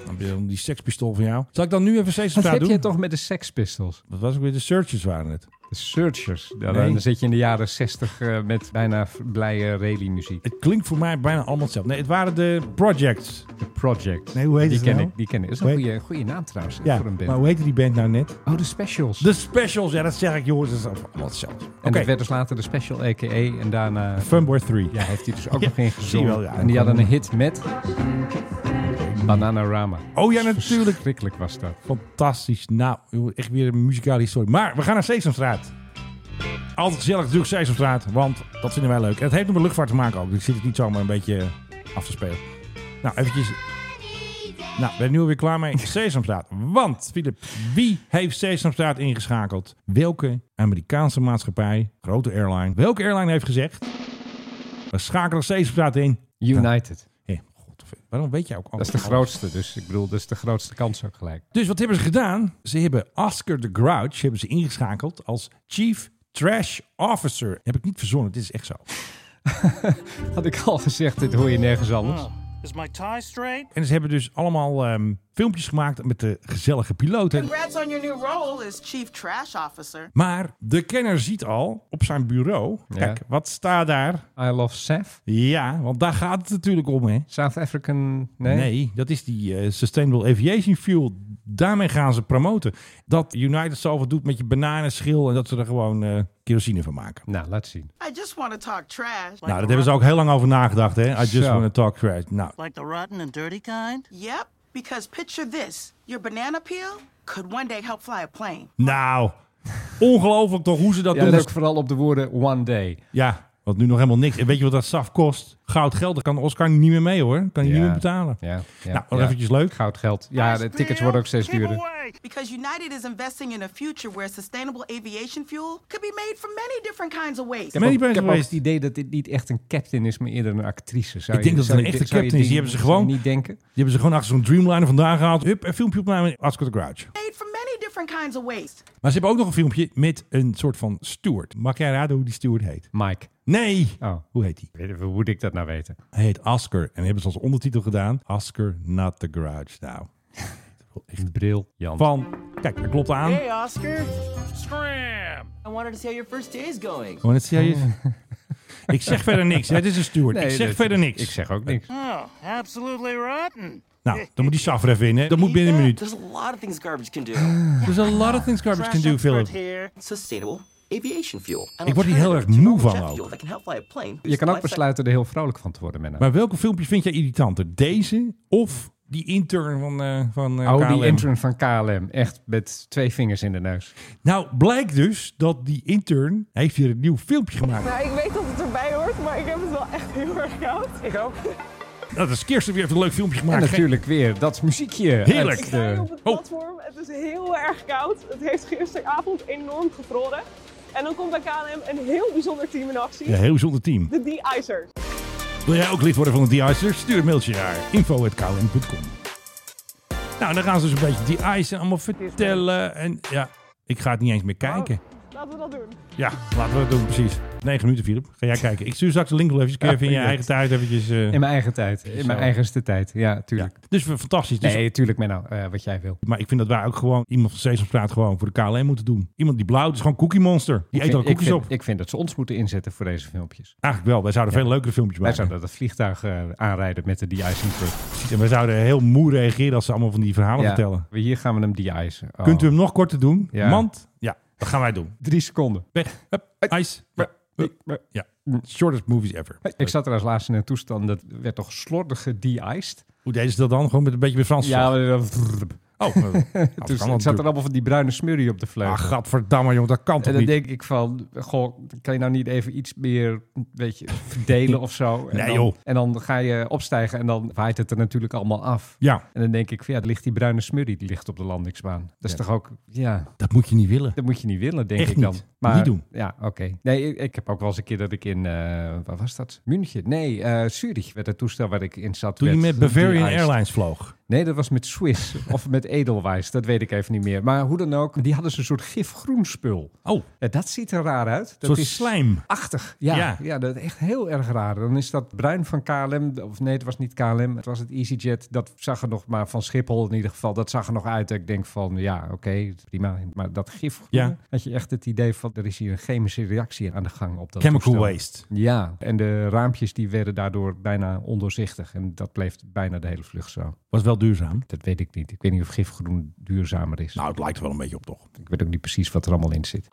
[SPEAKER 3] Dan ben je dan Die sekspistool van jou. Zal ik dan nu even steeds op
[SPEAKER 5] Wat
[SPEAKER 3] straat
[SPEAKER 5] heb
[SPEAKER 3] doen?
[SPEAKER 5] je toch met de Sex Pistols?
[SPEAKER 3] Dat was ook weer de searches waren het.
[SPEAKER 5] De Searchers. Ja,
[SPEAKER 3] Nee.
[SPEAKER 5] Dan zit je in de jaren 60 eh, met bijna v- blije rally-muziek.
[SPEAKER 3] Het klinkt voor mij bijna allemaal hetzelfde. Nee, het waren de projects.
[SPEAKER 5] The Project.
[SPEAKER 3] Nee, hoe heet
[SPEAKER 5] die
[SPEAKER 3] het
[SPEAKER 5] ken
[SPEAKER 3] nou?
[SPEAKER 5] ik, Die ken ik. Dat is
[SPEAKER 3] Hoe
[SPEAKER 5] een
[SPEAKER 3] heet-
[SPEAKER 5] goede, goede naam trouwens hè,
[SPEAKER 3] Ja,
[SPEAKER 5] voor een band.
[SPEAKER 3] maar hoe heette die band nou net?
[SPEAKER 5] Oh, de Specials.
[SPEAKER 3] De specials. Ja, dat zeg ik jongens. Dat is allemaal hetzelfde. Oké.
[SPEAKER 5] En dat werd dus later de Special a.k.a. En daarna
[SPEAKER 3] Funboy 3.
[SPEAKER 5] ja, heeft hij dus ook
[SPEAKER 3] Ja,
[SPEAKER 5] nog in
[SPEAKER 3] zie je
[SPEAKER 5] gezongen.
[SPEAKER 3] wel, ja.
[SPEAKER 5] en die hadden een hit met Bananarama.
[SPEAKER 3] Oh ja, natuurlijk.
[SPEAKER 5] Verschrikkelijk was dat.
[SPEAKER 3] Fantastisch. Nou, joh, echt weer een muzikale historie. Maar we gaan naar Sesamstraat. Altijd gezellig natuurlijk Sesamstraat, want dat vinden wij leuk. En het heeft nog met luchtvaart te maken ook. Dus ik zit het niet zomaar een beetje af te spelen. Nou, eventjes. Nou, we zijn nu alweer klaar mee. Sesamstraat. Want, Filip, wie heeft Sesamstraat ingeschakeld? Welke Amerikaanse maatschappij, grote airline, welke airline heeft gezegd... We schakelen Sesamstraat in.
[SPEAKER 5] United.
[SPEAKER 3] Hé, god, waarom weet jij ook
[SPEAKER 5] Dat is
[SPEAKER 3] alles?
[SPEAKER 5] de grootste, dus ik bedoel, dat is de grootste kans ook gelijk.
[SPEAKER 3] Dus wat hebben ze gedaan? Ze hebben Oscar de Grouch hebben ze ingeschakeld als Chief Trash Officer. Heb ik niet verzonnen, dit is echt zo.
[SPEAKER 5] Had ik al gezegd, dit hoor je nergens anders.
[SPEAKER 2] Oh, is my tie straight?
[SPEAKER 3] En ze hebben dus allemaal ehm, filmpjes gemaakt met de gezellige piloten.
[SPEAKER 8] Congrats on your new role as chief trash officer.
[SPEAKER 3] Maar de kenner ziet al op zijn bureau. Kijk, wat staat daar?
[SPEAKER 5] I love Seth.
[SPEAKER 3] Ja, want daar gaat het natuurlijk om, hè?
[SPEAKER 5] South African, nee.
[SPEAKER 3] Nee, dat is die eh, Sustainable Aviation Fuel. Daarmee gaan ze promoten. Dat United zoveel doet met je bananenschil en dat ze er gewoon eh, kerosine van maken.
[SPEAKER 5] Nou, laat zien.
[SPEAKER 8] I just want to talk trash.
[SPEAKER 3] Nou, daar hebben ze ook heel lang over nagedacht, hè? I just
[SPEAKER 5] Zo.
[SPEAKER 3] want to talk trash. Nou,
[SPEAKER 2] Like the rotten and dirty kind?
[SPEAKER 8] Yep, because picture this your banana peel could one day help fly a plane. Nou.
[SPEAKER 3] Nou, ongelooflijk toch hoe ze dat
[SPEAKER 5] Ja,
[SPEAKER 3] doen.
[SPEAKER 5] let vooral op de woorden one day.
[SPEAKER 3] Ja, want nu nog helemaal niks. En weet je wat dat SAF kost? Goud geld, daar kan Oscar niet meer mee hoor. Kan hij niet meer betalen.
[SPEAKER 5] Ja, ja,
[SPEAKER 3] nou, nog
[SPEAKER 5] ja.
[SPEAKER 3] eventjes leuk.
[SPEAKER 5] Goud geld. Ja, de tickets worden ook steeds duurder.
[SPEAKER 2] Giveaway.
[SPEAKER 8] Because United is investing in a future where sustainable aviation fuel could be made from many different kinds of waste.
[SPEAKER 3] Ben je niet
[SPEAKER 5] ik heb
[SPEAKER 3] bezig
[SPEAKER 5] ook het
[SPEAKER 3] geweest?
[SPEAKER 5] idee dat dit niet echt een captain is, maar eerder een actrice. Zou
[SPEAKER 3] Ik denk
[SPEAKER 5] je-
[SPEAKER 3] dat het
[SPEAKER 5] zou
[SPEAKER 3] een
[SPEAKER 5] je-
[SPEAKER 3] echte
[SPEAKER 5] zou je
[SPEAKER 3] captain is. Die hebben
[SPEAKER 5] denken-
[SPEAKER 3] ze gewoon-
[SPEAKER 5] zou je niet denken.
[SPEAKER 3] Die hebben ze gewoon achter zo'n Dreamliner vandaan gehaald. Hup, een filmpje opnemen. Oscar de Grouch.
[SPEAKER 8] Made from many different kinds of waste.
[SPEAKER 3] Maar ze hebben ook nog een filmpje met een soort van steward. Mag jij raden hoe die steward heet?
[SPEAKER 5] Mike.
[SPEAKER 3] Nee!
[SPEAKER 5] Oh.
[SPEAKER 3] Hoe heet hij?
[SPEAKER 5] Weet- Hoe moet ik dat nou weten?
[SPEAKER 3] Hij heet Oscar. En hebben ze als ondertitel gedaan. Oscar, not the Grouch. Nou,
[SPEAKER 5] Bril, Jan.
[SPEAKER 3] van... Kijk, hij klopt aan.
[SPEAKER 9] Hey, Oscar.
[SPEAKER 2] Scram!
[SPEAKER 9] I wanted to see how your first day is going.
[SPEAKER 3] Oh, en het zie je- Ik zeg verder niks. Het is een steward. ik zeg
[SPEAKER 5] dat-
[SPEAKER 3] verder niks.
[SPEAKER 5] Ik zeg ook niks.
[SPEAKER 2] Oh, absolutely rotten.
[SPEAKER 3] Nou, dan moet die Safra winnen. Dat moet binnen een minuut.
[SPEAKER 4] There's a lot of things garbage can do.
[SPEAKER 3] There's a lot of things garbage can
[SPEAKER 2] Trash
[SPEAKER 3] do,
[SPEAKER 2] expert
[SPEAKER 3] Philip.
[SPEAKER 2] here.
[SPEAKER 4] Sustainable aviation fuel. An
[SPEAKER 3] Ik word hier heel erg
[SPEAKER 4] alternative
[SPEAKER 3] moe
[SPEAKER 4] to normal
[SPEAKER 3] van
[SPEAKER 4] jet
[SPEAKER 3] ook.
[SPEAKER 4] fuel that can help fly a plane.
[SPEAKER 5] Je kan ook
[SPEAKER 4] Life cycle-
[SPEAKER 5] besluiten er heel vrolijk van te worden, Menno.
[SPEAKER 3] Hm, Maar welke filmpjes vind jij irritanter? Deze of die intern van, eh van eh,
[SPEAKER 5] Oh, die
[SPEAKER 3] KLM?
[SPEAKER 5] intern van KLM. Echt met twee vingers in de neus.
[SPEAKER 3] Nou, blijkt dus dat die intern heeft hier een nieuw filmpje gemaakt.
[SPEAKER 9] Nou, ik weet dat het erbij hoort, maar ik heb het wel echt heel erg koud. Ik ook.
[SPEAKER 3] Nou, Dat is Kirsten weer even een leuk filmpje
[SPEAKER 5] En
[SPEAKER 3] gemaakt.
[SPEAKER 5] natuurlijk weer dat muziekje. uit
[SPEAKER 3] Heerlijk.
[SPEAKER 5] de-
[SPEAKER 9] sta hier op het
[SPEAKER 3] Oh.
[SPEAKER 9] platform. Het is heel erg koud. Het heeft gisteravond enorm gevroren. En dan komt bij KLM een heel bijzonder team in actie.
[SPEAKER 3] Geen- Ja, heel bijzonder team.
[SPEAKER 9] De De-Icers.
[SPEAKER 3] Wil jij ook lid worden van de de Stuur een mailtje naar info.klm.com. Nou, en dan gaan ze dus een beetje die ijs allemaal vertellen. En ja, ik ga het niet eens meer kijken.
[SPEAKER 9] Laten we dat doen.
[SPEAKER 3] Ja, laten we dat doen, precies. 9 minuten, Philip. Ga jij kijken. Ik stuur straks de link wel even. Kun je even in je
[SPEAKER 5] Ja,
[SPEAKER 3] eigen tijd eventjes... eh,
[SPEAKER 5] In mijn eigen tijd.
[SPEAKER 3] Zo.
[SPEAKER 5] In mijn eigenste tijd. Ja,
[SPEAKER 3] ja.
[SPEAKER 5] tuurlijk.
[SPEAKER 3] Dus we- fantastisch. Dus,
[SPEAKER 5] Nee, tuurlijk, Menno. eh, wat jij wil.
[SPEAKER 3] Maar ik vind dat wij ook gewoon iemand van Sesamstraat gewoon voor de KLM moeten doen. Iemand die blauw, dat is gewoon Cookie Monster. Die eet al
[SPEAKER 5] ik, vind, ik,
[SPEAKER 3] koekjes
[SPEAKER 5] vind,
[SPEAKER 3] op.
[SPEAKER 5] ik vind dat ze ons moeten inzetten voor deze filmpjes.
[SPEAKER 3] Eigenlijk wel. Wij zouden veel leukere filmpjes
[SPEAKER 5] Wij
[SPEAKER 3] maken.
[SPEAKER 5] zouden dat vliegtuig eh, aanrijden met de de-icing truck.
[SPEAKER 3] Precies. En wij zouden heel moe reageren als ze allemaal van die verhalen
[SPEAKER 5] Ja,
[SPEAKER 3] vertellen.
[SPEAKER 5] Hier gaan we hem de-icen. Oh.
[SPEAKER 3] Kunt u hem nog korter doen?
[SPEAKER 5] Ja.
[SPEAKER 3] Want, ja, dat gaan wij doen.
[SPEAKER 5] Drie seconden.
[SPEAKER 3] Weg. Hup. Ice. Ja. Ja. Shortest movies ever.
[SPEAKER 5] Ik zat er als laatste in een toestand dat werd toch slordig de-iced.
[SPEAKER 3] Hoe deden ze dat dan? Gewoon met een beetje met Frans.
[SPEAKER 5] Ja,
[SPEAKER 3] slag?
[SPEAKER 5] maar dat-
[SPEAKER 3] Oh, eh, dat kan
[SPEAKER 5] toen
[SPEAKER 3] wel
[SPEAKER 5] zat er
[SPEAKER 3] natuurlijk.
[SPEAKER 5] allemaal van die bruine smurrie op de vleugel.
[SPEAKER 3] Ah, gadverdamme, jongen, dat kan
[SPEAKER 5] En
[SPEAKER 3] toch
[SPEAKER 5] dan
[SPEAKER 3] niet?
[SPEAKER 5] denk ik van, goh, kan je nou niet even iets meer, weet je, verdelen of zo? En
[SPEAKER 3] Nee,
[SPEAKER 5] dan,
[SPEAKER 3] joh.
[SPEAKER 5] En dan ga je opstijgen en dan waait het er natuurlijk allemaal af.
[SPEAKER 3] Ja,
[SPEAKER 5] En dan denk ik van, ja, er ligt die bruine smurrie, die ligt op de landingsbaan. Dat is toch ook, ja,
[SPEAKER 3] dat moet je niet willen.
[SPEAKER 5] dat moet je niet willen, denk
[SPEAKER 3] Echt
[SPEAKER 5] ik dan.
[SPEAKER 3] niet. Niet doen.
[SPEAKER 5] Ja, oké. Nee, ik, ik heb ook wel eens een keer dat ik in, eh waar was dat? München? Nee, eh Zurich werd het toestel waar ik in zat.
[SPEAKER 3] Toen je
[SPEAKER 5] werd
[SPEAKER 3] met Bavarian
[SPEAKER 5] de-iced.
[SPEAKER 3] Airlines vloog.
[SPEAKER 5] Nee, dat was met Swiss of met Edelweiss. Dat weet ik even niet meer. Maar hoe dan ook, die hadden ze een soort gif groen spul.
[SPEAKER 3] Oh,
[SPEAKER 5] Ja, dat ziet er raar uit. Dat
[SPEAKER 3] zo'n
[SPEAKER 5] is
[SPEAKER 3] slijm.
[SPEAKER 5] Achtig, ja.
[SPEAKER 3] Ja.
[SPEAKER 5] ja. dat is echt heel erg raar. Dan is dat bruin van KLM, of nee, het was niet KLM, het was het EasyJet. Dat zag er nog, maar van Schiphol in ieder geval, dat zag er nog uit. Ik denk van, ja, oké, prima. Maar dat gif,
[SPEAKER 3] Ja.
[SPEAKER 5] had je echt het idee van, er is hier een chemische reactie aan de gang op dat
[SPEAKER 3] Chemical
[SPEAKER 5] toestel.
[SPEAKER 3] waste.
[SPEAKER 5] Ja, en de raampjes die werden daardoor bijna ondoorzichtig. En dat bleef bijna de hele vlucht zo.
[SPEAKER 3] Was wel duurzaam.
[SPEAKER 5] Dat weet ik niet. Ik weet niet of gifgroen duurzamer is.
[SPEAKER 3] Nou, het lijkt er wel een beetje op, toch?
[SPEAKER 5] Ik weet ook niet precies wat er allemaal in zit.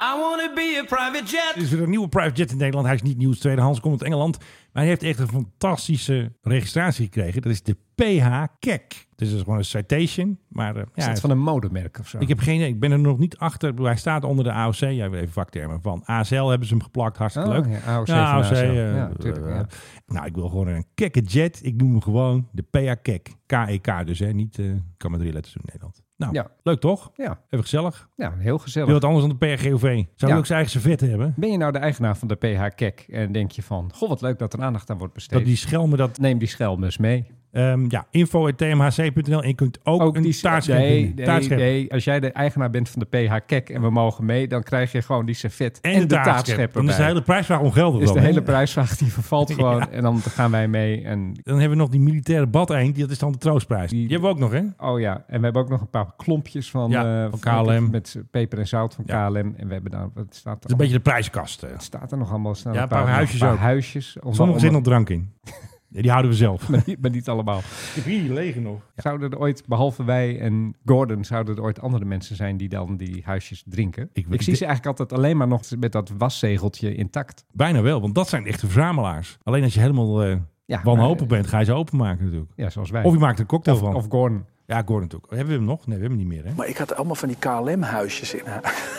[SPEAKER 3] Er is weer een nieuwe private jet in Nederland. Hij is niet nieuw, is tweedehands, komt uit Engeland. Maar hij heeft echt een fantastische registratie gekregen. Dat is de PH Kek. Dus dat is gewoon een citation. Maar eh,
[SPEAKER 5] Is
[SPEAKER 3] ja,
[SPEAKER 5] het van een modemerk of zo?
[SPEAKER 3] ik heb geen idee. Ik ben er nog niet achter. Hij staat onder de AOC. Jij weet even vaktermen van. ASL hebben ze hem geplakt. Hartstikke
[SPEAKER 5] Oh,
[SPEAKER 3] leuk.
[SPEAKER 5] ja, AOC
[SPEAKER 3] Ja,
[SPEAKER 5] van AOC.
[SPEAKER 3] eh,
[SPEAKER 5] Ja, tuurlijk,
[SPEAKER 3] eh,
[SPEAKER 5] ja.
[SPEAKER 3] Nou, ik wil gewoon een kekke jet. Ik noem hem gewoon de PH Kek. K-E-K dus, hè. Niet, eh, ik kan maar drie letters doen in Nederland. Nou,
[SPEAKER 5] Ja.
[SPEAKER 3] leuk toch?
[SPEAKER 5] Ja,
[SPEAKER 3] Even gezellig.
[SPEAKER 5] ja heel gezellig.
[SPEAKER 3] Wil wat anders dan de PHGOV. Zou die
[SPEAKER 5] Ja.
[SPEAKER 3] ook zijn eigen servet hebben?
[SPEAKER 5] Ben je nou de eigenaar van de PH Kek en denk je van, goh, wat leuk dat er aandacht aan wordt besteed.
[SPEAKER 3] Dat die schelmen dat
[SPEAKER 5] Neem die schelm eens mee.
[SPEAKER 3] Ehm, ja, info.tmhc.nl. En je kunt ook,
[SPEAKER 5] die
[SPEAKER 3] een taartschep
[SPEAKER 5] nee,
[SPEAKER 3] winnen.
[SPEAKER 5] nee,
[SPEAKER 3] Taartschep.
[SPEAKER 5] nee, als jij de eigenaar bent van de PH Kek en we mogen mee, dan krijg je gewoon die servet en, de taartschep
[SPEAKER 3] Dan is de
[SPEAKER 5] erbij.
[SPEAKER 3] hele prijsvraag ongeldig.
[SPEAKER 5] Dus
[SPEAKER 3] dan,
[SPEAKER 5] de
[SPEAKER 3] hè?
[SPEAKER 5] hele prijsvraag die vervalt gewoon
[SPEAKER 3] Ja.
[SPEAKER 5] en dan gaan wij mee. En,
[SPEAKER 3] Dan hebben we nog die militaire badeind. Dat is dan de troostprijs. Die,
[SPEAKER 5] Die-
[SPEAKER 3] hebben we ook nog, hè?
[SPEAKER 5] oh ja, en we hebben ook nog een paar klompjes van,
[SPEAKER 3] Ja,
[SPEAKER 5] eh,
[SPEAKER 3] van KLM.
[SPEAKER 5] Met peper en zout van
[SPEAKER 3] Ja.
[SPEAKER 5] KLM. En we hebben daar, wat
[SPEAKER 3] Dat is
[SPEAKER 5] staat er
[SPEAKER 3] een
[SPEAKER 5] allemaal?
[SPEAKER 3] beetje de prijskast. eh.
[SPEAKER 5] Wat staat er nog allemaal? Er staan
[SPEAKER 3] Ja, een paar huisjes
[SPEAKER 5] een paar
[SPEAKER 3] ook.
[SPEAKER 5] huisjes.
[SPEAKER 3] Sommige zitten
[SPEAKER 5] Onder-
[SPEAKER 3] nog drank in. Ja, die houden we zelf.
[SPEAKER 5] maar niet- maar niet allemaal.
[SPEAKER 3] Ik heb hier leeg nog.
[SPEAKER 5] Zouden er ooit, behalve wij en Gordon, zouden er ooit andere mensen zijn die dan die huisjes drinken?
[SPEAKER 3] Ik
[SPEAKER 5] Ik,
[SPEAKER 3] weet-
[SPEAKER 5] zie ze eigenlijk altijd alleen maar nog met dat waszegeltje intact.
[SPEAKER 3] Bijna wel, want dat zijn echte verzamelaars. Alleen als je helemaal eh
[SPEAKER 5] Ja,
[SPEAKER 3] wanhopig
[SPEAKER 5] maar,
[SPEAKER 3] bent, ga je ze openmaken natuurlijk.
[SPEAKER 5] Ja, zoals wij.
[SPEAKER 3] Of je maakt er een cocktail van.
[SPEAKER 5] of Gordon.
[SPEAKER 3] ja, Gordon natuurlijk. Hebben we hem nog? Nee, we hebben hem niet meer, hè?
[SPEAKER 10] Maar ik had allemaal van die KLM-huisjes in haar.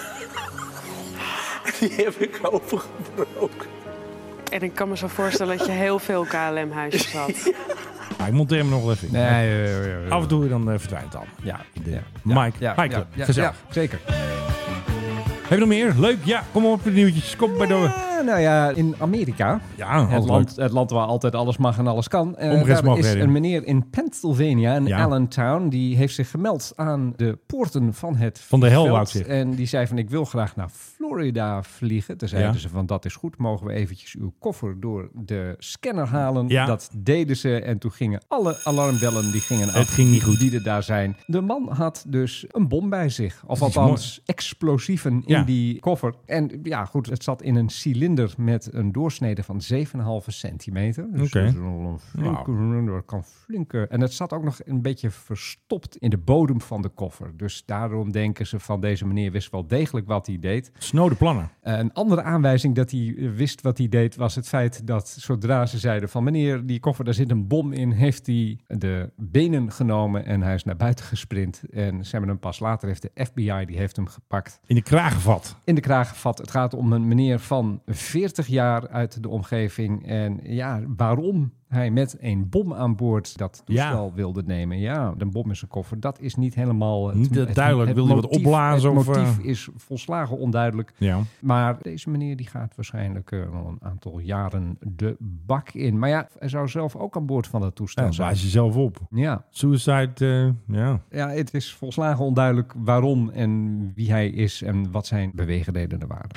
[SPEAKER 10] die heb ik opengebroken.
[SPEAKER 9] En ik kan me zo voorstellen dat je heel veel KLM-huisjes had.
[SPEAKER 3] Maar ik monteer hem nog wel even in.
[SPEAKER 5] Nee, ja, ja, ja, ja.
[SPEAKER 3] Af en toe dan eh, verdwijnt het allemaal.
[SPEAKER 5] ja,
[SPEAKER 3] De
[SPEAKER 5] ja.
[SPEAKER 3] Mike,
[SPEAKER 5] Ja,
[SPEAKER 3] High
[SPEAKER 5] ja,
[SPEAKER 3] Club.
[SPEAKER 5] ja,
[SPEAKER 3] Gezellig.
[SPEAKER 5] ja, zeker.
[SPEAKER 3] Heb je nog meer? Leuk, ja. Kom op met de nieuwtjes. Kom maar door.
[SPEAKER 5] Ja, nou ja, in Amerika,
[SPEAKER 3] Ja,
[SPEAKER 5] het
[SPEAKER 3] altijd
[SPEAKER 5] land,
[SPEAKER 3] leuk.
[SPEAKER 5] het land waar altijd alles mag en alles kan. eh, daar is
[SPEAKER 3] Omgevingsmaatregelen.
[SPEAKER 5] een meneer in Pennsylvania, in
[SPEAKER 3] Ja.
[SPEAKER 5] Allentown, die heeft zich gemeld aan de poorten van het
[SPEAKER 3] Van de hel,
[SPEAKER 5] veld.
[SPEAKER 3] wou ik zeggen.
[SPEAKER 5] En die zei van, ik wil graag naar Florida vliegen. Toen zeiden
[SPEAKER 3] Ja.
[SPEAKER 5] ze van, dat is goed, mogen we eventjes uw koffer door de scanner halen.
[SPEAKER 3] Ja.
[SPEAKER 5] Dat deden ze en toen gingen alle alarmbellen die gingen af.
[SPEAKER 3] Het ging niet goed.
[SPEAKER 5] Die er daar zijn. De man had dus een bom bij zich. Of
[SPEAKER 3] Dat is
[SPEAKER 5] althans explosieven in
[SPEAKER 3] Ja.
[SPEAKER 5] die koffer. En ja, goed, het zat in een vlinder met een doorsnede van 7,5 centimeter. Dus
[SPEAKER 3] Oké.
[SPEAKER 5] dat is wel een flinke, dat kan flinke. En het zat ook nog een beetje verstopt in de bodem van de koffer. Dus daarom denken ze van deze meneer wist wel degelijk wat hij deed.
[SPEAKER 3] Snode plannen.
[SPEAKER 5] Eh, Een andere aanwijzing dat hij eh, wist wat hij deed was het feit dat zodra ze zeiden van meneer, die koffer, daar zit een bom in, heeft hij de benen genomen en hij is naar buiten gesprint. En ze hebben hem pas later, heeft de FBI, die heeft hem gepakt,
[SPEAKER 3] In de kraag gevat.
[SPEAKER 5] in de kraag gevat. Het gaat om een meneer van 40 jaar uit de omgeving en ja, waarom hij met een bom aan boord dat toestel wilde nemen. Ja, een bom in zijn koffer, dat is niet helemaal...
[SPEAKER 3] Niet, eh, duidelijk. Wil hij wat
[SPEAKER 5] motief-
[SPEAKER 3] opblazen
[SPEAKER 5] Het
[SPEAKER 3] of,
[SPEAKER 5] motief
[SPEAKER 3] eh?
[SPEAKER 5] is volslagen onduidelijk.
[SPEAKER 3] Ja.
[SPEAKER 5] Maar deze meneer die gaat waarschijnlijk eh, al een aantal jaren de bak in. Maar ja, hij zou zelf ook aan boord van dat toestel
[SPEAKER 3] Dan
[SPEAKER 5] zijn.
[SPEAKER 3] blaas je zelf op.
[SPEAKER 5] Ja.
[SPEAKER 3] Suicide, eh, ja.
[SPEAKER 5] ja, het is volslagen onduidelijk waarom en wie hij is en wat zijn beweegredenen waren.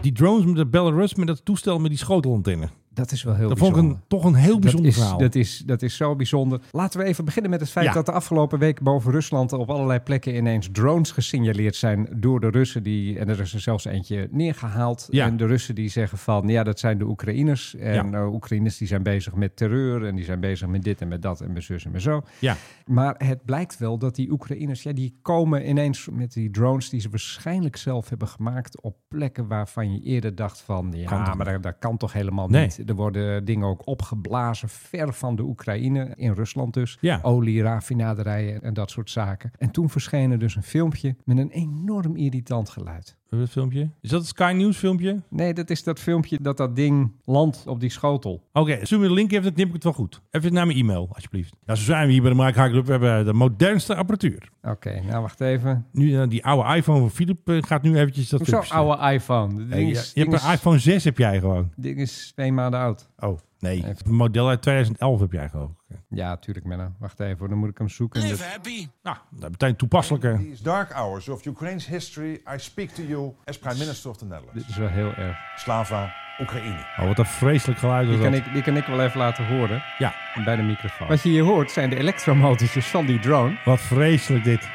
[SPEAKER 3] Die drones met de Belarus, met dat toestel met die schotelantenne.
[SPEAKER 5] Dat is wel heel
[SPEAKER 3] Dat vond ik
[SPEAKER 5] bijzonder.
[SPEAKER 3] een, toch een heel bijzonder
[SPEAKER 5] dat is,
[SPEAKER 3] verhaal.
[SPEAKER 5] Dat is, dat is zo bijzonder. Laten we even beginnen met het feit
[SPEAKER 3] Ja.
[SPEAKER 5] dat de afgelopen week boven Rusland op allerlei plekken ineens drones gesignaleerd zijn door de Russen. Die, en er is er zelfs eentje neergehaald.
[SPEAKER 3] Ja.
[SPEAKER 5] En de Russen die zeggen van ja, dat zijn de Oekraïners. En
[SPEAKER 3] Ja.
[SPEAKER 5] eh, Oekraïners die zijn bezig met terreur en die zijn bezig met dit en met dat en met zus en met zo.
[SPEAKER 3] Ja.
[SPEAKER 5] Maar het blijkt wel dat die Oekraïners, ja, die komen ineens met die drones die ze waarschijnlijk zelf hebben gemaakt op plekken waarvan je eerder dacht van, ja,
[SPEAKER 3] Kan toch
[SPEAKER 5] maar dat, dat kan toch helemaal
[SPEAKER 3] Nee.
[SPEAKER 5] niet. Er worden dingen ook opgeblazen ver van de Oekraïne, in Rusland dus.
[SPEAKER 3] Ja.
[SPEAKER 5] Olie, raffinaderijen en dat soort zaken. En toen verscheen er dus een filmpje met een enorm irritant geluid.
[SPEAKER 3] Hebben we het filmpje? Is dat het Sky News filmpje?
[SPEAKER 5] Nee, dat is dat filmpje dat dat ding landt op die schotel.
[SPEAKER 3] Oké, stuur me de link even, dan knip ik het wel goed. Even naar mijn e-mail, alsjeblieft. Ja, zo zijn we hier bij de Mike High Club. We hebben de modernste apparatuur.
[SPEAKER 5] Oké, nou wacht even.
[SPEAKER 3] Nu, eh, die oude iPhone van Philip eh, gaat nu eventjes dat
[SPEAKER 5] Hoezo
[SPEAKER 3] filmpje
[SPEAKER 5] oude iPhone? Dit
[SPEAKER 3] sturen.
[SPEAKER 5] ding
[SPEAKER 3] Eh,
[SPEAKER 5] is,
[SPEAKER 3] je
[SPEAKER 5] ding
[SPEAKER 3] hebt een
[SPEAKER 5] is-
[SPEAKER 3] iPhone 6 heb jij gewoon.
[SPEAKER 5] ding is twee maanden oud.
[SPEAKER 3] Oh, nee.
[SPEAKER 5] Even.
[SPEAKER 3] Een model uit 2011 heb jij gewoon.
[SPEAKER 5] Ja, tuurlijk, Menno. Wacht even, hoor, dan moet ik hem zoeken.
[SPEAKER 6] Live
[SPEAKER 5] Dat-
[SPEAKER 6] happy.
[SPEAKER 3] Nou, dat betekent toepasselijke.
[SPEAKER 10] These dark hours of Ukraine's history, I speak to you as Prime Minister of the Netherlands.
[SPEAKER 5] Dit is wel heel erg.
[SPEAKER 10] Slava, Oekraïne.
[SPEAKER 3] Oh, wat een vreselijk geluid was
[SPEAKER 5] Die kan,
[SPEAKER 3] dat.
[SPEAKER 5] ik, die kan ik wel even laten horen
[SPEAKER 3] Ja,
[SPEAKER 5] bij de microfoon. Wat je hier hoort zijn de elektromotortjes van die drone.
[SPEAKER 3] wat vreselijk dit.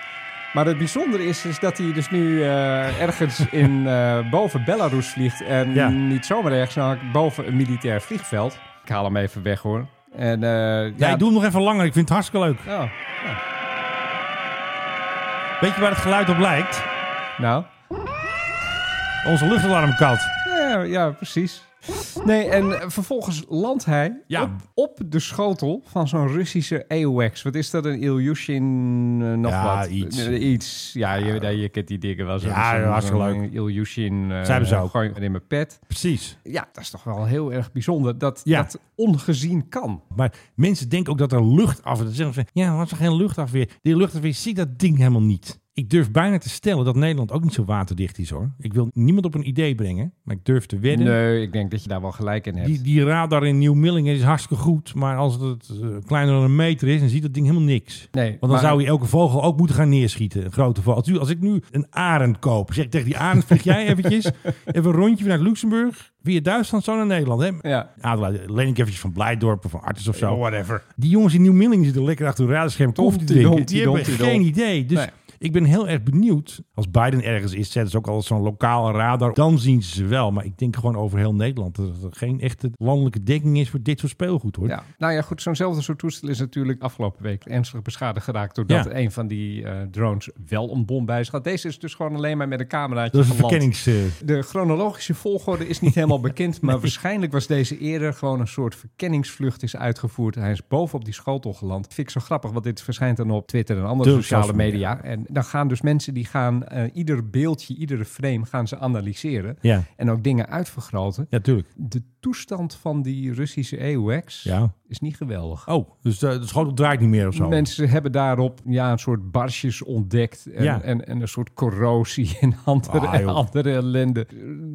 [SPEAKER 5] Maar het bijzondere is, is dat hij dus nu eh, ergens in, eh, boven Belarus vliegt. En
[SPEAKER 3] Ja.
[SPEAKER 5] niet zomaar ergens, maar boven een militair vliegveld. Ik haal hem even weg hoor. En, eh,
[SPEAKER 3] Ja, ik doe hem nog even langer. Ik vind het hartstikke leuk.
[SPEAKER 5] Oh,
[SPEAKER 3] Weet je waar het geluid op lijkt?
[SPEAKER 5] nou,
[SPEAKER 3] Onze luchtalarmkat.
[SPEAKER 5] ja, ja, precies. Nee, en eh, vervolgens landt hij
[SPEAKER 3] Ja.
[SPEAKER 5] op, op de schotel van zo'n Russische AWACS. Wat is dat, een Ilyushin eh, nog
[SPEAKER 3] Ja,
[SPEAKER 5] wat?
[SPEAKER 3] iets.
[SPEAKER 5] Eh, iets. Ja, je, nee, je kent die dingen wel. Zo'n-
[SPEAKER 3] Ja,
[SPEAKER 5] zo'n-
[SPEAKER 3] hartstikke
[SPEAKER 5] zo'n
[SPEAKER 3] leuk.
[SPEAKER 5] Ilyushin, eh,
[SPEAKER 3] Ze hebben ze ook.
[SPEAKER 5] gooi in mijn pet.
[SPEAKER 3] Precies.
[SPEAKER 5] Ja, dat is toch wel heel erg bijzonder dat
[SPEAKER 3] Ja.
[SPEAKER 5] dat ongezien kan.
[SPEAKER 3] Maar mensen denken ook dat er lucht af. Dan zeggen ze, ja, wat is er geen luchtafweer? Die luchtafweer ziet dat ding helemaal niet. Ik durf bijna te stellen dat Nederland ook niet zo waterdicht is hoor. Ik wil niemand op een idee brengen, maar ik durf te wedden.
[SPEAKER 5] Nee, ik denk dat je daar wel gelijk in hebt.
[SPEAKER 3] Die, die radar in Nieuw-Millingen is hartstikke goed, maar als het eh, kleiner dan een meter is, dan ziet dat ding helemaal niks.
[SPEAKER 5] Nee,
[SPEAKER 3] Want dan
[SPEAKER 5] maar-
[SPEAKER 3] zou je elke vogel ook moeten gaan neerschieten. Een grote vogel. Als, u- als ik nu een arend koop, zeg ik tegen die arend, vlieg jij eventjes even een rondje vanuit Luxemburg, via Duitsland, zo naar Nederland. Hè?
[SPEAKER 5] Ja.
[SPEAKER 3] Adelaide, leen ik eventjes van Blijdorp of van Artis of zo. whatever. Die jongens in Nieuw-Millingen zitten lekker achter hun radarscherm koffie te
[SPEAKER 5] Tom, die
[SPEAKER 3] drinken. Die
[SPEAKER 5] dom, die
[SPEAKER 3] hebben
[SPEAKER 5] dom, die
[SPEAKER 3] geen idee. Dus
[SPEAKER 5] Nee.
[SPEAKER 3] ik ben heel erg benieuwd. Als Biden ergens is, zetten ze ook al zo'n lokale radar. Dan zien ze ze wel. Maar ik denk gewoon over heel Nederland dat er geen echte landelijke dekking is voor dit soort speelgoed hoor.
[SPEAKER 5] Ja. Nou ja, goed, zo'nzelfde soort toestel is natuurlijk afgelopen week ernstig beschadigd geraakt doordat
[SPEAKER 3] Ja.
[SPEAKER 5] een van die eh, drones wel een bom bij zich had. Deze is dus gewoon alleen maar met een cameraatje
[SPEAKER 3] Dat is een
[SPEAKER 5] geland.
[SPEAKER 3] verkennings... eh,
[SPEAKER 5] De chronologische volgorde is niet helemaal bekend, maar waarschijnlijk was deze eerder gewoon een soort verkenningsvlucht is uitgevoerd. Hij is bovenop die schotel geland. Vind ik zo grappig, want dit verschijnt dan op Twitter en andere
[SPEAKER 3] De
[SPEAKER 5] sociale
[SPEAKER 3] sociale media.
[SPEAKER 5] media. En dan gaan dus mensen die gaan eh, ieder beeldje, iedere frame gaan ze analyseren.
[SPEAKER 3] ja,
[SPEAKER 5] En ook dingen uitvergroten.
[SPEAKER 3] natuurlijk.
[SPEAKER 5] De toestand van die Russische EUX
[SPEAKER 3] Ja.
[SPEAKER 5] is niet geweldig.
[SPEAKER 3] Oh, dus eh, de schotel draait niet meer of zo.
[SPEAKER 5] Mensen hebben daarop ja, een soort barsjes ontdekt. En,
[SPEAKER 3] Ja.
[SPEAKER 5] en, en een soort corrosie en andere,
[SPEAKER 3] Ah, joh.
[SPEAKER 5] andere ellende.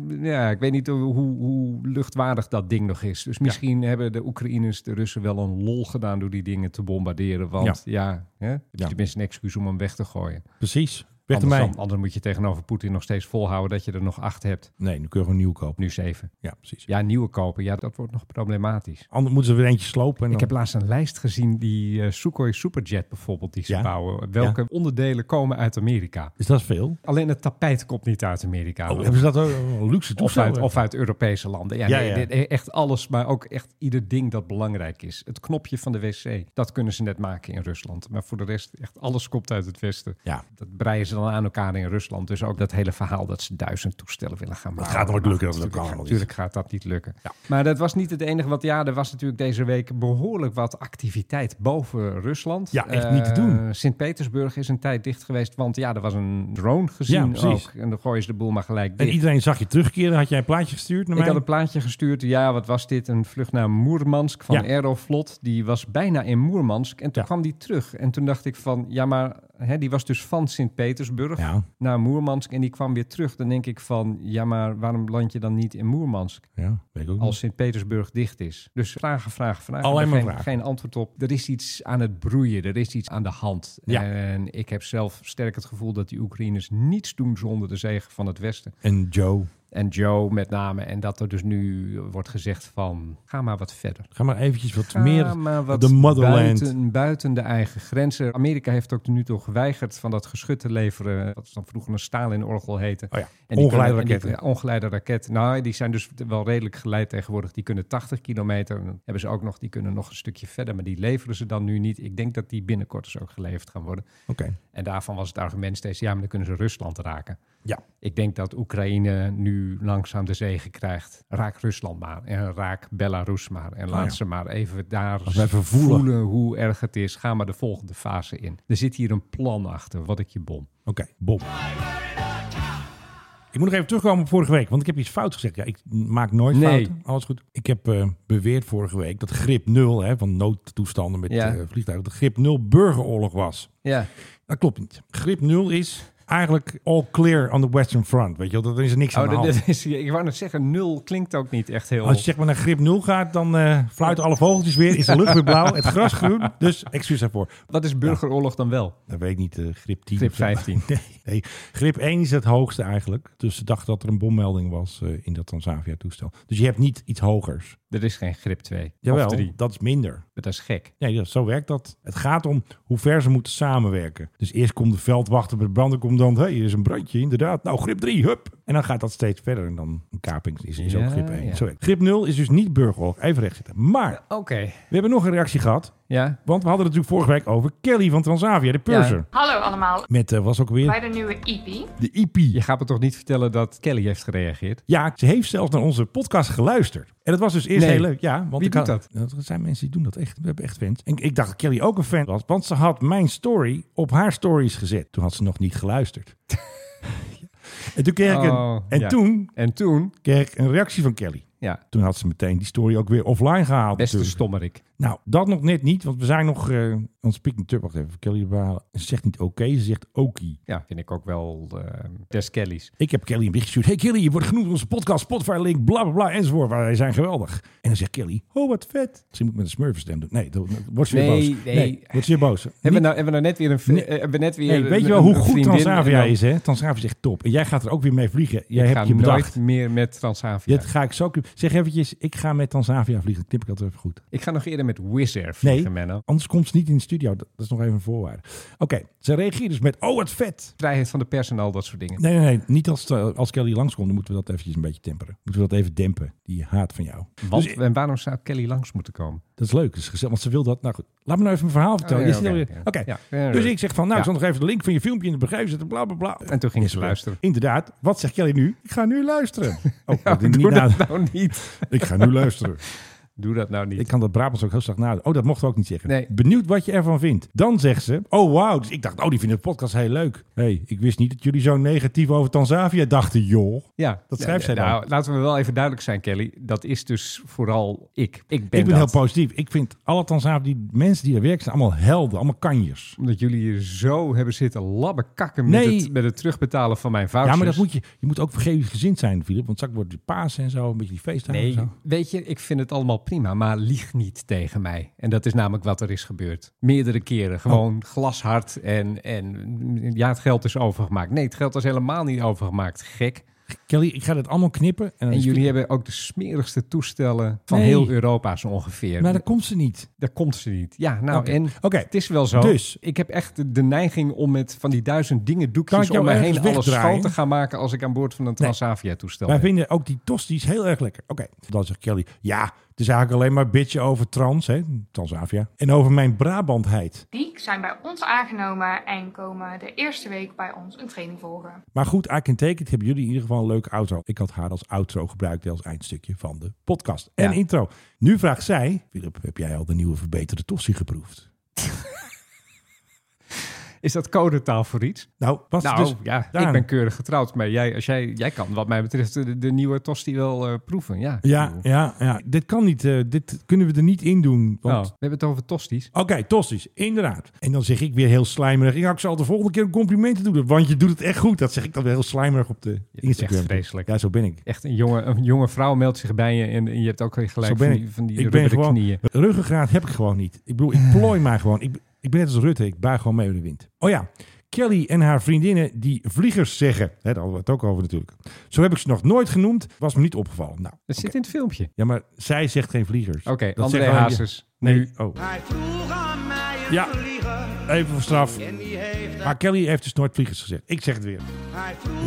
[SPEAKER 5] Ja, ik weet niet hoe, hoe luchtwaardig dat ding nog is. Dus misschien hebben de Oekraïners de Russen wel een lol gedaan door die dingen te bombarderen. Want ja, hè, het
[SPEAKER 3] Ja.
[SPEAKER 5] is tenminste een excuus om hem weg te gooien.
[SPEAKER 3] Precies. Weg
[SPEAKER 5] Anders,
[SPEAKER 3] ermee.
[SPEAKER 5] dan- anders moet je tegenover Poetin nog steeds volhouden dat je er nog acht hebt.
[SPEAKER 3] Nee, nu kun je gewoon nieuw kopen.
[SPEAKER 5] Nu zeven.
[SPEAKER 3] Ja, precies.
[SPEAKER 5] Ja, nieuwe kopen. Ja, dat wordt nog problematisch.
[SPEAKER 3] Anders moeten ze weer eentje slopen. En
[SPEAKER 5] Ik
[SPEAKER 3] dan-
[SPEAKER 5] heb laatst een lijst gezien, die eh, Sukhoi Superjet bijvoorbeeld, die ze
[SPEAKER 3] Ja.
[SPEAKER 5] bouwen. Welke onderdelen komen uit Amerika?
[SPEAKER 3] Dus dat is veel.
[SPEAKER 5] Alleen het tapijt komt niet uit Amerika.
[SPEAKER 3] Oh, hebben ze dat ook? Een luxe
[SPEAKER 5] Of
[SPEAKER 3] toestel.
[SPEAKER 5] uit, of uit Europese landen. Ja,
[SPEAKER 3] Ja,
[SPEAKER 5] nee,
[SPEAKER 3] ja.
[SPEAKER 5] dit- eh, Echt alles, maar ook echt ieder ding dat belangrijk is. Het knopje van de wc, dat kunnen ze net maken in Rusland. Maar voor de rest, echt alles komt uit het Westen.
[SPEAKER 3] Ja.
[SPEAKER 5] Dat breien ze dan aan elkaar in Rusland. Dus ook dat hele verhaal dat ze duizend toestellen willen gaan maken.
[SPEAKER 3] gaat nooit
[SPEAKER 5] Maar
[SPEAKER 3] lukken, dat
[SPEAKER 5] goed,
[SPEAKER 3] lukt
[SPEAKER 5] natuurlijk-
[SPEAKER 3] allemaal
[SPEAKER 5] Natuurlijk gaat dat niet lukken. Maar dat was niet het enige. Want ja, er was natuurlijk deze week behoorlijk wat activiteit boven Rusland.
[SPEAKER 3] Ja, echt niet te doen.
[SPEAKER 5] Eh, Sint-Petersburg is een tijd dicht geweest. Want ja, er was een drone
[SPEAKER 3] Ja,
[SPEAKER 5] gezien
[SPEAKER 3] precies.
[SPEAKER 5] ook. En dan gooien ze de boel maar gelijk
[SPEAKER 3] En
[SPEAKER 5] dicht.
[SPEAKER 3] iedereen zag je terugkeren. Had jij een plaatje gestuurd naar
[SPEAKER 5] Ik
[SPEAKER 3] mij?
[SPEAKER 5] had een plaatje gestuurd. Ja, wat was dit? Een vlucht naar Moermansk van
[SPEAKER 3] Ja.
[SPEAKER 5] Aeroflot. Die was bijna in Moermansk. En toen
[SPEAKER 3] Ja.
[SPEAKER 5] kwam die terug. En toen dacht ik van, ja, maar hè, die was dus van Sint-Petersburg
[SPEAKER 3] Ja.
[SPEAKER 5] naar Moermansk. En die kwam weer terug. Dan denk ik van, ja, maar waarom land je dan niet in Moermansk?
[SPEAKER 3] Ja, weet ik ook
[SPEAKER 5] Als Sint-Petersburg dicht is. Dus vragen, vragen, vragen.
[SPEAKER 3] Alleen
[SPEAKER 5] Er
[SPEAKER 3] maar
[SPEAKER 5] geen,
[SPEAKER 3] vragen.
[SPEAKER 5] geen antwoord op. Er is iets aan het broeien. Er is iets aan de hand.
[SPEAKER 3] Ja.
[SPEAKER 5] En ik heb zelf sterk het gevoel dat die Oekraïners niets doen zonder de zegen van het Westen.
[SPEAKER 3] niet. En Joe,
[SPEAKER 5] En Joe met name. En dat er dus nu wordt gezegd van, ga maar wat verder.
[SPEAKER 3] ga maar eventjes wat
[SPEAKER 5] Ga
[SPEAKER 3] meer
[SPEAKER 5] Ah, maar wat
[SPEAKER 3] de motherland.
[SPEAKER 5] Buiten, buiten de eigen grenzen. Amerika heeft ook tot nu toe geweigerd van dat geschut te leveren. Dat is dan vroeger een Stalin-orgel heten.
[SPEAKER 3] Oh ja,
[SPEAKER 5] En die
[SPEAKER 3] ongeleide
[SPEAKER 5] kunnen- en die-
[SPEAKER 3] raketten.
[SPEAKER 5] ja, ongeleide raketten. Nou, die zijn dus wel redelijk geleid tegenwoordig. Die kunnen 80 kilometer. En dan hebben ze ook nog, die kunnen nog een stukje verder. Maar die leveren ze dan nu niet. Ik denk dat die binnenkort dus ook geleverd gaan worden.
[SPEAKER 3] Oké.
[SPEAKER 5] En daarvan was het argument steeds, ja, maar dan kunnen ze Rusland raken.
[SPEAKER 3] Ja.
[SPEAKER 5] Ik denk dat Oekraïne nu langzaam de zegen krijgt. Raak Rusland maar en raak Belarus maar. En laat
[SPEAKER 3] ja.
[SPEAKER 5] ze maar even daar
[SPEAKER 3] Als we even voelen.
[SPEAKER 5] hoe erg het is. Ga maar de volgende fase in. Er zit hier een plan achter, wat ik je bom.
[SPEAKER 3] Oké, Bob. Ik moet nog even terugkomen op vorige week, want ik heb iets fout gezegd. Ja, ik maak nooit
[SPEAKER 5] Nee.
[SPEAKER 3] fouten. Alles goed. Ik heb eh, beweerd vorige week dat grip 0, hè, van noodtoestanden met
[SPEAKER 5] Ja.
[SPEAKER 3] eh, vliegtuigen, dat grip 0 burgeroorlog was.
[SPEAKER 5] Ja,
[SPEAKER 3] Dat klopt niet. Grip 0 is eigenlijk all clear on the Western Front. Weet je wel, dat is er niks aan
[SPEAKER 5] oh,
[SPEAKER 3] de
[SPEAKER 5] dat,
[SPEAKER 3] hand.
[SPEAKER 5] dat is, ik wou net zeggen, nul klinkt ook niet echt heel...
[SPEAKER 3] Als je zeg maar naar grip 0 gaat, dan eh, fluiten alle vogeltjes weer. Is de lucht weer blauw, het gras groen. Dus excuus daarvoor.
[SPEAKER 5] Wat is burgeroorlog dan wel?
[SPEAKER 3] Dat weet ik niet, eh, grip 10.
[SPEAKER 5] Grip
[SPEAKER 3] of zo.
[SPEAKER 5] 15.
[SPEAKER 3] Nee, nee, grip 1 is het hoogste eigenlijk. Dus de dag dat er een bommelding was eh, in dat Transavia-toestel. Dus je hebt niet iets hogers.
[SPEAKER 5] Er is geen grip 2 of
[SPEAKER 3] Jawel,
[SPEAKER 5] 3.
[SPEAKER 3] dat is minder.
[SPEAKER 5] Dat is gek.
[SPEAKER 3] Nee, ja, zo werkt dat. Het gaat om hoe ver ze moeten samenwerken. Dus eerst komt de veldwachter bij de brandencommandant. Hé, hey, er is een brandje, inderdaad. Nou, grip 3, hup. En dan gaat dat steeds verder. En dan een kaping is, is
[SPEAKER 5] Ja,
[SPEAKER 3] ook grip 1.
[SPEAKER 5] ja.
[SPEAKER 3] Zo werkt het. grip 0 is dus niet burgeroorlog. Even recht zitten. Maar
[SPEAKER 5] Oké,
[SPEAKER 3] we hebben nog een reactie gehad.
[SPEAKER 5] ja.
[SPEAKER 3] Want we hadden het natuurlijk vorige week over Kelly van Transavia, de purser.
[SPEAKER 7] Hallo allemaal,
[SPEAKER 3] Met, eh, was ook
[SPEAKER 7] bij
[SPEAKER 3] weer
[SPEAKER 7] de nieuwe E EP.
[SPEAKER 3] de IP.
[SPEAKER 5] Je gaat me toch niet vertellen dat Kelly heeft gereageerd?
[SPEAKER 3] Ja, ze heeft zelfs naar onze podcast geluisterd. En dat was dus eerst
[SPEAKER 5] Nee.
[SPEAKER 3] heel leuk. Ja, want
[SPEAKER 5] Wie
[SPEAKER 3] ik
[SPEAKER 5] doet
[SPEAKER 3] had- Nou, Er zijn mensen die doen dat echt. We hebben echt fans. En ik dacht dat Kelly ook een fan was, want ze had mijn story op haar stories gezet. Toen had ze nog niet geluisterd. en toen kreeg ik een,
[SPEAKER 5] Oh,
[SPEAKER 3] en
[SPEAKER 5] ja.
[SPEAKER 3] toen
[SPEAKER 5] En toen?
[SPEAKER 3] kreeg ik een reactie van Kelly.
[SPEAKER 5] Ja,
[SPEAKER 3] Toen had ze meteen die story ook weer offline gehaald.
[SPEAKER 5] beste
[SPEAKER 3] natuurlijk.
[SPEAKER 5] stommerik.
[SPEAKER 3] Nou, dat nog net niet, want we zijn nog eh on speaking tub. Wacht even, Kelly erbij halen. Ze zegt niet oké, ze zegt okie.
[SPEAKER 5] Ja, vind ik ook wel eh des Kellys.
[SPEAKER 3] Ik heb Kelly een bericht gestuurd. Hey Kelly, je wordt genoemd in onze podcast, Spotify link, bla bla bla enzovoort. Maar Wij zijn geweldig. En dan zegt Kelly, oh wat vet. Misschien moet ik met een smurf stem doen. Nee, dan dan wordt ze weer
[SPEAKER 5] Nee,
[SPEAKER 3] boos.
[SPEAKER 5] nee.
[SPEAKER 3] wordt ze weer boos.
[SPEAKER 5] Hebben we,
[SPEAKER 3] Niet-
[SPEAKER 5] nou, hebben we nou net weer een... vri-
[SPEAKER 3] Nee.
[SPEAKER 5] eh, hebben we net weer
[SPEAKER 3] Hey, weet
[SPEAKER 5] een-
[SPEAKER 3] je wel hoe
[SPEAKER 5] een
[SPEAKER 3] goed
[SPEAKER 5] vriendin en
[SPEAKER 3] Transavia
[SPEAKER 5] dan-
[SPEAKER 3] is, hè? Transavia is echt top. En jij gaat er ook weer mee vliegen. Jij
[SPEAKER 5] Ik
[SPEAKER 3] hebt
[SPEAKER 5] ga
[SPEAKER 3] je bedacht.
[SPEAKER 5] nooit meer met Transavia.
[SPEAKER 3] Dit ga ik zo... Zeg eventjes, ik ga met Transavia vliegen. Knip ik dat even goed.
[SPEAKER 5] Ik ga nog eerder met Wizz Air
[SPEAKER 3] Nee,
[SPEAKER 5] vliegen, Menno.
[SPEAKER 3] anders komt ze niet in de studio. Dat dat is nog even een voorwaarde. Oké, ze reageert dus met, oh wat vet.
[SPEAKER 5] Vrijheid van de personeel, dat soort dingen.
[SPEAKER 3] Nee, nee, nee. Niet als, eh, als Kelly langskomt, dan moeten we dat eventjes een beetje temperen. Moeten we dat even dempen, die haat van jou.
[SPEAKER 5] Want,
[SPEAKER 3] Dus-
[SPEAKER 5] en waarom zou Kelly langs moeten komen?
[SPEAKER 3] Dat is leuk, dat is gezellig, want ze wil dat. Nou goed, laat me nou even mijn verhaal vertellen.
[SPEAKER 5] Oh, ja,
[SPEAKER 3] Is het
[SPEAKER 5] oké,
[SPEAKER 3] alweer-
[SPEAKER 5] oké.
[SPEAKER 3] Oké,
[SPEAKER 5] Ja, ja, ja.
[SPEAKER 3] dus ik zeg van, nou, ik
[SPEAKER 5] Ja.
[SPEAKER 3] zal nog even de link van je filmpje in de begrijp zetten, bla bla bla.
[SPEAKER 5] En toen ging ze luisteren.
[SPEAKER 3] Inderdaad, wat zegt Kelly nu? Ik ga nu luisteren. Oh, dat
[SPEAKER 5] doe
[SPEAKER 3] niet
[SPEAKER 5] dat
[SPEAKER 3] na-
[SPEAKER 5] nou niet.
[SPEAKER 3] Ik ga nu luisteren.
[SPEAKER 5] Doe dat nou niet.
[SPEAKER 3] Ik kan dat Brabants ook heel zacht nadenken. Oh, dat mochten we ook niet zeggen.
[SPEAKER 5] Nee.
[SPEAKER 3] Benieuwd wat je ervan vindt. Dan zegt ze, oh wauw. Dus ik dacht, oh, die vinden de podcast heel leuk. Hé, hey, ik wist niet dat jullie zo negatief over Tanzavia dachten, joh.
[SPEAKER 5] ja,
[SPEAKER 3] dat schrijft zij dan.
[SPEAKER 5] Nou, laten we wel even duidelijk zijn, Kelly. Dat is dus vooral ik. Ik ben,
[SPEAKER 3] ik ben
[SPEAKER 5] dat.
[SPEAKER 3] heel positief. Ik vind alle Tanzavia, die mensen die er werken, zijn allemaal helden, allemaal kanjers.
[SPEAKER 5] Omdat jullie hier zo hebben zitten labben kakken met,
[SPEAKER 3] Nee.
[SPEAKER 5] het, met het terugbetalen van mijn vouchers.
[SPEAKER 3] Ja, maar dat moet je, je moet ook vergeven gezind zijn, Filip. Want straks wordt het Pasen en Oh, zo, een beetje die feestdagen. en
[SPEAKER 5] Nee,
[SPEAKER 3] zo.
[SPEAKER 5] weet je, ik vind het allemaal prima, maar lieg niet tegen mij. En dat is namelijk wat er is gebeurd. Meerdere
[SPEAKER 3] Oh.
[SPEAKER 5] keren, gewoon glashard en, en ja, het geld is overgemaakt. Nee, het geld is helemaal niet overgemaakt, gek.
[SPEAKER 3] Kelly, ik ga dit allemaal knippen. En, dan
[SPEAKER 5] En
[SPEAKER 3] is-
[SPEAKER 5] jullie hebben ook de smerigste toestellen van
[SPEAKER 3] dus Nee.
[SPEAKER 5] heel Europa zo ongeveer.
[SPEAKER 3] Maar daar komt ze niet.
[SPEAKER 5] Daar komt ze niet. Ja, nou
[SPEAKER 3] Oké.
[SPEAKER 5] en
[SPEAKER 3] Oké.
[SPEAKER 5] het is wel zo.
[SPEAKER 3] Dus.
[SPEAKER 5] ik heb echt de- de neiging om met van die duizend dingen
[SPEAKER 3] Kan
[SPEAKER 5] doekjes
[SPEAKER 3] ik jou
[SPEAKER 5] om me heen
[SPEAKER 3] ergens
[SPEAKER 5] alles
[SPEAKER 3] wegdraaien?
[SPEAKER 5] schoon te gaan maken als ik aan boord van een Transavia toestel
[SPEAKER 3] Wij
[SPEAKER 5] ben.
[SPEAKER 3] vinden ook die tosti's heel erg lekker. Oké, dan zegt Kelly, ja, het is eigenlijk alleen maar bitje over trans, hè, Transavia. En over mijn Brabantheid.
[SPEAKER 7] Die zijn bij ons aangenomen en komen de eerste week bij ons een training volgen.
[SPEAKER 3] Maar goed, I Can Take It hebben jullie in ieder geval een leuke outro. Ik had haar als outro gebruikt, als eindstukje van de podcast. En
[SPEAKER 5] Ja.
[SPEAKER 3] intro. Nu vraagt zij, Philip, heb jij al de nieuwe verbeterde tossie geproefd?
[SPEAKER 5] Is dat codetaal voor iets?
[SPEAKER 3] Nou, was het
[SPEAKER 5] Nou
[SPEAKER 3] dus
[SPEAKER 5] ja,
[SPEAKER 3] daaraan.
[SPEAKER 5] ik ben keurig getrouwd, maar jij, als jij, jij kan wat mij betreft de, de nieuwe tosti wel eh, proeven. Ja,
[SPEAKER 3] Ja, ja, ja, dit kan niet. eh, dit kunnen we er niet in doen.
[SPEAKER 5] Oh,
[SPEAKER 3] Want
[SPEAKER 5] we hebben het over tosties.
[SPEAKER 3] Oké, tosties, inderdaad. En dan zeg ik weer heel slijmerig. Ja, ik zal de volgende keer een compliment doen. Want je doet het echt goed. Dat zeg ik dan weer heel slijmerig op de
[SPEAKER 5] is
[SPEAKER 3] Instagram. dus.
[SPEAKER 5] echt vreselijk.
[SPEAKER 3] Ja, zo ben ik.
[SPEAKER 5] Echt een jonge, een jonge vrouw meldt zich bij je en, en je hebt ook weer
[SPEAKER 3] Zo
[SPEAKER 5] gelijk van
[SPEAKER 3] ben
[SPEAKER 5] die,
[SPEAKER 3] ik.
[SPEAKER 5] van die
[SPEAKER 3] ik ben
[SPEAKER 5] rubberen
[SPEAKER 3] gewoon,
[SPEAKER 5] knieën.
[SPEAKER 3] Ruggengraat heb ik gewoon niet. Ik bedoel, ik plooi mij gewoon. Ik, ik ben net als Rutte. Ik buig gewoon mee met de wind. Oh ja, Kelly en haar vriendinnen die vliegers zeggen. Hè, daar hadden we het ook over natuurlijk. Zo heb ik ze nog nooit genoemd. Was me niet opgevallen. Nou,
[SPEAKER 5] Dat zit in het filmpje.
[SPEAKER 3] ja, maar zij zegt geen vliegers.
[SPEAKER 5] Oké,
[SPEAKER 3] Dat
[SPEAKER 5] André
[SPEAKER 3] zeggen alleen-
[SPEAKER 5] Hazes.
[SPEAKER 3] Nee,
[SPEAKER 5] Nu.
[SPEAKER 3] oh. Ja, even voor straf. Maar Kelly heeft dus nooit vliegers gezegd. Ik zeg het weer.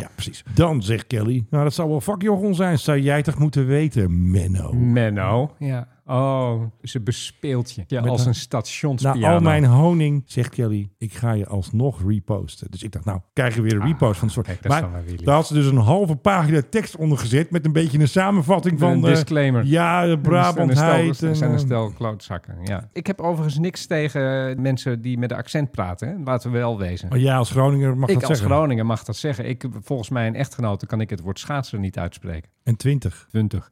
[SPEAKER 3] Ja, precies. Dan zegt Kelly, nou dat zou wel vakjochel zijn. Zou jij toch moeten weten, Menno?
[SPEAKER 5] Menno. Ja. Oh, ze bespeelt je. Ja,
[SPEAKER 3] Met
[SPEAKER 5] als
[SPEAKER 3] haar-
[SPEAKER 5] een stationspiano.
[SPEAKER 3] Na al mijn honing, zegt Kelly, ik ga je alsnog reposten. Dus ik dacht, nou, krijgen we weer een repost van het soort.
[SPEAKER 5] Ah, kijk, dat
[SPEAKER 3] maar
[SPEAKER 5] is dan wel weer lief.
[SPEAKER 3] daar had ze dus een halve pagina tekst onder gezet met een beetje een samenvatting
[SPEAKER 5] Met
[SPEAKER 3] van...
[SPEAKER 5] een
[SPEAKER 3] eh,
[SPEAKER 5] disclaimer.
[SPEAKER 3] ja, de
[SPEAKER 5] Er
[SPEAKER 3] Brabantheid.
[SPEAKER 5] zijn een stel,
[SPEAKER 3] en, eh,
[SPEAKER 5] klootzakken, ja. Ik heb overigens niks tegen mensen die met een accent praten. Hè. Laten we wel wezen.
[SPEAKER 3] eh, ja, als Groninger mag
[SPEAKER 5] ik
[SPEAKER 3] dat
[SPEAKER 5] als
[SPEAKER 3] zeggen.
[SPEAKER 5] Groninger mag dat zeggen. Ik, volgens mijn echtgenote kan ik het woord schaatsen niet uitspreken.
[SPEAKER 3] en 20.
[SPEAKER 5] 20.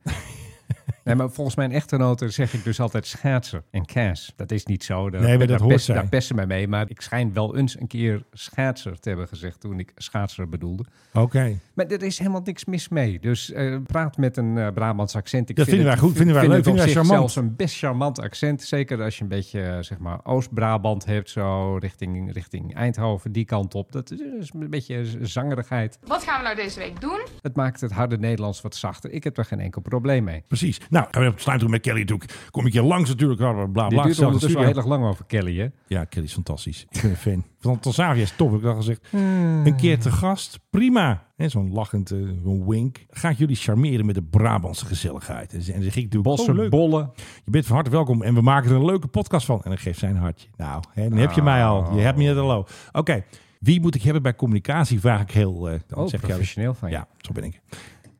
[SPEAKER 5] Nee, maar volgens mijn echtgenote zeg ik dus altijd schaatsen en kaas. Dat is niet zo. Daar,
[SPEAKER 3] Nee, maar dat
[SPEAKER 5] daar
[SPEAKER 3] hoort
[SPEAKER 5] pest-
[SPEAKER 3] zij.
[SPEAKER 5] Daar pesten mij mee. Maar ik schijn wel eens een keer schaatser te hebben gezegd toen ik schaatser bedoelde.
[SPEAKER 3] Oké.
[SPEAKER 5] Maar er is helemaal niks mis mee. Dus eh, praat met een eh, Brabants accent. Ik
[SPEAKER 3] Dat vinden wij
[SPEAKER 5] het-
[SPEAKER 3] goed, vinden wij leuk,
[SPEAKER 5] het op
[SPEAKER 3] vinden wij
[SPEAKER 5] zich
[SPEAKER 3] charmant.
[SPEAKER 5] zelfs een best charmant accent. Zeker als je een beetje eh, zeg maar Oost-Brabant hebt, zo richting, richting Eindhoven, die kant op. Dat is een beetje z- zangerigheid.
[SPEAKER 7] Wat gaan we nou deze week doen?
[SPEAKER 5] Het maakt het harde Nederlands wat zachter. Ik heb daar geen enkel probleem mee.
[SPEAKER 3] Precies. Nou, gaan we op sluiten met Kelly natuurlijk. Kom ik je langs natuurlijk. Bla, bla, bla.
[SPEAKER 5] Dit duurt
[SPEAKER 3] Zelfde
[SPEAKER 5] ondertussen wel
[SPEAKER 3] studio. Oh,
[SPEAKER 5] heel erg lang over Kelly, hè?
[SPEAKER 3] Ja, Kelly is fantastisch. Ik ben een fan. Van Tanzania is top, heb ik al gezegd.
[SPEAKER 5] Hmm.
[SPEAKER 3] Een keer te gast, prima. En zo'n lachend eh, zo'n wink. Gaat jullie charmeren met de Brabantse gezelligheid. En dan zeg ik natuurlijk,
[SPEAKER 5] Bossen,
[SPEAKER 3] oh, leuk.
[SPEAKER 5] bollen.
[SPEAKER 3] Je bent van harte welkom en we maken er een leuke podcast van. En dan geeft zij een hartje. Nou, hè, dan heb
[SPEAKER 5] Ah.
[SPEAKER 3] je mij al. Je hebt me net al. Oké, wie moet ik hebben bij communicatie? Vraag ik heel... eh dan
[SPEAKER 5] Oh,
[SPEAKER 3] zegt Kelly.
[SPEAKER 5] professioneel van je.
[SPEAKER 3] Nou Ja, zo ben ik.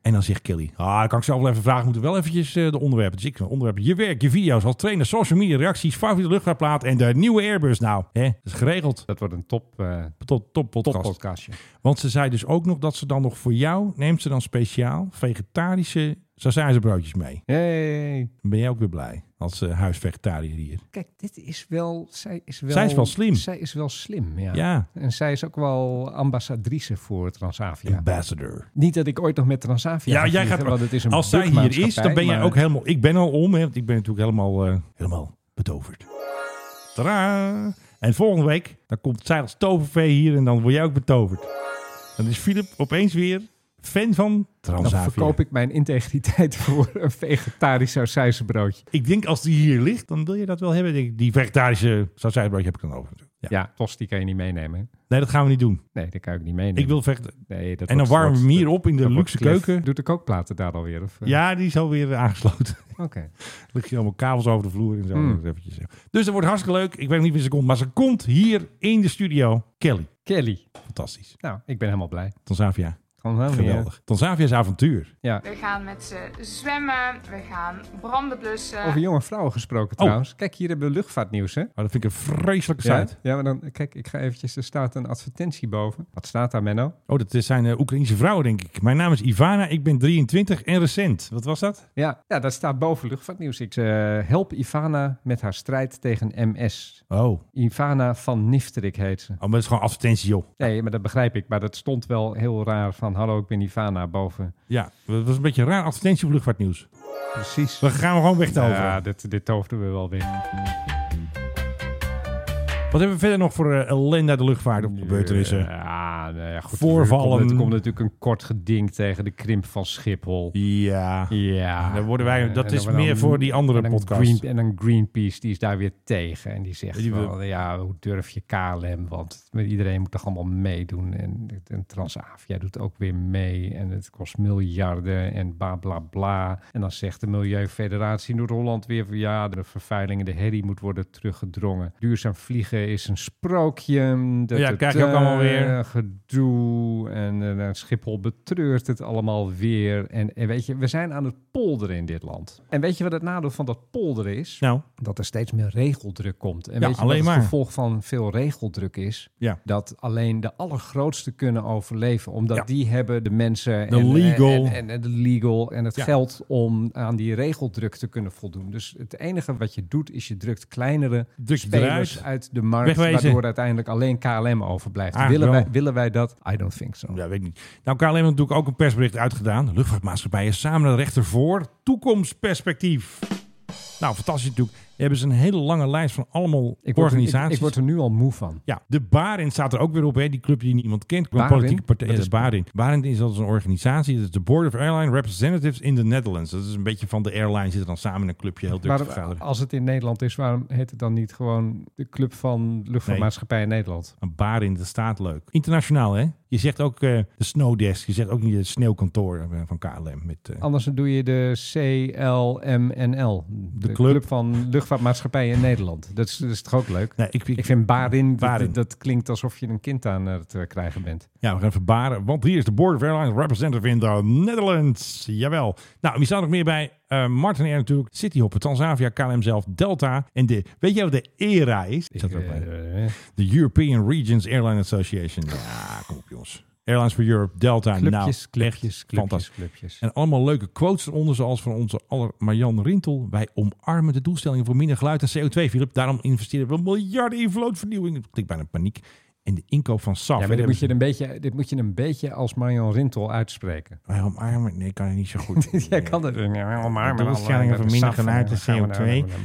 [SPEAKER 3] En dan zegt Kelly, ah, dat kan ik zelf wel even vragen. Moeten we wel eventjes eh, de onderwerpen. Dus ik de onderwerpen. Je werk, je video's, als trainer, social media, reacties, favoriete luchtvaartplaat en de nieuwe Airbus. Nou, hè, dat is geregeld.
[SPEAKER 5] Dat wordt een top, eh
[SPEAKER 3] Tot top
[SPEAKER 5] top
[SPEAKER 3] podcast.
[SPEAKER 5] podcastje.
[SPEAKER 3] Want ze zei dus ook nog dat ze dan nog voor jou neemt ze dan speciaal vegetarische broodjes mee.
[SPEAKER 5] Hey.
[SPEAKER 3] Dan ben jij ook weer blij als eh, huisvegetariër hier.
[SPEAKER 5] Kijk, dit is wel... Zij is wel,
[SPEAKER 3] Zij is wel slim.
[SPEAKER 5] Zij is wel slim, ja.
[SPEAKER 3] Ja.
[SPEAKER 5] En zij is ook wel ambassadrice voor Transavia.
[SPEAKER 3] Ambassador.
[SPEAKER 5] Niet dat ik ooit nog met Transavia
[SPEAKER 3] Ja, jij
[SPEAKER 5] vliegen,
[SPEAKER 3] gaat.
[SPEAKER 5] want het is een
[SPEAKER 3] als zij hier is,
[SPEAKER 5] drukmaatschappij,
[SPEAKER 3] dan ben jij
[SPEAKER 5] maar-
[SPEAKER 3] ook helemaal. Ik ben al om, hè, want ik ben natuurlijk helemaal, eh, helemaal betoverd. Tadaa! En volgende week, dan komt zij als tovervee hier en dan word jij ook betoverd. Dan is Philip opeens weer fan van
[SPEAKER 5] Dan
[SPEAKER 3] Transavia.
[SPEAKER 5] verkoop ik mijn integriteit voor een vegetarisch sausijzenbroodje.
[SPEAKER 3] Ik denk als die hier ligt, dan wil je dat wel hebben. Denk ik. Die vegetarische sausijbroodje heb ik dan over. natuurlijk. Ja.
[SPEAKER 5] Ja, tosti kan je niet meenemen. hè?
[SPEAKER 3] Nee, dat gaan we niet doen.
[SPEAKER 5] Nee, dat kan ik niet meenemen.
[SPEAKER 3] Ik wil vechten.
[SPEAKER 5] Nee, dat
[SPEAKER 3] En dan
[SPEAKER 5] wordt-
[SPEAKER 3] warmen we hem
[SPEAKER 5] wordt-
[SPEAKER 3] hier op in de
[SPEAKER 5] dat
[SPEAKER 3] luxe
[SPEAKER 5] wordt klef.
[SPEAKER 3] keuken.
[SPEAKER 5] Doet de kookplaten daar alweer? Of, eh?
[SPEAKER 3] Ja, die is alweer eh, aangesloten.
[SPEAKER 5] Oké.
[SPEAKER 3] Er liggen hier allemaal kabels over de vloer en zo.
[SPEAKER 5] Hmm.
[SPEAKER 3] Dat is eventjes, ja. Dus dat wordt hartstikke leuk. Ik weet niet wie ze komt, maar ze komt hier in de studio. Kelly.
[SPEAKER 5] Kelly.
[SPEAKER 3] Fantastisch.
[SPEAKER 5] Nou, ik ben helemaal blij.
[SPEAKER 3] Tanzavia.
[SPEAKER 5] Gewoon helemaal niet, hè?
[SPEAKER 3] Geweldig. Tanzavia's avontuur.
[SPEAKER 5] Ja.
[SPEAKER 7] We gaan met ze zwemmen, we gaan branden blussen.
[SPEAKER 5] Over jonge vrouwen gesproken
[SPEAKER 3] Oh.
[SPEAKER 5] trouwens. Kijk, hier hebben we luchtvaartnieuws, hè?
[SPEAKER 3] Maar Oh, dat vind ik een vreselijke
[SPEAKER 5] Ja,
[SPEAKER 3] site.
[SPEAKER 5] ja, maar dan, kijk, ik ga eventjes, er staat een advertentie boven. Wat staat daar, Menno?
[SPEAKER 3] Oh, dat zijn eh, Oekraïnse vrouwen, denk ik. Mijn naam is Ivana, ik ben 23 en recent. Wat was dat?
[SPEAKER 5] Ja, ja dat staat boven luchtvaartnieuws. Ik eh, help Ivana met haar strijd tegen MS.
[SPEAKER 3] Oh, oh
[SPEAKER 5] Ivana van Nifterik heet ze.
[SPEAKER 3] maar dat is gewoon advertentie, joh.
[SPEAKER 5] Nee, maar dat begrijp ik. Maar dat stond wel heel raar van, hallo, ik ben Ivana, boven.
[SPEAKER 3] Ja, dat was een beetje een raar advertentie voor luchtvaartnieuws.
[SPEAKER 5] Precies.
[SPEAKER 3] We gaan hem gewoon wegtoveren.
[SPEAKER 5] Ja, dit, dit toverden we wel weer.
[SPEAKER 3] Wat hebben we verder nog voor eh, ellende uit de luchtvaart of gebeurtenissen?
[SPEAKER 5] Ja, nou ja, goed.
[SPEAKER 3] Voorvallen.
[SPEAKER 5] Er komt, er komt natuurlijk een kort geding tegen de krimp van Schiphol.
[SPEAKER 3] Ja.
[SPEAKER 5] Ja.
[SPEAKER 3] Dan worden wij- dat
[SPEAKER 5] En
[SPEAKER 3] is
[SPEAKER 5] dan- dan-
[SPEAKER 3] meer voor die andere
[SPEAKER 5] en dan
[SPEAKER 3] podcast.
[SPEAKER 5] Green- en dan Greenpeace, die is daar weer tegen. En die zegt,
[SPEAKER 3] Die wil-
[SPEAKER 5] wel, ja, hoe durf je KLM? Want iedereen moet toch allemaal meedoen. En, en Transavia doet ook weer mee. En het kost miljarden en bla, bla, bla. En dan zegt de Milieufederatie Noord-Holland weer van... ja, de vervuiling en de herrie moet worden teruggedrongen. Duurzaam vliegen is een sprookje. Dat
[SPEAKER 3] Ja,
[SPEAKER 5] het,
[SPEAKER 3] krijg je ook
[SPEAKER 5] eh,
[SPEAKER 3] allemaal weer.
[SPEAKER 5] gedoe en eh, Schiphol betreurt het allemaal weer. En, en weet je, we zijn aan het polderen in dit land. En weet je wat het nadeel van dat polderen is?
[SPEAKER 3] Nou,
[SPEAKER 5] Dat er steeds meer regeldruk komt. En
[SPEAKER 3] Ja,
[SPEAKER 5] weet je
[SPEAKER 3] alleen
[SPEAKER 5] wat
[SPEAKER 3] maar.
[SPEAKER 5] het gevolg van veel regeldruk is?
[SPEAKER 3] Ja.
[SPEAKER 5] Dat alleen de allergrootste kunnen overleven. Omdat
[SPEAKER 3] Ja.
[SPEAKER 5] die hebben de mensen
[SPEAKER 3] De
[SPEAKER 5] en, eh,
[SPEAKER 3] legal.
[SPEAKER 5] En, en, en de legal en het
[SPEAKER 3] Ja.
[SPEAKER 5] geld om aan die regeldruk te kunnen voldoen. Dus het enige wat je doet is je drukt kleinere
[SPEAKER 3] Druk
[SPEAKER 5] spelers
[SPEAKER 3] eruit.
[SPEAKER 5] uit de markt.
[SPEAKER 3] Wegwezen.
[SPEAKER 5] Waardoor uiteindelijk alleen KLM overblijft.
[SPEAKER 3] Ah,
[SPEAKER 5] willen,
[SPEAKER 3] wel.
[SPEAKER 5] wij, willen wij dat? I don't think so.
[SPEAKER 3] ja, weet ik niet. Nou, KLM heeft natuurlijk ook een persbericht uitgedaan. De luchtvaartmaatschappij is samen naar de rechter voor toekomstperspectief. Nou, fantastisch natuurlijk. Daar hebben ze een hele lange lijst van allemaal
[SPEAKER 5] Ik, word er, ik,
[SPEAKER 3] organisaties.
[SPEAKER 5] ik word er nu al moe van.
[SPEAKER 3] Ja, de Barin staat er ook weer op, hè? die club die niemand kent. Qua
[SPEAKER 5] Barin?
[SPEAKER 3] politieke partij.
[SPEAKER 5] Wat
[SPEAKER 3] Ja,
[SPEAKER 5] is-
[SPEAKER 3] de Barin. Barin is dat is een organisatie, dat is de Board of Airline Representatives in the Netherlands. Dat is een beetje van de airline, zitten dan samen in een clubje heel druk te
[SPEAKER 5] Waarom,
[SPEAKER 3] vergaderen.
[SPEAKER 5] als het in Nederland is, waarom heet het dan niet gewoon de Club van Luchtvaartmaatschappij in Nederland?
[SPEAKER 3] Een Barin, dat staat leuk. Internationaal, hè? Je zegt ook eh, de Snowdesk, je zegt ook niet het sneeuwkantoor eh, van KLM. Met, eh,
[SPEAKER 5] Anders doe je de CLMNL. De,
[SPEAKER 3] club.
[SPEAKER 5] club. van Luchtvaartmaatschappij in Nederland. Dat is, dat is toch ook leuk?
[SPEAKER 3] nee, ik,
[SPEAKER 5] Ik vind Barin,
[SPEAKER 3] Barin.
[SPEAKER 5] Dat, dat klinkt alsof je een kind aan het eh, krijgen bent.
[SPEAKER 3] Ja, we gaan even baren, want hier is de Board of Airlines Representative in the Netherlands. Jawel. Nou, wie staat nog meer bij? Eh Martin Air natuurlijk, Cityhopper, Transavia, KLM zelf, Delta en de... Weet jij wat de ERA is? Is dat ook bij?
[SPEAKER 5] Eh,
[SPEAKER 3] De European Regions Airline Association. Ja, kom op jongens. Airlines for Europe, Delta, nou,
[SPEAKER 5] clubjes,
[SPEAKER 3] echt
[SPEAKER 5] clubjes, clubjes,
[SPEAKER 3] fantastisch.
[SPEAKER 5] clubjes.
[SPEAKER 3] En allemaal leuke quotes eronder, zoals van onze aller Marjan Rintel. Wij omarmen de doelstellingen voor minder geluid en CO2, Philip. Daarom investeren we miljarden in vlootvernieuwing. Dat klinkt bijna paniek. En de inkoop van SAF.
[SPEAKER 5] Ja,
[SPEAKER 3] hè,
[SPEAKER 5] maar dit
[SPEAKER 3] hebben
[SPEAKER 5] moet, je
[SPEAKER 3] ze-
[SPEAKER 5] een beetje, dit moet je een beetje als Marion Rintel uitspreken.
[SPEAKER 3] Wij omarmen... Nee, kan ik niet zo goed.
[SPEAKER 5] Jij kan het. Ja, maar
[SPEAKER 3] de doelstellingen voor minder geluid en CO2.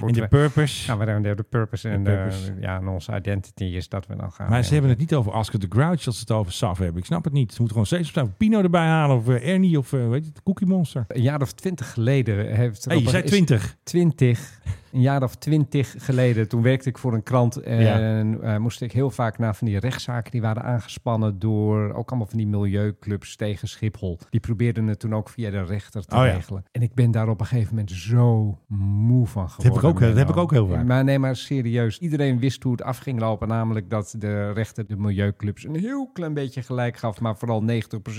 [SPEAKER 3] En de purpose...
[SPEAKER 5] Ja, we hebben de purpose en
[SPEAKER 3] De
[SPEAKER 5] de-
[SPEAKER 3] purpose.
[SPEAKER 5] ja, en onze identity is dat we dan gaan.
[SPEAKER 3] Maar ze hebben het niet over Oscar de Grouch als ze het over SAF hebben. Ik snap het niet. Ze moeten gewoon steeds opstaan. Pino erbij halen of eh, Ernie of eh, weet je, het, Cookie Monster.
[SPEAKER 5] Een jaar of twintig geleden heeft.
[SPEAKER 3] Hé, hey, je
[SPEAKER 5] Robert-
[SPEAKER 3] zei
[SPEAKER 5] is-
[SPEAKER 3] 20.
[SPEAKER 5] 20. Een jaar of twintig geleden, toen werkte ik voor een krant en
[SPEAKER 3] Ja.
[SPEAKER 5] eh, moest ik heel vaak naar van die rechtszaken die waren aangespannen door ook allemaal van die milieuclubs tegen Schiphol. Die probeerden het toen ook via de rechter te
[SPEAKER 3] Oh ja.
[SPEAKER 5] regelen. En ik ben daar op een gegeven moment zo moe van
[SPEAKER 3] heb ik
[SPEAKER 5] geworden.
[SPEAKER 3] ook- dat heb ik
[SPEAKER 5] Menno.
[SPEAKER 3] ook heel vaak.
[SPEAKER 5] Maar nee, maar serieus. Iedereen wist hoe het af ging lopen, namelijk dat de rechter de milieuclubs een heel klein beetje gelijk gaf, maar vooral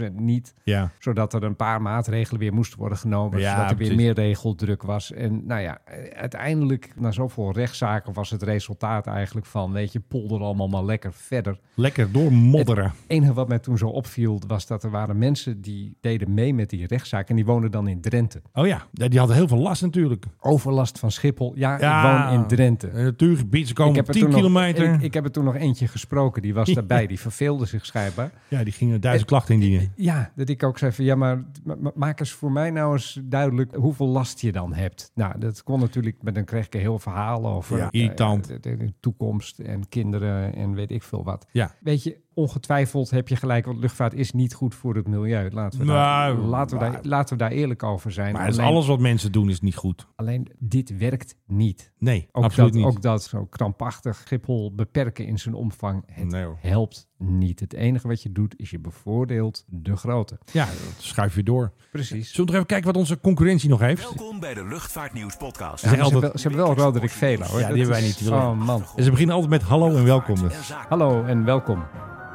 [SPEAKER 5] 90% niet
[SPEAKER 3] Ja.
[SPEAKER 5] zodat er een paar maatregelen weer moesten worden genomen.
[SPEAKER 3] Ja,
[SPEAKER 5] zodat er weer
[SPEAKER 3] precies.
[SPEAKER 5] meer regeldruk was. En nou ja, eh, uiteindelijk, na zoveel rechtszaken, was het resultaat eigenlijk van: weet je, polder allemaal maar lekker verder.
[SPEAKER 3] Lekker doormodderen.
[SPEAKER 5] Het enige wat mij toen zo opviel, was dat er waren mensen die deden mee met die rechtszaak. En die woonden dan in Drenthe.
[SPEAKER 3] Oh ja, Ja, die hadden heel veel last natuurlijk.
[SPEAKER 5] Overlast van Schiphol. Ja,
[SPEAKER 3] Ja.
[SPEAKER 5] ik woon in Drenthe.
[SPEAKER 3] Eh, Natuurgebied, ze komen
[SPEAKER 5] Ik
[SPEAKER 3] op
[SPEAKER 5] heb, er
[SPEAKER 3] 10
[SPEAKER 5] toen
[SPEAKER 3] kilometer.
[SPEAKER 5] Nog, ik, ik heb er toen nog eentje gesproken, die was daarbij. Die verveelde zich schijnbaar.
[SPEAKER 3] ja, die gingen duizend klachten indienen.
[SPEAKER 5] Ja, dat ik ook zei van ja, maar ma- ma- maak eens voor mij nou eens duidelijk hoeveel last je dan hebt. Nou, dat kon natuurlijk, maar dan kreeg ik een heel verhaal over
[SPEAKER 3] Ja,
[SPEAKER 5] eh,
[SPEAKER 3] irritant.
[SPEAKER 5] de, de- de toekomst en kinderen en weet ik veel wat.
[SPEAKER 3] Ja.
[SPEAKER 5] Weet je, ongetwijfeld heb je gelijk, want luchtvaart is niet goed voor het milieu. Laten we, daar,
[SPEAKER 3] Nou,
[SPEAKER 5] laten we, daar,
[SPEAKER 3] maar-
[SPEAKER 5] laten we daar eerlijk over zijn.
[SPEAKER 3] Maar dat is
[SPEAKER 5] alleen,
[SPEAKER 3] alles wat mensen doen is niet goed.
[SPEAKER 5] alleen dit werkt niet.
[SPEAKER 3] Nee,
[SPEAKER 5] Ook
[SPEAKER 3] absoluut
[SPEAKER 5] dat,
[SPEAKER 3] niet.
[SPEAKER 5] Ook dat zo krampachtig Schiphol beperken in zijn omvang. Het
[SPEAKER 3] Nee, hoor.
[SPEAKER 5] helpt niet. Het enige wat je doet is je bevoordeelt de grote.
[SPEAKER 3] Ja, dat schuif je door. Zullen
[SPEAKER 5] Precies.
[SPEAKER 3] we nog even kijken wat onze concurrentie nog heeft?
[SPEAKER 11] Welkom bij de Luchtvaartnieuws podcast.
[SPEAKER 3] Ze, zeggen
[SPEAKER 5] ze,
[SPEAKER 3] altijd,
[SPEAKER 5] hebben, ze hebben wel Roderick Velo. Hoor.
[SPEAKER 3] Ja, die
[SPEAKER 5] Dat
[SPEAKER 3] hebben wij
[SPEAKER 5] is-
[SPEAKER 3] niet.
[SPEAKER 5] Oh man.
[SPEAKER 3] ze beginnen altijd met hallo en welkom. Ze
[SPEAKER 5] Hallo en welkom.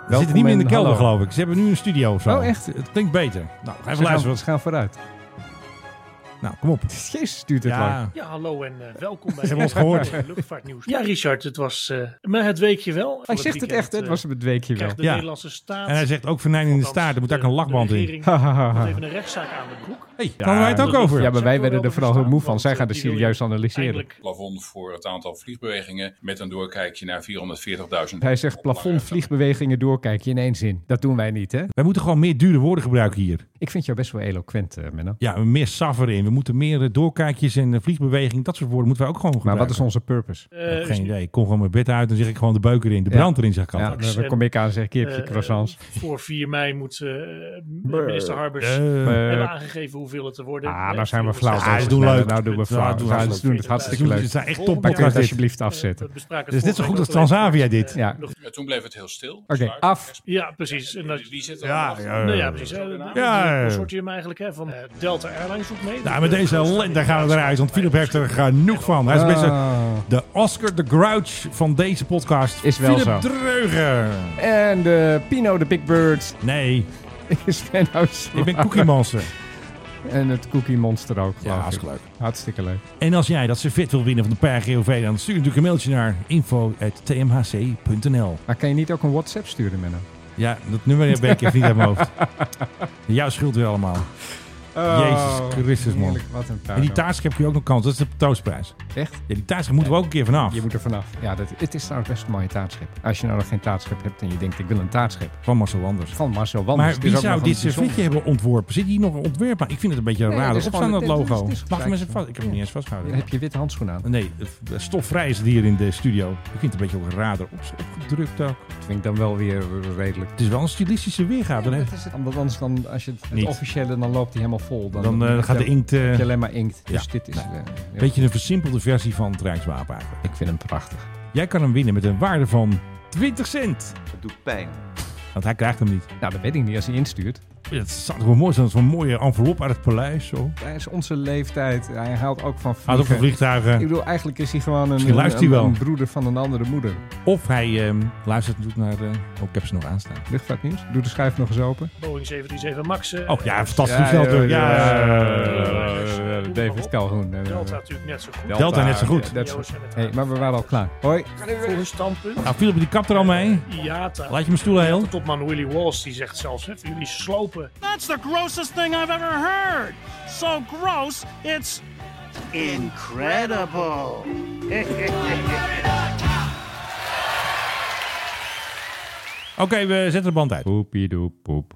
[SPEAKER 5] Welkom
[SPEAKER 3] zitten niet meer in de
[SPEAKER 5] en
[SPEAKER 3] kelder,
[SPEAKER 5] hallo.
[SPEAKER 3] geloof ik. Ze hebben nu een studio of zo.
[SPEAKER 5] Oh, echt?
[SPEAKER 3] Het klinkt beter. Nou,
[SPEAKER 5] Ze
[SPEAKER 3] even
[SPEAKER 5] gaan,
[SPEAKER 3] luisteren.
[SPEAKER 5] ze gaan vooruit.
[SPEAKER 3] Nou, kom op.
[SPEAKER 5] Jezus, stuurt het lang.
[SPEAKER 3] Ja,
[SPEAKER 1] Ja, hallo en eh, welkom bij
[SPEAKER 3] hebben ons gehoord.
[SPEAKER 1] eh, Luchtvaartnieuws. Ja, Richard, het was eh, maar het weekje wel.
[SPEAKER 5] Hij zegt het
[SPEAKER 3] eh,
[SPEAKER 5] echt, hè? het was een weekje wel.
[SPEAKER 1] Krijgt de
[SPEAKER 3] Ja.
[SPEAKER 1] Nederlandse staat...
[SPEAKER 3] en hij zegt ook vernijning in de staat. Er moet
[SPEAKER 1] daar
[SPEAKER 3] eigenlijk een lakband in.
[SPEAKER 1] Heeft
[SPEAKER 5] Hahaha.
[SPEAKER 1] even een rechtszaak aan de broek.
[SPEAKER 3] Hey, daar hadden wij het ook over.
[SPEAKER 5] Ja, maar wij werden er vooral heel moe van. Zij gaan het serieus analyseren.
[SPEAKER 12] Plafond voor het aantal vliegbewegingen met een doorkijkje naar 440.000.
[SPEAKER 5] Hij zegt plafond vliegbewegingen doorkijken in één zin. Dat doen wij niet, hè?
[SPEAKER 3] Wij moeten gewoon meer dure woorden gebruiken hier.
[SPEAKER 5] Ik vind jou best wel eloquent, eh, Menno.
[SPEAKER 3] Ja, meer saffer in. We moeten meer eh, doorkijkjes en eh, vliegbeweging. Dat soort woorden moeten wij ook gewoon
[SPEAKER 5] Maar
[SPEAKER 3] gebruiken.
[SPEAKER 5] wat is onze purpose?
[SPEAKER 1] Eh,
[SPEAKER 3] Ik heb Geen idee. Ik kom gewoon mijn bed uit en zeg ik gewoon de beuker in. De brand erin, zeg ik
[SPEAKER 5] Ja,
[SPEAKER 3] altijd.
[SPEAKER 5] dan dan kom ik aan en zeg ik, hier heb je
[SPEAKER 1] dus, Eh,
[SPEAKER 5] croissants.
[SPEAKER 1] eh, voor 4 mei moet eh, minister Harbers
[SPEAKER 3] Eh.
[SPEAKER 1] hebben aangegeven hoeveel het er worden.
[SPEAKER 5] Ah, nou zijn we
[SPEAKER 1] flauw.
[SPEAKER 5] flauw.
[SPEAKER 3] Ja,
[SPEAKER 5] bezig.
[SPEAKER 3] ze doen
[SPEAKER 5] Nee,
[SPEAKER 3] leuk.
[SPEAKER 5] Nou doen we
[SPEAKER 3] Ja,
[SPEAKER 5] flauw.
[SPEAKER 3] doen
[SPEAKER 5] Ze
[SPEAKER 3] we
[SPEAKER 5] doen,
[SPEAKER 3] hartstikke
[SPEAKER 5] het hartstikke
[SPEAKER 3] leuk.
[SPEAKER 5] leuk.
[SPEAKER 3] Ze zijn echt
[SPEAKER 5] Maar kun je
[SPEAKER 3] toppenkast
[SPEAKER 5] het
[SPEAKER 3] dit.
[SPEAKER 5] alsjeblieft afzetten.
[SPEAKER 1] bespraken
[SPEAKER 3] Het is net zo goed als Transavia dit.
[SPEAKER 5] Ja.
[SPEAKER 12] En toen bleef het heel stil.
[SPEAKER 5] Oké, af.
[SPEAKER 1] Ja, precies. En dat,
[SPEAKER 12] Die zitten
[SPEAKER 1] ja,
[SPEAKER 12] allemaal
[SPEAKER 3] ja,
[SPEAKER 1] ja,
[SPEAKER 3] ja.
[SPEAKER 1] nou ja, precies. hè. De-
[SPEAKER 3] Ja, ja.
[SPEAKER 1] de consortium eigenlijk hè, van eh, Delta Airlines doet mee.
[SPEAKER 3] Nou, met deze ellende gaan we eruit, want Philip heeft er genoeg van. Hij is best
[SPEAKER 5] Ah.
[SPEAKER 3] de Oscar the Grouch van deze podcast.
[SPEAKER 5] Is wel
[SPEAKER 3] Philip
[SPEAKER 5] zo.
[SPEAKER 3] Dreuger.
[SPEAKER 5] En de Pino de Big Bird
[SPEAKER 3] Nee,
[SPEAKER 5] is Menno Zwart.
[SPEAKER 3] ik ben Cookie Monster.
[SPEAKER 5] En het Cookie Monster ook,
[SPEAKER 3] Ja,
[SPEAKER 5] geloof ik.
[SPEAKER 3] hartstikke leuk.
[SPEAKER 5] Hartstikke leuk.
[SPEAKER 3] En als jij dat servet wil winnen van de PRGOV, dan stuur natuurlijk een mailtje naar info.tmhc.nl.
[SPEAKER 5] Maar kan je niet ook een WhatsApp sturen, Menno?
[SPEAKER 3] Ja, dat nummer heb ik even niet uit mijn hoofd. Jouw schuld weer allemaal. Jezus Christus, man.
[SPEAKER 5] Oh, heerlijk, Wat een
[SPEAKER 3] En die
[SPEAKER 5] puinhoop.
[SPEAKER 3] taartschep kun je ook nog kans. Dat is de toastprijs.
[SPEAKER 5] Echt?
[SPEAKER 3] Ja, die taartschep moeten we ook een keer vanaf.
[SPEAKER 5] Je moet er vanaf. Ja, dat, het is trouwens best een mooie taartschip. Als je nou nog geen taartschip hebt en je denkt, ik wil een taartschip.
[SPEAKER 3] Van Marcel Wanders.
[SPEAKER 5] Van Marcel Wanders.
[SPEAKER 3] Maar
[SPEAKER 5] Het is
[SPEAKER 3] wie
[SPEAKER 5] ook
[SPEAKER 3] zou
[SPEAKER 5] nog
[SPEAKER 3] dit
[SPEAKER 5] een bijzonder-
[SPEAKER 3] servetje hebben ontworpen? Zit hier nog een ontwerp aan? Ik vind het een beetje
[SPEAKER 5] Nee,
[SPEAKER 3] raar.
[SPEAKER 5] dit
[SPEAKER 3] Op
[SPEAKER 5] is
[SPEAKER 3] staan
[SPEAKER 5] gewoon-
[SPEAKER 3] dat
[SPEAKER 5] dit- dit is-
[SPEAKER 3] logo.
[SPEAKER 5] dit is
[SPEAKER 3] Mag ik hem eens
[SPEAKER 5] gelijk,
[SPEAKER 3] vast? Ik heb hem
[SPEAKER 5] ja.
[SPEAKER 3] niet eens vastgehouden.
[SPEAKER 5] Heb je witte handschoenen aan?
[SPEAKER 3] Nee, eh, stofvrij is het hier in de studio. Ik vind het een beetje op een radar op- opgedrukt ook.
[SPEAKER 5] Dat vind ik dan wel weer eh, redelijk.
[SPEAKER 3] Het is wel een stilistische weergave. dan, hè?
[SPEAKER 5] is het. Want anders dan, als je het, het
[SPEAKER 3] Niet.
[SPEAKER 5] officiële, dan loopt die helemaal vol. Dan,
[SPEAKER 3] dan eh,
[SPEAKER 5] heb
[SPEAKER 3] gaat de
[SPEAKER 5] je-
[SPEAKER 3] inkt... eh,
[SPEAKER 5] heb je alleen maar inkt. Dus
[SPEAKER 3] ja.
[SPEAKER 5] dit is... eh, ja.
[SPEAKER 3] beetje een versimpelde versie van het Rijkswapen eigenlijk.
[SPEAKER 5] Ik vind hem prachtig.
[SPEAKER 3] Jij kan hem winnen met een waarde van 20 cent.
[SPEAKER 13] Het doet pijn.
[SPEAKER 3] Want hij krijgt hem niet.
[SPEAKER 5] Nou, dat weet ik niet als hij instuurt.
[SPEAKER 3] Het zou toch wel mooi zijn. Zo'n mooie envelop uit het paleis. Zo.
[SPEAKER 5] Hij is onze leeftijd. Hij haalt ook van
[SPEAKER 3] Uit op
[SPEAKER 5] vliegen.
[SPEAKER 3] van vliegtuigen.
[SPEAKER 5] Ik bedoel, eigenlijk is hij gewoon een,
[SPEAKER 3] Misschien luistert hij
[SPEAKER 5] een-
[SPEAKER 3] wel.
[SPEAKER 5] een broeder van een andere moeder.
[SPEAKER 3] Of hij ehm, luistert natuurlijk naar... eh oh, ik heb ze nog aanstaan.
[SPEAKER 5] Luchtvaartnieuws. Doe de schuif nog eens open.
[SPEAKER 1] Boeing 737 MAX. eh,
[SPEAKER 3] Oh ja, fantastisch veld.
[SPEAKER 5] joh,
[SPEAKER 3] eh, Ja,
[SPEAKER 5] eh,
[SPEAKER 1] Doe maar
[SPEAKER 5] David
[SPEAKER 1] op.
[SPEAKER 5] Calhoun. eh,
[SPEAKER 1] Delta natuurlijk net zo goed.
[SPEAKER 3] Delta net zo goed.
[SPEAKER 5] ja, net zo-
[SPEAKER 1] Joost en het
[SPEAKER 5] Hey, maar we waren al klaar. Hoi.
[SPEAKER 1] Voor een standpunt.
[SPEAKER 3] Nou, Philip, die kapt er al mee.
[SPEAKER 1] IATA.
[SPEAKER 3] Laat je mijn stoelen heel.
[SPEAKER 1] Topman Willy Walsh die zegt zelfs, hè, voor jullie slopen.
[SPEAKER 2] That's the grossest thing I've ever heard. So gross, it's incredible.
[SPEAKER 3] Oké, we zetten de band uit.
[SPEAKER 5] Poepiedoe poep.